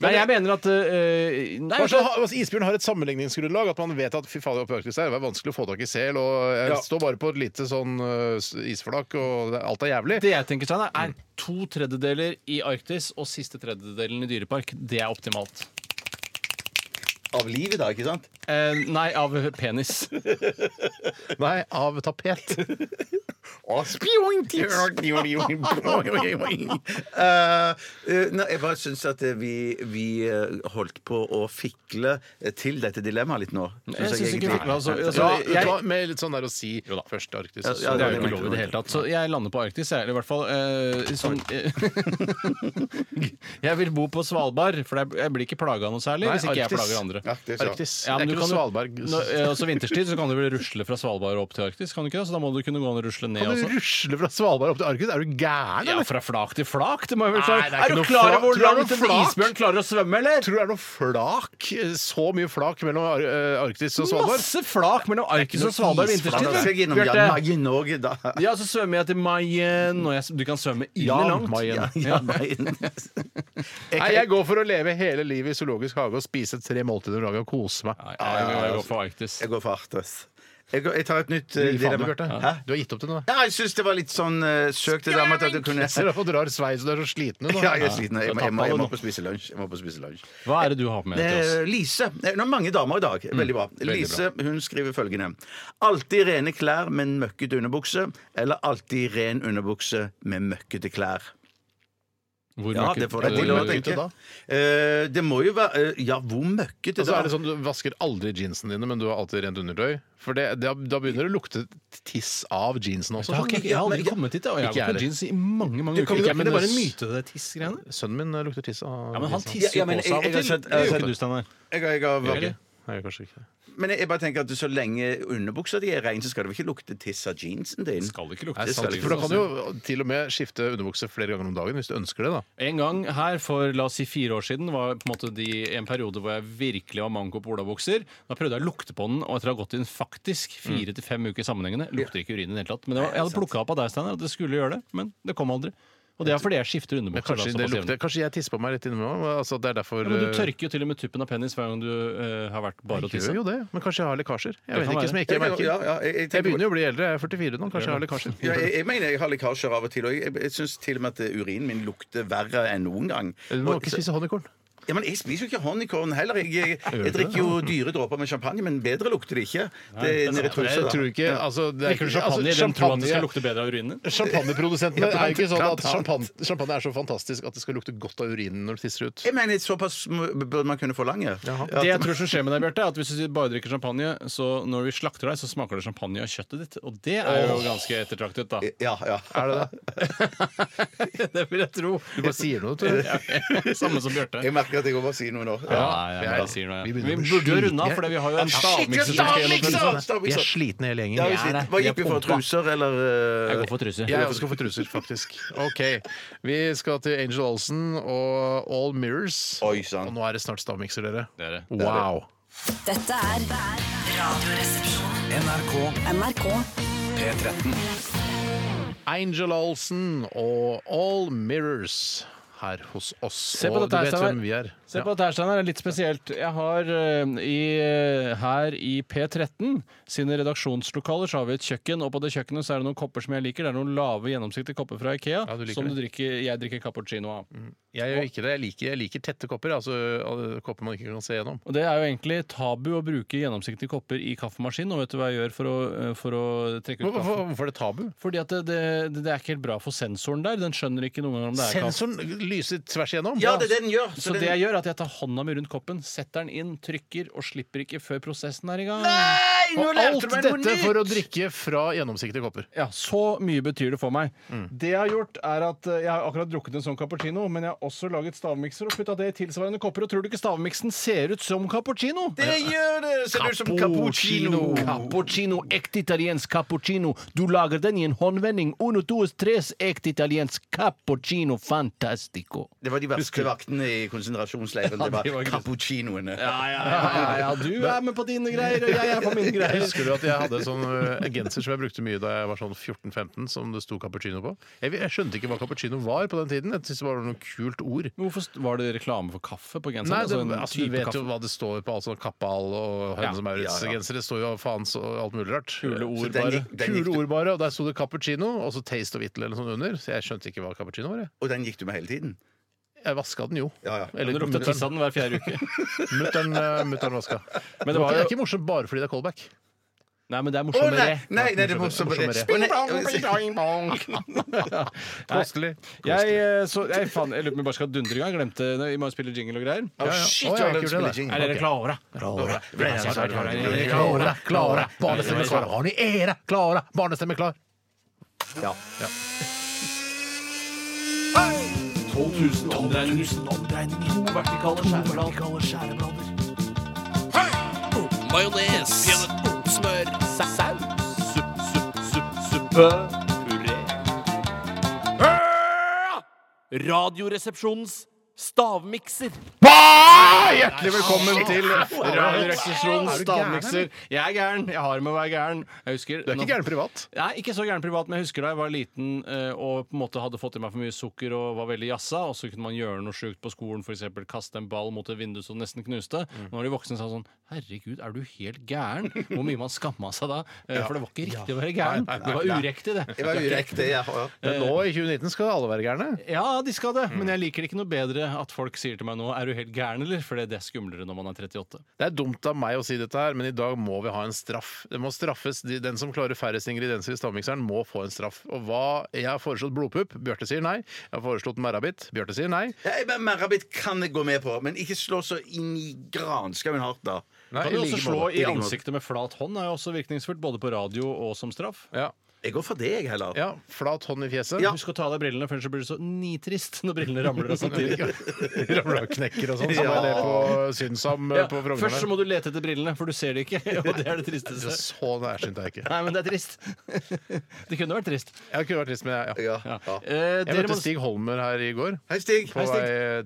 S4: Nei, jeg mener at eh, Nei,
S2: Kanskje ha- altså, isbjørn har et sammenligningsgrunnlag. At man vet at fy faen, oppe i Arktis her, det er vanskelig å få tak i sel. Og jeg står bare på et lite sånn eh, s- isflak, og det- alt er jævlig.
S4: det jeg tenker, Steinar, er to tredjedeler i Arktis og siste tredjedelen i dyrepark. Det er optimalt.
S3: Av livet, da, ikke sant?
S4: Eh, nei, av penis.
S2: Nei, av tapet.
S3: Og spioing, tjøring, tjøring, boing, boing. Eh, eh, nei, jeg bare syns at eh, vi, vi eh, holdt på å fikle eh, til dette dilemmaet litt nå.
S4: Jeg synes ikke fikk- altså, altså,
S2: Ja,
S4: jeg-
S2: vet du hva, med litt sånn der å si først Arktis.
S3: Ja,
S2: og så-
S3: ja,
S4: Det er jo
S3: det
S4: ikke lov i det hele tatt. Så jeg lander på Arktis, jeg. Eller i hvert fall eh, sånn eh, Jeg vil bo på Svalbard, for jeg- jeg blir ikke plaga noe særlig
S2: Nei,
S4: hvis ikke jeg
S2: Arktis.
S4: plager andre.
S1: Arktis, ja.
S2: Arktis.
S4: Ja, men
S2: det er
S4: du
S2: ikke noe
S4: kan jo-
S2: Svalbard.
S4: Nå- eh, også vinterstid så kan du vel rusle fra Svalbard opp til Arktis, kan du ikke det? Så da må du kunne gå an og rusle ned
S2: Kan du
S4: også.
S2: rusle fra Svalbard opp til Arktis? Er du gæren,
S4: Ja,
S2: eller?
S4: fra flak til flak. Det må jeg vel
S2: Nei,
S4: klare.
S2: det er
S4: er,
S2: ikke
S4: du
S2: noe
S4: klar
S2: flak.
S4: over hvor
S2: Tror du
S4: langt
S2: det er
S4: en
S2: noe flak?
S4: isbjørn klarer å svømme, eller?
S2: Tror du det er noe flak? eh, Så mye flak mellom Ar- eh, Arktis og Svalbard?
S4: Masse flak mellom Arktis og Svalbard
S3: Da
S4: vinterstid.
S3: skal jeg
S4: da.
S3: gjennom Jan
S4: Bjarte.
S3: Mayen òg, da.
S4: Ja, så svømmer jeg til Mayen, og jeg, du kan svømme ille
S2: Jan
S4: langt.
S2: Mayen.
S4: Ja.
S3: Jan Mayen.
S2: Nei, jeg går for å leve hele livet i zoologisk hage og spise tre måltider om dagen og kose meg.
S4: Nei, jeg, jeg, går for Arktis.
S3: Jeg går for Artes. Jeg, går, jeg tar et nytt eh,
S2: Fy faen, du,
S3: dilemma.
S2: Bjarte.
S3: Hæ?
S2: Du har gitt opp det nå.
S3: Ja, jeg syns det var litt sånn eh, søkt. Det der med at du kunne
S2: Ser du at du drar sveis og du er så sliten nå?
S3: ja, jeg er sliten. Jeg, må- jeg, må- jeg, må
S4: Ja.
S3: på spise lunsj. Jeg må på spise lunsj.
S4: Hva er det du har med til oss?
S3: Eh, Lise. Eh, Nå er mange damer i dag.
S2: Mm.
S3: Veldig bra. Lise hun skriver følgende. Alltid rene klær med en møkkete underbukse, eller alltid ren underbukse med møkkete klær.
S4: Hvor
S3: Ja,
S4: mørke-
S3: det får deg
S4: hvor
S3: til å
S4: mørke-
S2: møkkete
S3: tenke.
S2: da?
S3: Eh, det må jo være eh, Ja, hvor møkkete
S2: Og så
S3: da?
S2: er det sånn, Du vasker aldri jeansene dine, men du har alltid rent undertøy. For det, da- da begynner det å lukte tiss av jeansene også. sånn.
S4: Jeg har, ikke, jeg har aldri kommet dit. Og jeg har
S2: Ikke jeg
S4: gått med
S2: heller.
S4: jeans i mange mange
S2: kommer jo-
S4: uker. Ikke, men det
S2: men
S4: var en
S2: det-
S4: myte, det tiss-greiene.
S2: Sønnen min eh, lukter tiss av
S4: Ja, men han
S2: jeansene.
S4: tisser
S3: Ja,
S4: jo
S3: ja, men
S4: på
S3: jeg-
S4: seg av
S3: jeg
S4: og
S3: har
S4: til.
S3: sett-
S4: Det gjør
S3: jeg
S4: ikke
S3: har
S4: du, Steinar.
S2: sånn-
S3: Jeg, jeg har
S4: Gjør
S3: vært-
S4: det?
S2: Nei, kanskje ikke.
S3: men jeg, jeg bare tenker at så lenge underbuksa di er ren, så skal det vel ikke lukte tiss av jeansen din?
S4: Skal ikke lukte
S2: Nei, sant,
S4: sånn.
S2: for da kan du jo til og med skifte underbukse flere ganger om dagen hvis du ønsker det. da
S4: En gang her for la oss si fire år siden var på en måte de, en periode hvor jeg virkelig var manko på olabukser. Da prøvde jeg å lukte på den, og etter å ha gått inn faktisk fire til fem uker sammenhengende, lukter ikke urin i det hele tatt. Men det var, jeg hadde plukka opp av deg, Steinar, at det skulle gjøre det, men det kom aldri. Og det er fordi jeg skifter
S2: Men kanskje,
S4: underbukser. da,
S2: det
S4: såpass jevnlig.
S2: lukter, kanskje jeg tisser på meg litt innimellom. Altså, det er derfor
S4: Ja, men du
S2: eh,
S4: tørker jo til og med tuppen av penis hver gang du eh, har vært bare og
S2: Jeg
S4: tisse.
S2: gjør jo det, men kanskje jeg har lekkasjer. Jeg
S4: kan
S2: vet ikke
S4: være.
S2: som jeg ikke merker.
S3: Ja, ja, jeg- jeg
S2: jeg,
S3: tenker på-
S2: begynner jo å bli eldre, jeg er 44 nå. Kanskje jeg har lekkasjer.
S3: Ja, jeg, jeg mener jeg har lekkasjer av og til, og jeg, jeg syns til og med at urinen min lukter verre enn noen gang.
S2: Du må
S3: Og-
S2: ikke spise honeycorn.
S3: Ja, men Jeg spiser jo ikke honeycorn heller. Jeg, jeg,
S2: du det?
S3: jeg drikker jo dyre dråper med champagne, men bedre lukter det ikke. Det er nede i trusa,
S2: Jeg
S3: da.
S2: tror ikke, altså, det er
S4: Drikker du
S2: ikke-
S4: champagne i
S2: altså,
S4: den tro at det skal
S2: champagne-
S4: lukte bedre av urinen din?
S2: Champagneprodusentene er jo ikke sånn at
S3: blant annet.
S2: champagne, champagne er så fantastisk at det skal lukte godt av urinen når du tisser ut.
S3: Jeg mener, såpass må- burde man kunne forlange.
S4: Det jeg tror som skjer med deg, Bjarte, er at hvis du bare drikker champagne, så når vi slakter deg, så smaker det champagne av kjøttet ditt. Og det er jo ganske ettertraktet, da.
S3: Ja, ja.
S2: Er det det?
S4: Det vil jeg tro.
S2: Du bare sier noe, tror jeg.
S4: Samme som Bjarte.
S3: Jeg merker at jeg må si noe nå.
S4: Ja, ja, ja, jeg sier noe,
S2: Vi
S4: ja.
S2: begynner å
S4: Vi
S2: bli
S4: burde jo
S2: slitne.
S4: runde av, for vi har jo en sånn.
S2: Shit,
S4: stavmikser som skal
S3: stavmikser!
S4: gjennomføres.
S2: Vi er slitne hele gjengen.
S3: Ja,
S2: Vi
S3: vi
S2: er
S3: sitter-
S2: det.
S3: Hva
S2: Vi er
S3: gikk vi for?
S2: pumpa.
S3: Truser, eller eh,
S4: Jeg går for truse.
S2: Jeg også skal få truser, faktisk. OK. Vi skal til Angel Olsen og All Mirrors.
S3: Oi sann.
S2: Og nå er det snart stavmikser, dere.
S4: Det er det.
S2: Wow.
S5: Dette er Radioresepsjonen.
S7: NRK
S5: NRK.
S7: P13.
S2: Angel Olsen og All Mirrors her hos oss.
S4: Se på
S2: og du
S4: dette her,
S2: vet
S4: Steinar.
S2: hvem vi er.
S4: Se
S2: Ja.
S4: på dette her, Steinar. Det er Litt spesielt. Jeg har eh, i, her i P13 sine redaksjonslokaler så har vi et kjøkken, og på det kjøkkenet så er det noen kopper som jeg liker. Det er noen lave, gjennomsiktige kopper fra Ikea
S2: Ja, du liker
S4: som
S2: det.
S4: du drikker, jeg drikker cappuccino av.
S2: Jeg gjør ikke det. Jeg liker, jeg liker tette kopper. Altså alle kopper man ikke kan se gjennom.
S4: Og Det er jo egentlig tabu å bruke gjennomsiktige kopper i kaffemaskinen. Og vet du hva jeg gjør for å, eh, for å trekke ut
S2: Hvorfor,
S4: kaffen?
S2: hvorfor er det tabu?
S4: Fordi at det, det, det er ikke helt bra for sensoren der. Den skjønner ikke noen ganger om det er kaffe.
S2: Sensoren lyser tvers igjennom.
S3: Ja, det er det den gjør.
S4: Så
S3: den-
S4: det jeg gjør er at jeg tar hånda mi rundt koppen, setter den inn, trykker og slipper ikke før prosessen er i gang.
S3: Nei, nå
S2: Og
S3: lærte
S2: alt
S3: du meg noe
S2: dette
S3: nytt!
S2: for å drikke fra gjennomsiktige kopper.
S4: Ja, Så mye betyr det for meg.
S3: Mm.
S4: Det Jeg har gjort er at eh, jeg har akkurat drukket en sånn cappuccino, men jeg har også laget stavmikser og putta det i tilsvarende kopper. Og tror du ikke stavmiksen ser ut som cappuccino?
S3: Det gjør det! Ser ut som cappuccino.
S4: Cappuccino, ekte italiensk cappuccino. Du lager den i en håndvending. Uno, dos, tres, ekte italiensk cappuccino fantastico.
S3: Det var de verste vaktene i konsentrasjonsleiren. Det var cappuccinoene.
S4: ja, ja, ja. Du er med på dine greier, og jeg er på mine
S2: Jeg
S4: greier.
S2: husker du at jeg hadde sånn eh, genser som jeg brukte mye da jeg var sånn 14-15, som det sto cappuccino på? Jeg, jeg skjønte ikke hva cappuccino var på den tiden. Jeg syntes det var noe kult ord.
S4: Men Hvorfor st- var det reklame for kaffe på genseren?
S2: Nei, det,
S4: Altså en
S2: altså, du
S4: type
S2: vet
S4: kaffe?
S2: jo hva det står på. Altså Kappal og Hønse
S3: Ja, ja.
S2: Maurits-gensere. Det står jo faen så alt mulig rart.
S4: Kule ord,
S2: Så den
S4: bare.
S2: gikk- den gikk du- Kule ord bare. Og der sto det cappuccino og så Taste of Italy eller noe sånt under. Så jeg skjønte ikke hva cappuccino var. jeg.
S3: Og den gikk du med hele tiden?
S2: Jeg vaska den jo.
S3: Ja, ja.
S4: Men
S2: Eller
S4: Det lukter tiss
S2: mutter'n
S4: av den hver fjerde uke.
S2: mutter'n, eh, mutter'n vaska.
S4: Men
S2: Men det,
S4: det var
S2: var
S4: jo-
S2: ikke morsomt bare fordi det er callback.
S4: Nei, men det er
S3: Å nei,
S4: morsommere.
S3: nei, nei, det er
S2: Morsommere.
S3: morsommere. Å, nei,
S4: Kostelig. Jeg, eh, så, jeg, faen, jeg lurer på om jeg bare skal dundre i gang. Glemte Vi må jo spille jingle og greier.
S2: Ja, ja.
S7: shit,
S2: Å,
S7: jeg
S2: kult,
S7: spiller
S2: det der.
S7: jingle.
S2: Er dere klare?
S3: Klare.
S2: Klare, klare, barnestemme klar. Har ni ære? Klare, barnestemme klar. Ja. ja.
S4: 12 000 omdreininger. To vertikale skjæreblader. Majones. Smør. Saus. Supp, supp, supp, suppe. Puré. Radioresepsjonens stavmikser.
S2: Hjertelig velkommen til
S4: Radioresepsjonens
S2: Er du gæren,
S4: stavmikser. Jeg er gæren. Jeg har med å være gæren. Jeg husker
S2: Du er ikke gæren privat.
S4: Nei, ikke så gæren privat, men jeg husker da jeg var liten eh, og på en måte hadde fått i meg for mye sukker og var veldig jazza, og så kunne man gjøre noe sjukt på skolen, f.eks. kaste en ball mot et vindu som nesten knuste.
S2: Mm.
S4: Nå Når de voksne sa sånn Herregud, er du helt gæren? Hvor mye man skamma seg da. Eh, For det var ikke riktig å være gæren.
S2: Nei, nei,
S4: Det var uriktig, det.
S3: Det var urekte, ja. ja.
S2: Men nå
S4: Eh.
S2: i 2019 skal alle være gærne.
S4: Ja, de skal det,
S2: Mm.
S4: men jeg liker det ikke noe bedre at folk sier til meg nå Er du helt gæren, eller? For det det er skumlere når man er 38.
S2: Det er dumt av meg å si dette her, men i dag må vi ha en straff. Det må straffes. De- Den som klarer færrest ingredienser i stavmikseren, må få en straff. Og hva Jeg har foreslått blodpupp. Bjarte sier nei. Jeg har foreslått merrabit. Bjarte sier nei.
S3: Nei, men Merabit kan jeg gå med på, men ikke slå så inn i granskauen hardt, da.
S2: Nei,
S4: Kan du
S2: i
S4: også
S2: like
S4: slå
S2: måte.
S4: i
S3: I like måte.
S4: ansiktet med flat hånd er jo også virkningsfullt, både på radio og som straff.
S2: Ja.
S3: Jeg går for det, jeg, heller.
S2: ja. Flat hånd i fjeset.
S3: Ja.
S4: Husk å ta av deg brillene, for ellers så blir du så nitrist når brillene ramler av samtidig.
S2: Ramla og knekker og sånn, som er det på Synsam eh,
S4: Ja,
S2: på Frogner.
S4: først så må du lete etter brillene, for du ser det ikke. Og det er det
S2: Så
S4: tristeste.
S2: så nærsynt er jeg ikke.
S4: Nei, men det er trist. Det kunne vært trist.
S2: Jeg kunne vært trist, men jeg, ja.
S3: Ja.
S4: Ja.
S3: Ja.
S4: Eh,
S2: Jeg
S4: dere må
S2: møtte Stig Holmer her i går
S3: Hei, Stig.
S2: på vei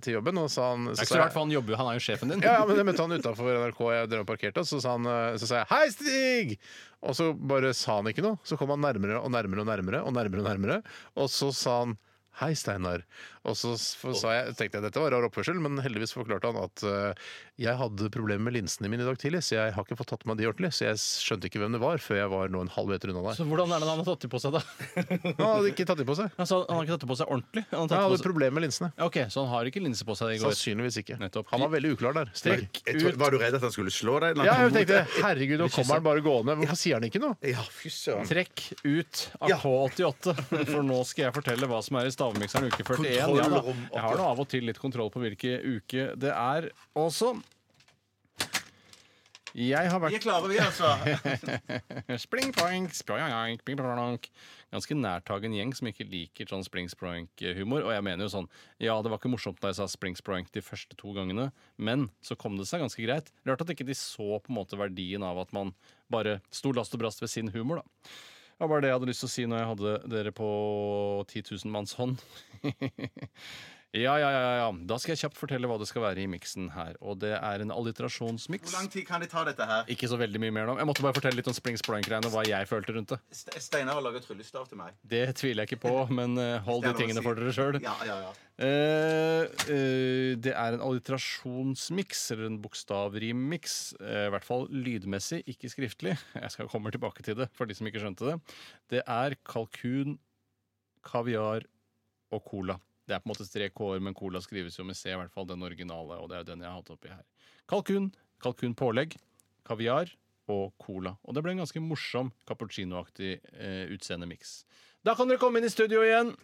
S2: til jobben, og sa han
S4: Det er
S2: så
S4: ikke
S2: sa
S4: så
S2: jeg-
S4: rart, for han jobber jo, han er jo sjefen din.
S2: Ja, ja, men jeg møtte han utafor NRK jeg drev og parkerte, og så sa, han, eh, så sa jeg 'Hei, Stig!' Og så bare sa han ikke noe. Så kom han nærmere og nærmere og nærmere, og nærmere og nærmere Og så sa han 'Hei, Steinar'. Og så s- f- sa jeg, tenkte jeg dette var rar oppførsel, men heldigvis forklarte han at eh, jeg hadde problemer med linsene mine i dag tidlig, så jeg har ikke fått tatt meg de ordentlig. Så jeg skjønte ikke hvem det var før jeg var nå en halv meter unna der.
S4: Så hvordan er det han har tatt det på seg, da?
S2: Han hadde ikke tatt de på seg.
S4: Han, sa, han har ikke tatt det på seg ordentlig? Han har
S2: Jeg
S4: tatt
S2: hadde
S4: det på seg.
S2: problemer med linsene.
S4: Ok, Så han har ikke linse på seg i går?
S2: Sannsynligvis ikke.
S4: Nettopp.
S2: Han var veldig uklar der. Stig.
S3: Jeg tror, var du redd at han skulle slå deg? eller
S2: Ja,
S3: noe?
S2: jeg tenkte herregud, nå kommer han bare gående. Hvorfor sier han ikke noe?
S3: Ja, fy søren.
S4: Trekk ut
S3: Sånn.
S4: av
S3: Ja.
S4: K88, for nå skal jeg fortelle hva som er i stavmikseren uke 41. Ja, da.
S3: Kontrollrom
S4: Jeg har nå av og til litt kontroll på hvilke uke det er også. Jeg har vært
S3: klare, vi, altså.
S4: Spring poink, spring-poink, spring-poink. Ganske nærtagen gjeng som ikke liker sånn spring-spoink-humor. Og jeg mener jo sånn Ja, det var ikke morsomt da jeg sa spring-spoink de første to gangene, men så kom det seg ganske greit. Rart at ikke de så på en måte verdien av at man bare sto last og brast ved sin humor, da. Det var bare det jeg hadde lyst til å si når jeg hadde dere på 10 000 manns hånd. ja, ja, ja, ja. Da skal jeg kjapt fortelle hva det skal være i miksen her. Og det er en alliterasjonsmiks.
S3: tid kan de ta dette her?
S4: Ikke så veldig mye mer nå. Jeg måtte bare fortelle litt om Spring Sprank-greiene og hva jeg følte rundt det.
S3: Steinar har laget tryllestav til meg.
S4: Det tviler jeg ikke på, men eh, hold de tingene for dere sjøl.
S3: ja, ja.
S4: Eh, eh, det er en alliterasjonsmiks, eller en bokstavrimmiks. eh, I hvert fall lydmessig, ikke skriftlig. Jeg skal komme tilbake til det, for de som ikke skjønte det. Det er kalkun, kaviar og cola. Det er på en måte tre k-er, men cola skrives jo med c, i hvert fall den originale. og det er jo den jeg har hatt oppi her. Kalkun, kalkunpålegg, kaviar og cola. Og det ble en ganske morsom cappuccinoaktig eh, utseendemiks. Da kan dere komme inn i studio igjen.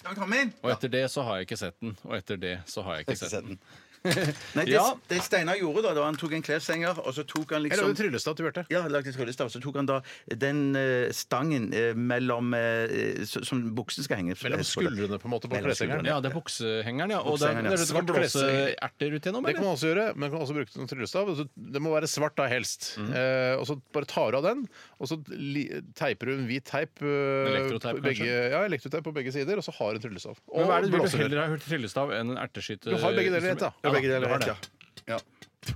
S3: Kan vi komme inn?
S4: Og etter det så har jeg ikke sett den. Og etter det så har jeg ikke sett den.
S3: Nei, det,
S4: Ja.
S3: det Steinar gjorde da, da han tok en kleshenger, og så tok
S2: Jeg
S3: han liksom
S2: lagde tryllestav til Bjarte.
S3: ja, lagt en tryllestav, så tok han da den eh, stangen eh, mellom eh, s- Som buksen skal henge eh,
S2: Mellom skuldrene på en måte på
S3: Mellom
S2: kleshengeren.
S4: Ja, det er buksehengeren, ja. Og det er,
S3: Buksehengeren, ja.
S4: det er det du kan
S3: Svart
S4: blåse
S3: kleshenger.
S4: erter ut gjennom,
S2: Det kan
S4: eller?
S2: man også gjøre, men man kan også bruke det som tryllestav. Altså, Det må være svart da, helst. Eh, og så bare tar du av den, og så li- teiper du en hvit teip eh,
S4: Elektroteip,
S2: på begge, ja, elektroteip på begge sider, og så har du en tryllestav.
S4: Men
S2: Og
S4: hva er det du vil
S2: blåser.
S4: heller ha hørt tryllestav enn en erteskytte?
S2: Du har begge deler rett, da.
S4: Ja,
S3: Begge
S4: du
S3: deler,
S4: har
S3: rett,
S4: det.
S3: ja. Ja.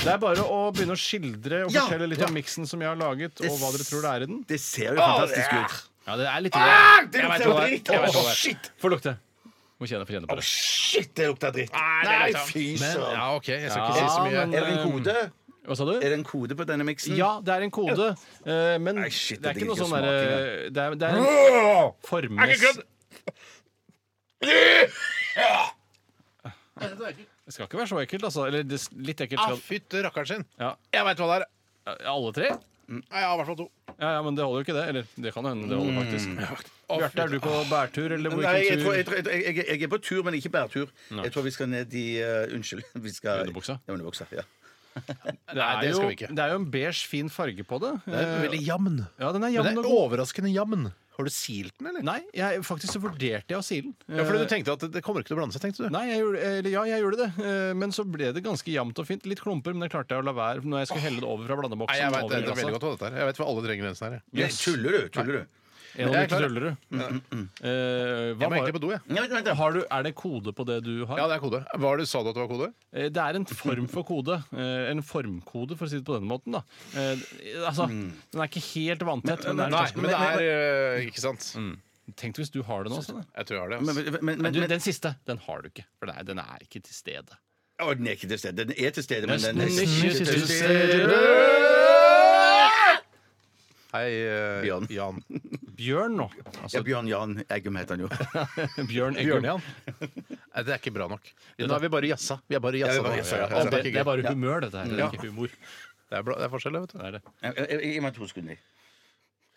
S4: Det er bare å begynne å skildre og
S3: Ja,
S4: fortelle litt
S3: ja.
S4: om miksen som jeg har laget, og hva dere tror det er i den.
S3: Det ser jo fantastisk ut.
S4: Ja, det er litt
S3: Ah, det
S4: Jeg vet hva det er.
S3: lukter
S4: Jeg vet
S3: dritt.
S4: hva det er.
S3: Å, shit.
S4: Få lukte. Må kjenne, få kjenne på det. Ah,
S3: Shit, det lukter dritt! Nei,
S4: sånn.
S3: fy søren!
S2: Ja, OK, jeg skal ikke si så mye.
S4: Ja, men-
S3: Er det en kode?
S4: Hva sa du?
S3: Er det en kode på denne miksen?
S2: Mm.
S4: Ja, det er en kode, eh, men
S3: Nei, shit,
S4: det
S3: jeg
S4: er ikke noe
S3: digger
S4: sånn
S3: ikke
S4: derre Det er, det er en formnes... Det skal ikke være så ekkelt, altså. Eller det, litt ekkelt
S2: Ah,
S4: skal
S2: Fytte rakkeren sin!
S4: ja.
S2: Jeg veit hva det er.
S4: Alle tre?
S2: Nei, jeg har i hvert fall to.
S4: Ja, ja, men det holder jo ikke det. Eller det kan hende det
S2: Mm.
S4: holder, faktisk. Bjarte, er du på bærtur eller på
S3: Nei, jeg, tror,
S4: hvilken
S3: jeg,
S4: tur?
S3: tror, jeg, tror- jeg, jeg er på tur, men ikke bærtur. Jeg tror vi skal ned i eh, Unnskyld. Vi skal,
S4: Underbuksa?
S3: Ja, underbuksa, ja.
S4: Det
S2: Nei,
S4: er
S2: det skal
S4: jo,
S2: vi ikke.
S4: det er jo en beige, fin farge på det. Eh,
S2: Veldig jamn.
S4: Ja, den er
S2: Men
S4: jevn
S2: det
S4: og
S2: er
S4: god.
S2: overraskende jamn. Har du silt den, eller?
S4: Nei, jeg, faktisk så vurderte jeg å si den.
S2: Ja, fordi du tenkte at det- det kommer ikke til å blande seg, tenkte du?
S4: Nei, jeg gjorde, eller ja, jeg gjorde det, eh, men så ble det ganske jevnt og fint. Litt klumper, men det klarte jeg å la være når jeg skulle helle det over fra blandeboksen.
S2: jeg vet,
S4: over i
S2: Sånn det, det er
S4: glasset.
S2: veldig godt hva dette er. Jeg vet hva alle trenger her.
S3: Nei, Tuller du? Tuller du?
S4: En og
S2: Jeg er
S4: litt
S2: klar. Mm,
S4: ruller du. Eh,
S2: Jeg
S4: hva
S2: må egentlig på
S4: var,
S2: do, jeg.
S3: Nei, vent, vent, da.
S4: har du, er det kode på det du har?
S2: Ja, det er kode. Hva er det, sa du at det var kode?
S4: Eh, Det er en form for kode. eh, En formkode, for å si det på denne måten. Da. Eh, Altså, Den er ikke helt vanntett, men det er
S2: Nei, Mm. men det er eh, Ikke sant?
S4: Tenk hvis du har det nå. Sånn,
S2: Jeg tror jeg har det.
S3: Men,
S2: Altså.
S3: men, men, men,
S4: du, den siste den har du ikke, for det er- den er ikke til stede.
S3: Å, den er ikke til stede. Den er til stede, men den er
S4: Nesten ikke til
S2: Hei, eh,
S3: Bjørn.
S2: Jan.
S4: Bjørn nå.
S3: Ja,
S4: Altså,
S3: Bjørn Jan Eggum heter han jo.
S4: Bjørn Eggum.
S2: Bjørn-Jan. Nei, det er ikke bra nok. Nå er vi bare jassa. Vi er bare jassa.
S3: Ja, vi er bare
S2: nå.
S3: jassa,
S2: Ja,
S3: ja.
S4: Det,
S2: Altså, det, er
S4: det er
S2: ikke gøy. Mm.
S4: bare humør, dette her. Det
S2: Ja.
S4: er ikke humor.
S2: det er bra- det er forskjell, vet du.
S4: Det er det.
S3: Ja, ja, ja, Gi meg to sekunder.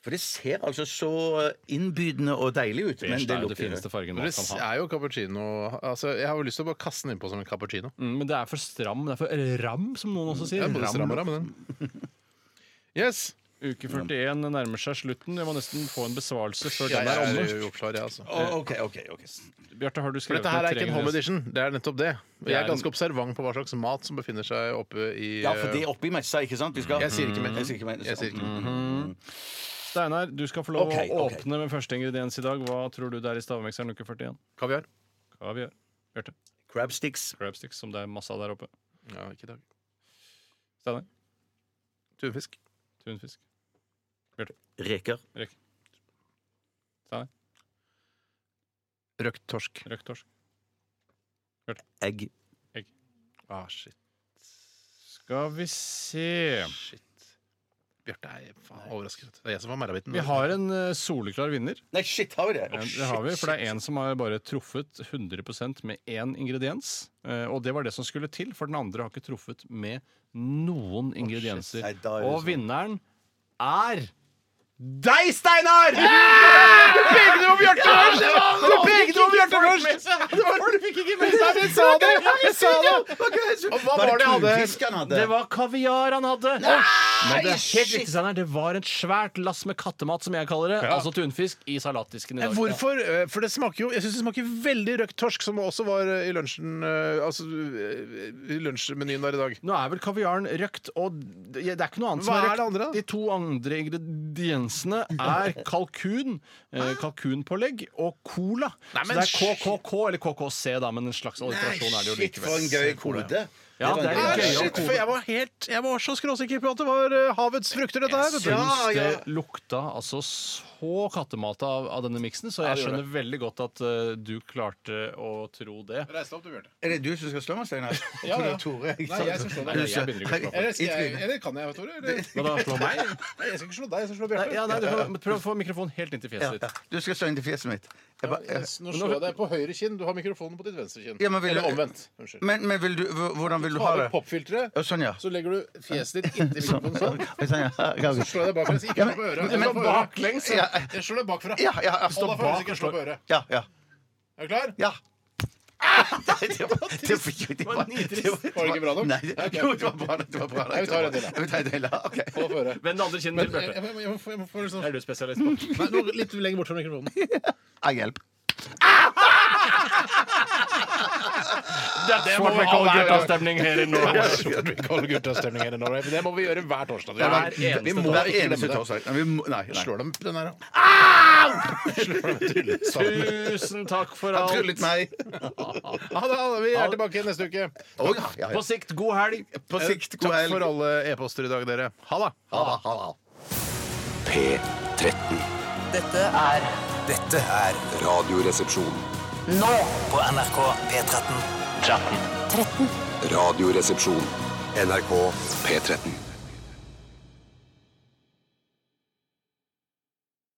S3: For det ser altså så innbydende og deilig ut. Men
S4: Beige
S3: det
S4: er jo
S3: lukter
S4: det fineste fargen man
S2: Det
S4: kan ha.
S2: er jo cappuccino altså, Jeg har jo lyst til å bare kaste den innpå som en cappuccino.
S4: Mm, Men det er for stram. Det er for ram, som noen også sier.
S2: Ja, både stram og ram, den. Yes.
S4: Uke 41 nærmer seg slutten. Jeg må nesten få en besvarelse før
S2: Jeg
S4: den er omme.
S2: er jo klar, jeg, altså.
S3: Å, OK, OK. ok
S4: Bjarte, har du
S2: For
S4: skrevet
S2: dette her
S4: ned
S2: er ikke en
S4: tre
S2: home
S4: ganger-
S2: edition. Det er nettopp det. Og jeg
S4: Det
S2: er
S4: er
S2: ganske observant på hva slags mat som befinner seg oppe i
S3: Ja, for det er oppi messa, ikke sant? Vi skal... Mm-hmm.
S2: Jeg sier ikke mer.
S3: Jeg sier ikke mer.
S2: Jeg sier ikke mer.
S4: Steinar, du skal få lov
S3: Ok,
S4: å
S3: ok.
S4: åpne med første ingrediens i dag. Hva tror du det er i stavmikseren uke 41?
S2: eh, Kaviar.
S4: Hva vi gjør? Bjarte?
S3: Crab sticks.
S4: Crab sticks, som det er masse av der oppe.
S2: Ja, ikke i dag.
S4: Steinar?
S2: Tunfisk.
S4: Tunfisk.
S3: Reker.
S2: Røkt torsk.
S4: Røkt torsk.
S3: Egg.
S2: Ah, shit.
S4: Skal vi se
S2: Shit. Bjarte er faen overrasket. Det er jeg som var merabiten.
S4: Vi har en eh, soleklar vinner.
S3: Nei, shit, har vi det?
S4: Ja, det har vi, for det er en som har bare truffet 100 med én ingrediens. eh, Og det var det som skulle til, for den andre har ikke truffet med noen ingredienser.
S3: Nei, da er det
S4: Og
S3: sånn.
S4: vinneren er
S3: Deg, Steinar!
S2: Du pekte på Bjarte først! Jeg sa det! Jeg sa det! Og hva var det jeg hadde?
S3: tunfisk han hadde?
S4: Det var kaviar han hadde! Men det er helt
S3: shit!
S4: riktig, Steinar. Det var et svært lass med kattemat, som jeg kaller det. Altså tunfisk i salatdisken i dag.
S2: Hvorfor? Eh, For det smaker jo Jeg syns det smaker veldig røkt torsk, som også var eh, i lunsjen eh, Altså eh, i lunsjmenyen der i dag.
S4: Nå er vel kaviaren røkt, og det det er ikke noe annet som
S2: Hva
S4: er
S2: er
S4: røkt.
S2: det andre, da?
S4: De to andre ingrediensene er kalkun, eh, kalkunpålegg og cola.
S2: Nei, men
S4: så det er KKK, eller KKC, da, men en slags alliterasjon er det jo
S3: Shit, for en
S4: likevel.
S3: gøy kode.
S4: Ja,
S3: var
S4: det
S3: en
S4: er
S3: gøy kode.
S4: gøy. Ja,
S2: Shit, for jeg var helt Jeg var så skråsikker på at det var eh, havets frukter, dette her.
S4: Jeg
S2: vet
S4: syns
S2: du.
S4: det lukta altså så kattemat av, av denne miksen, så jeg skjønner veldig godt at eh, du klarte å tro det.
S3: Er det du som skal slå meg, Steinar?
S2: Ja, ja.
S3: Jeg tror det er Tore, ikke
S2: Nei,
S3: sant?
S2: jeg skal slå deg.
S3: Du
S4: Nei, jeg begynner ikke å
S3: Nei,
S4: slå på.
S2: Eller,
S3: i
S2: skal jeg,
S3: trynet.
S2: eller kan jeg, Tore? Eller?
S4: Hva da, slå meg?
S2: Nei, jeg skal ikke slå deg, jeg skal slå
S4: Nei,
S2: Bjarte.
S4: ja, nei, du kan prøv å få mikrofonen helt inn til
S3: Ja,
S4: fjeset
S3: ja.
S4: ditt.
S3: Du skal slå inn til fjeset mitt. Jeg ba, jeg,
S2: Nå slår jeg deg på høyre kinn. Du har mikrofonen på ditt venstre kinn.
S3: Ja, men vil-
S2: Eller omvendt. Unnskyld.
S3: men men vil du, hv- hvordan vil du ha
S2: Tar
S3: det?
S2: du popfilteret,
S3: Ja, Sånn, ja.
S2: så legger du fjeset ditt inntil mikrofonen sånn.
S3: Sånn, ja.
S2: Så slår jeg deg baklengs. Ikke slå på øret. Jeg slår på øret.
S3: baklengs? Ja,
S2: Jeg slår deg bakfra.
S3: ja. ja, ja.
S2: Hold deg for øret, så ikke slå på øret.
S3: Ja, ja.
S2: Er du klar?
S3: ja. Ah! Nei, det var det var- det var- det
S2: Var det ikke bra nok?
S3: Nei, det, jo, det var bra nok. Det var bra nok.
S2: Nei, vi tar en til, da.
S3: Vi tar en til, ja. Ok.
S2: Hold deg for øret.
S4: Vend det andre kinnet
S2: Jeg,
S4: til,
S2: jeg,
S4: Bjarte.
S2: jeg, må- jeg må få
S4: Det
S2: liksom
S4: er du spesialist på.
S2: Nei, nå litt lenger bort fra mikrofonen.
S3: Ah, hjelp.
S4: Det må vi ha guttastemning her i Norge.
S2: Det må vi gjøre hver torsdag.
S4: Hver eneste
S2: Vi må
S3: Hver
S2: ikke
S3: eneste
S2: glemme det.
S3: torsdag. Nei, vi må- Nei, nei.
S2: Slår dem den her, da?
S4: Tusen takk for
S3: Han
S4: alt.
S3: tryllet meg.
S2: Ha det, ha det. Vi er tilbake neste uke. Eh,
S3: Å, ja, ja, ja.
S4: På sikt, god helg.
S3: På sikt, god
S2: Takk for
S3: helg.
S2: alle e-poster i dag, dere. Ha det.
S3: Ha det, ha det.
S6: P13.
S9: Dette er
S7: Dette er
S6: Radioresepsjon.
S9: nå
S7: på NRK P13. 13.
S6: Radioresepsjon. NRK P13.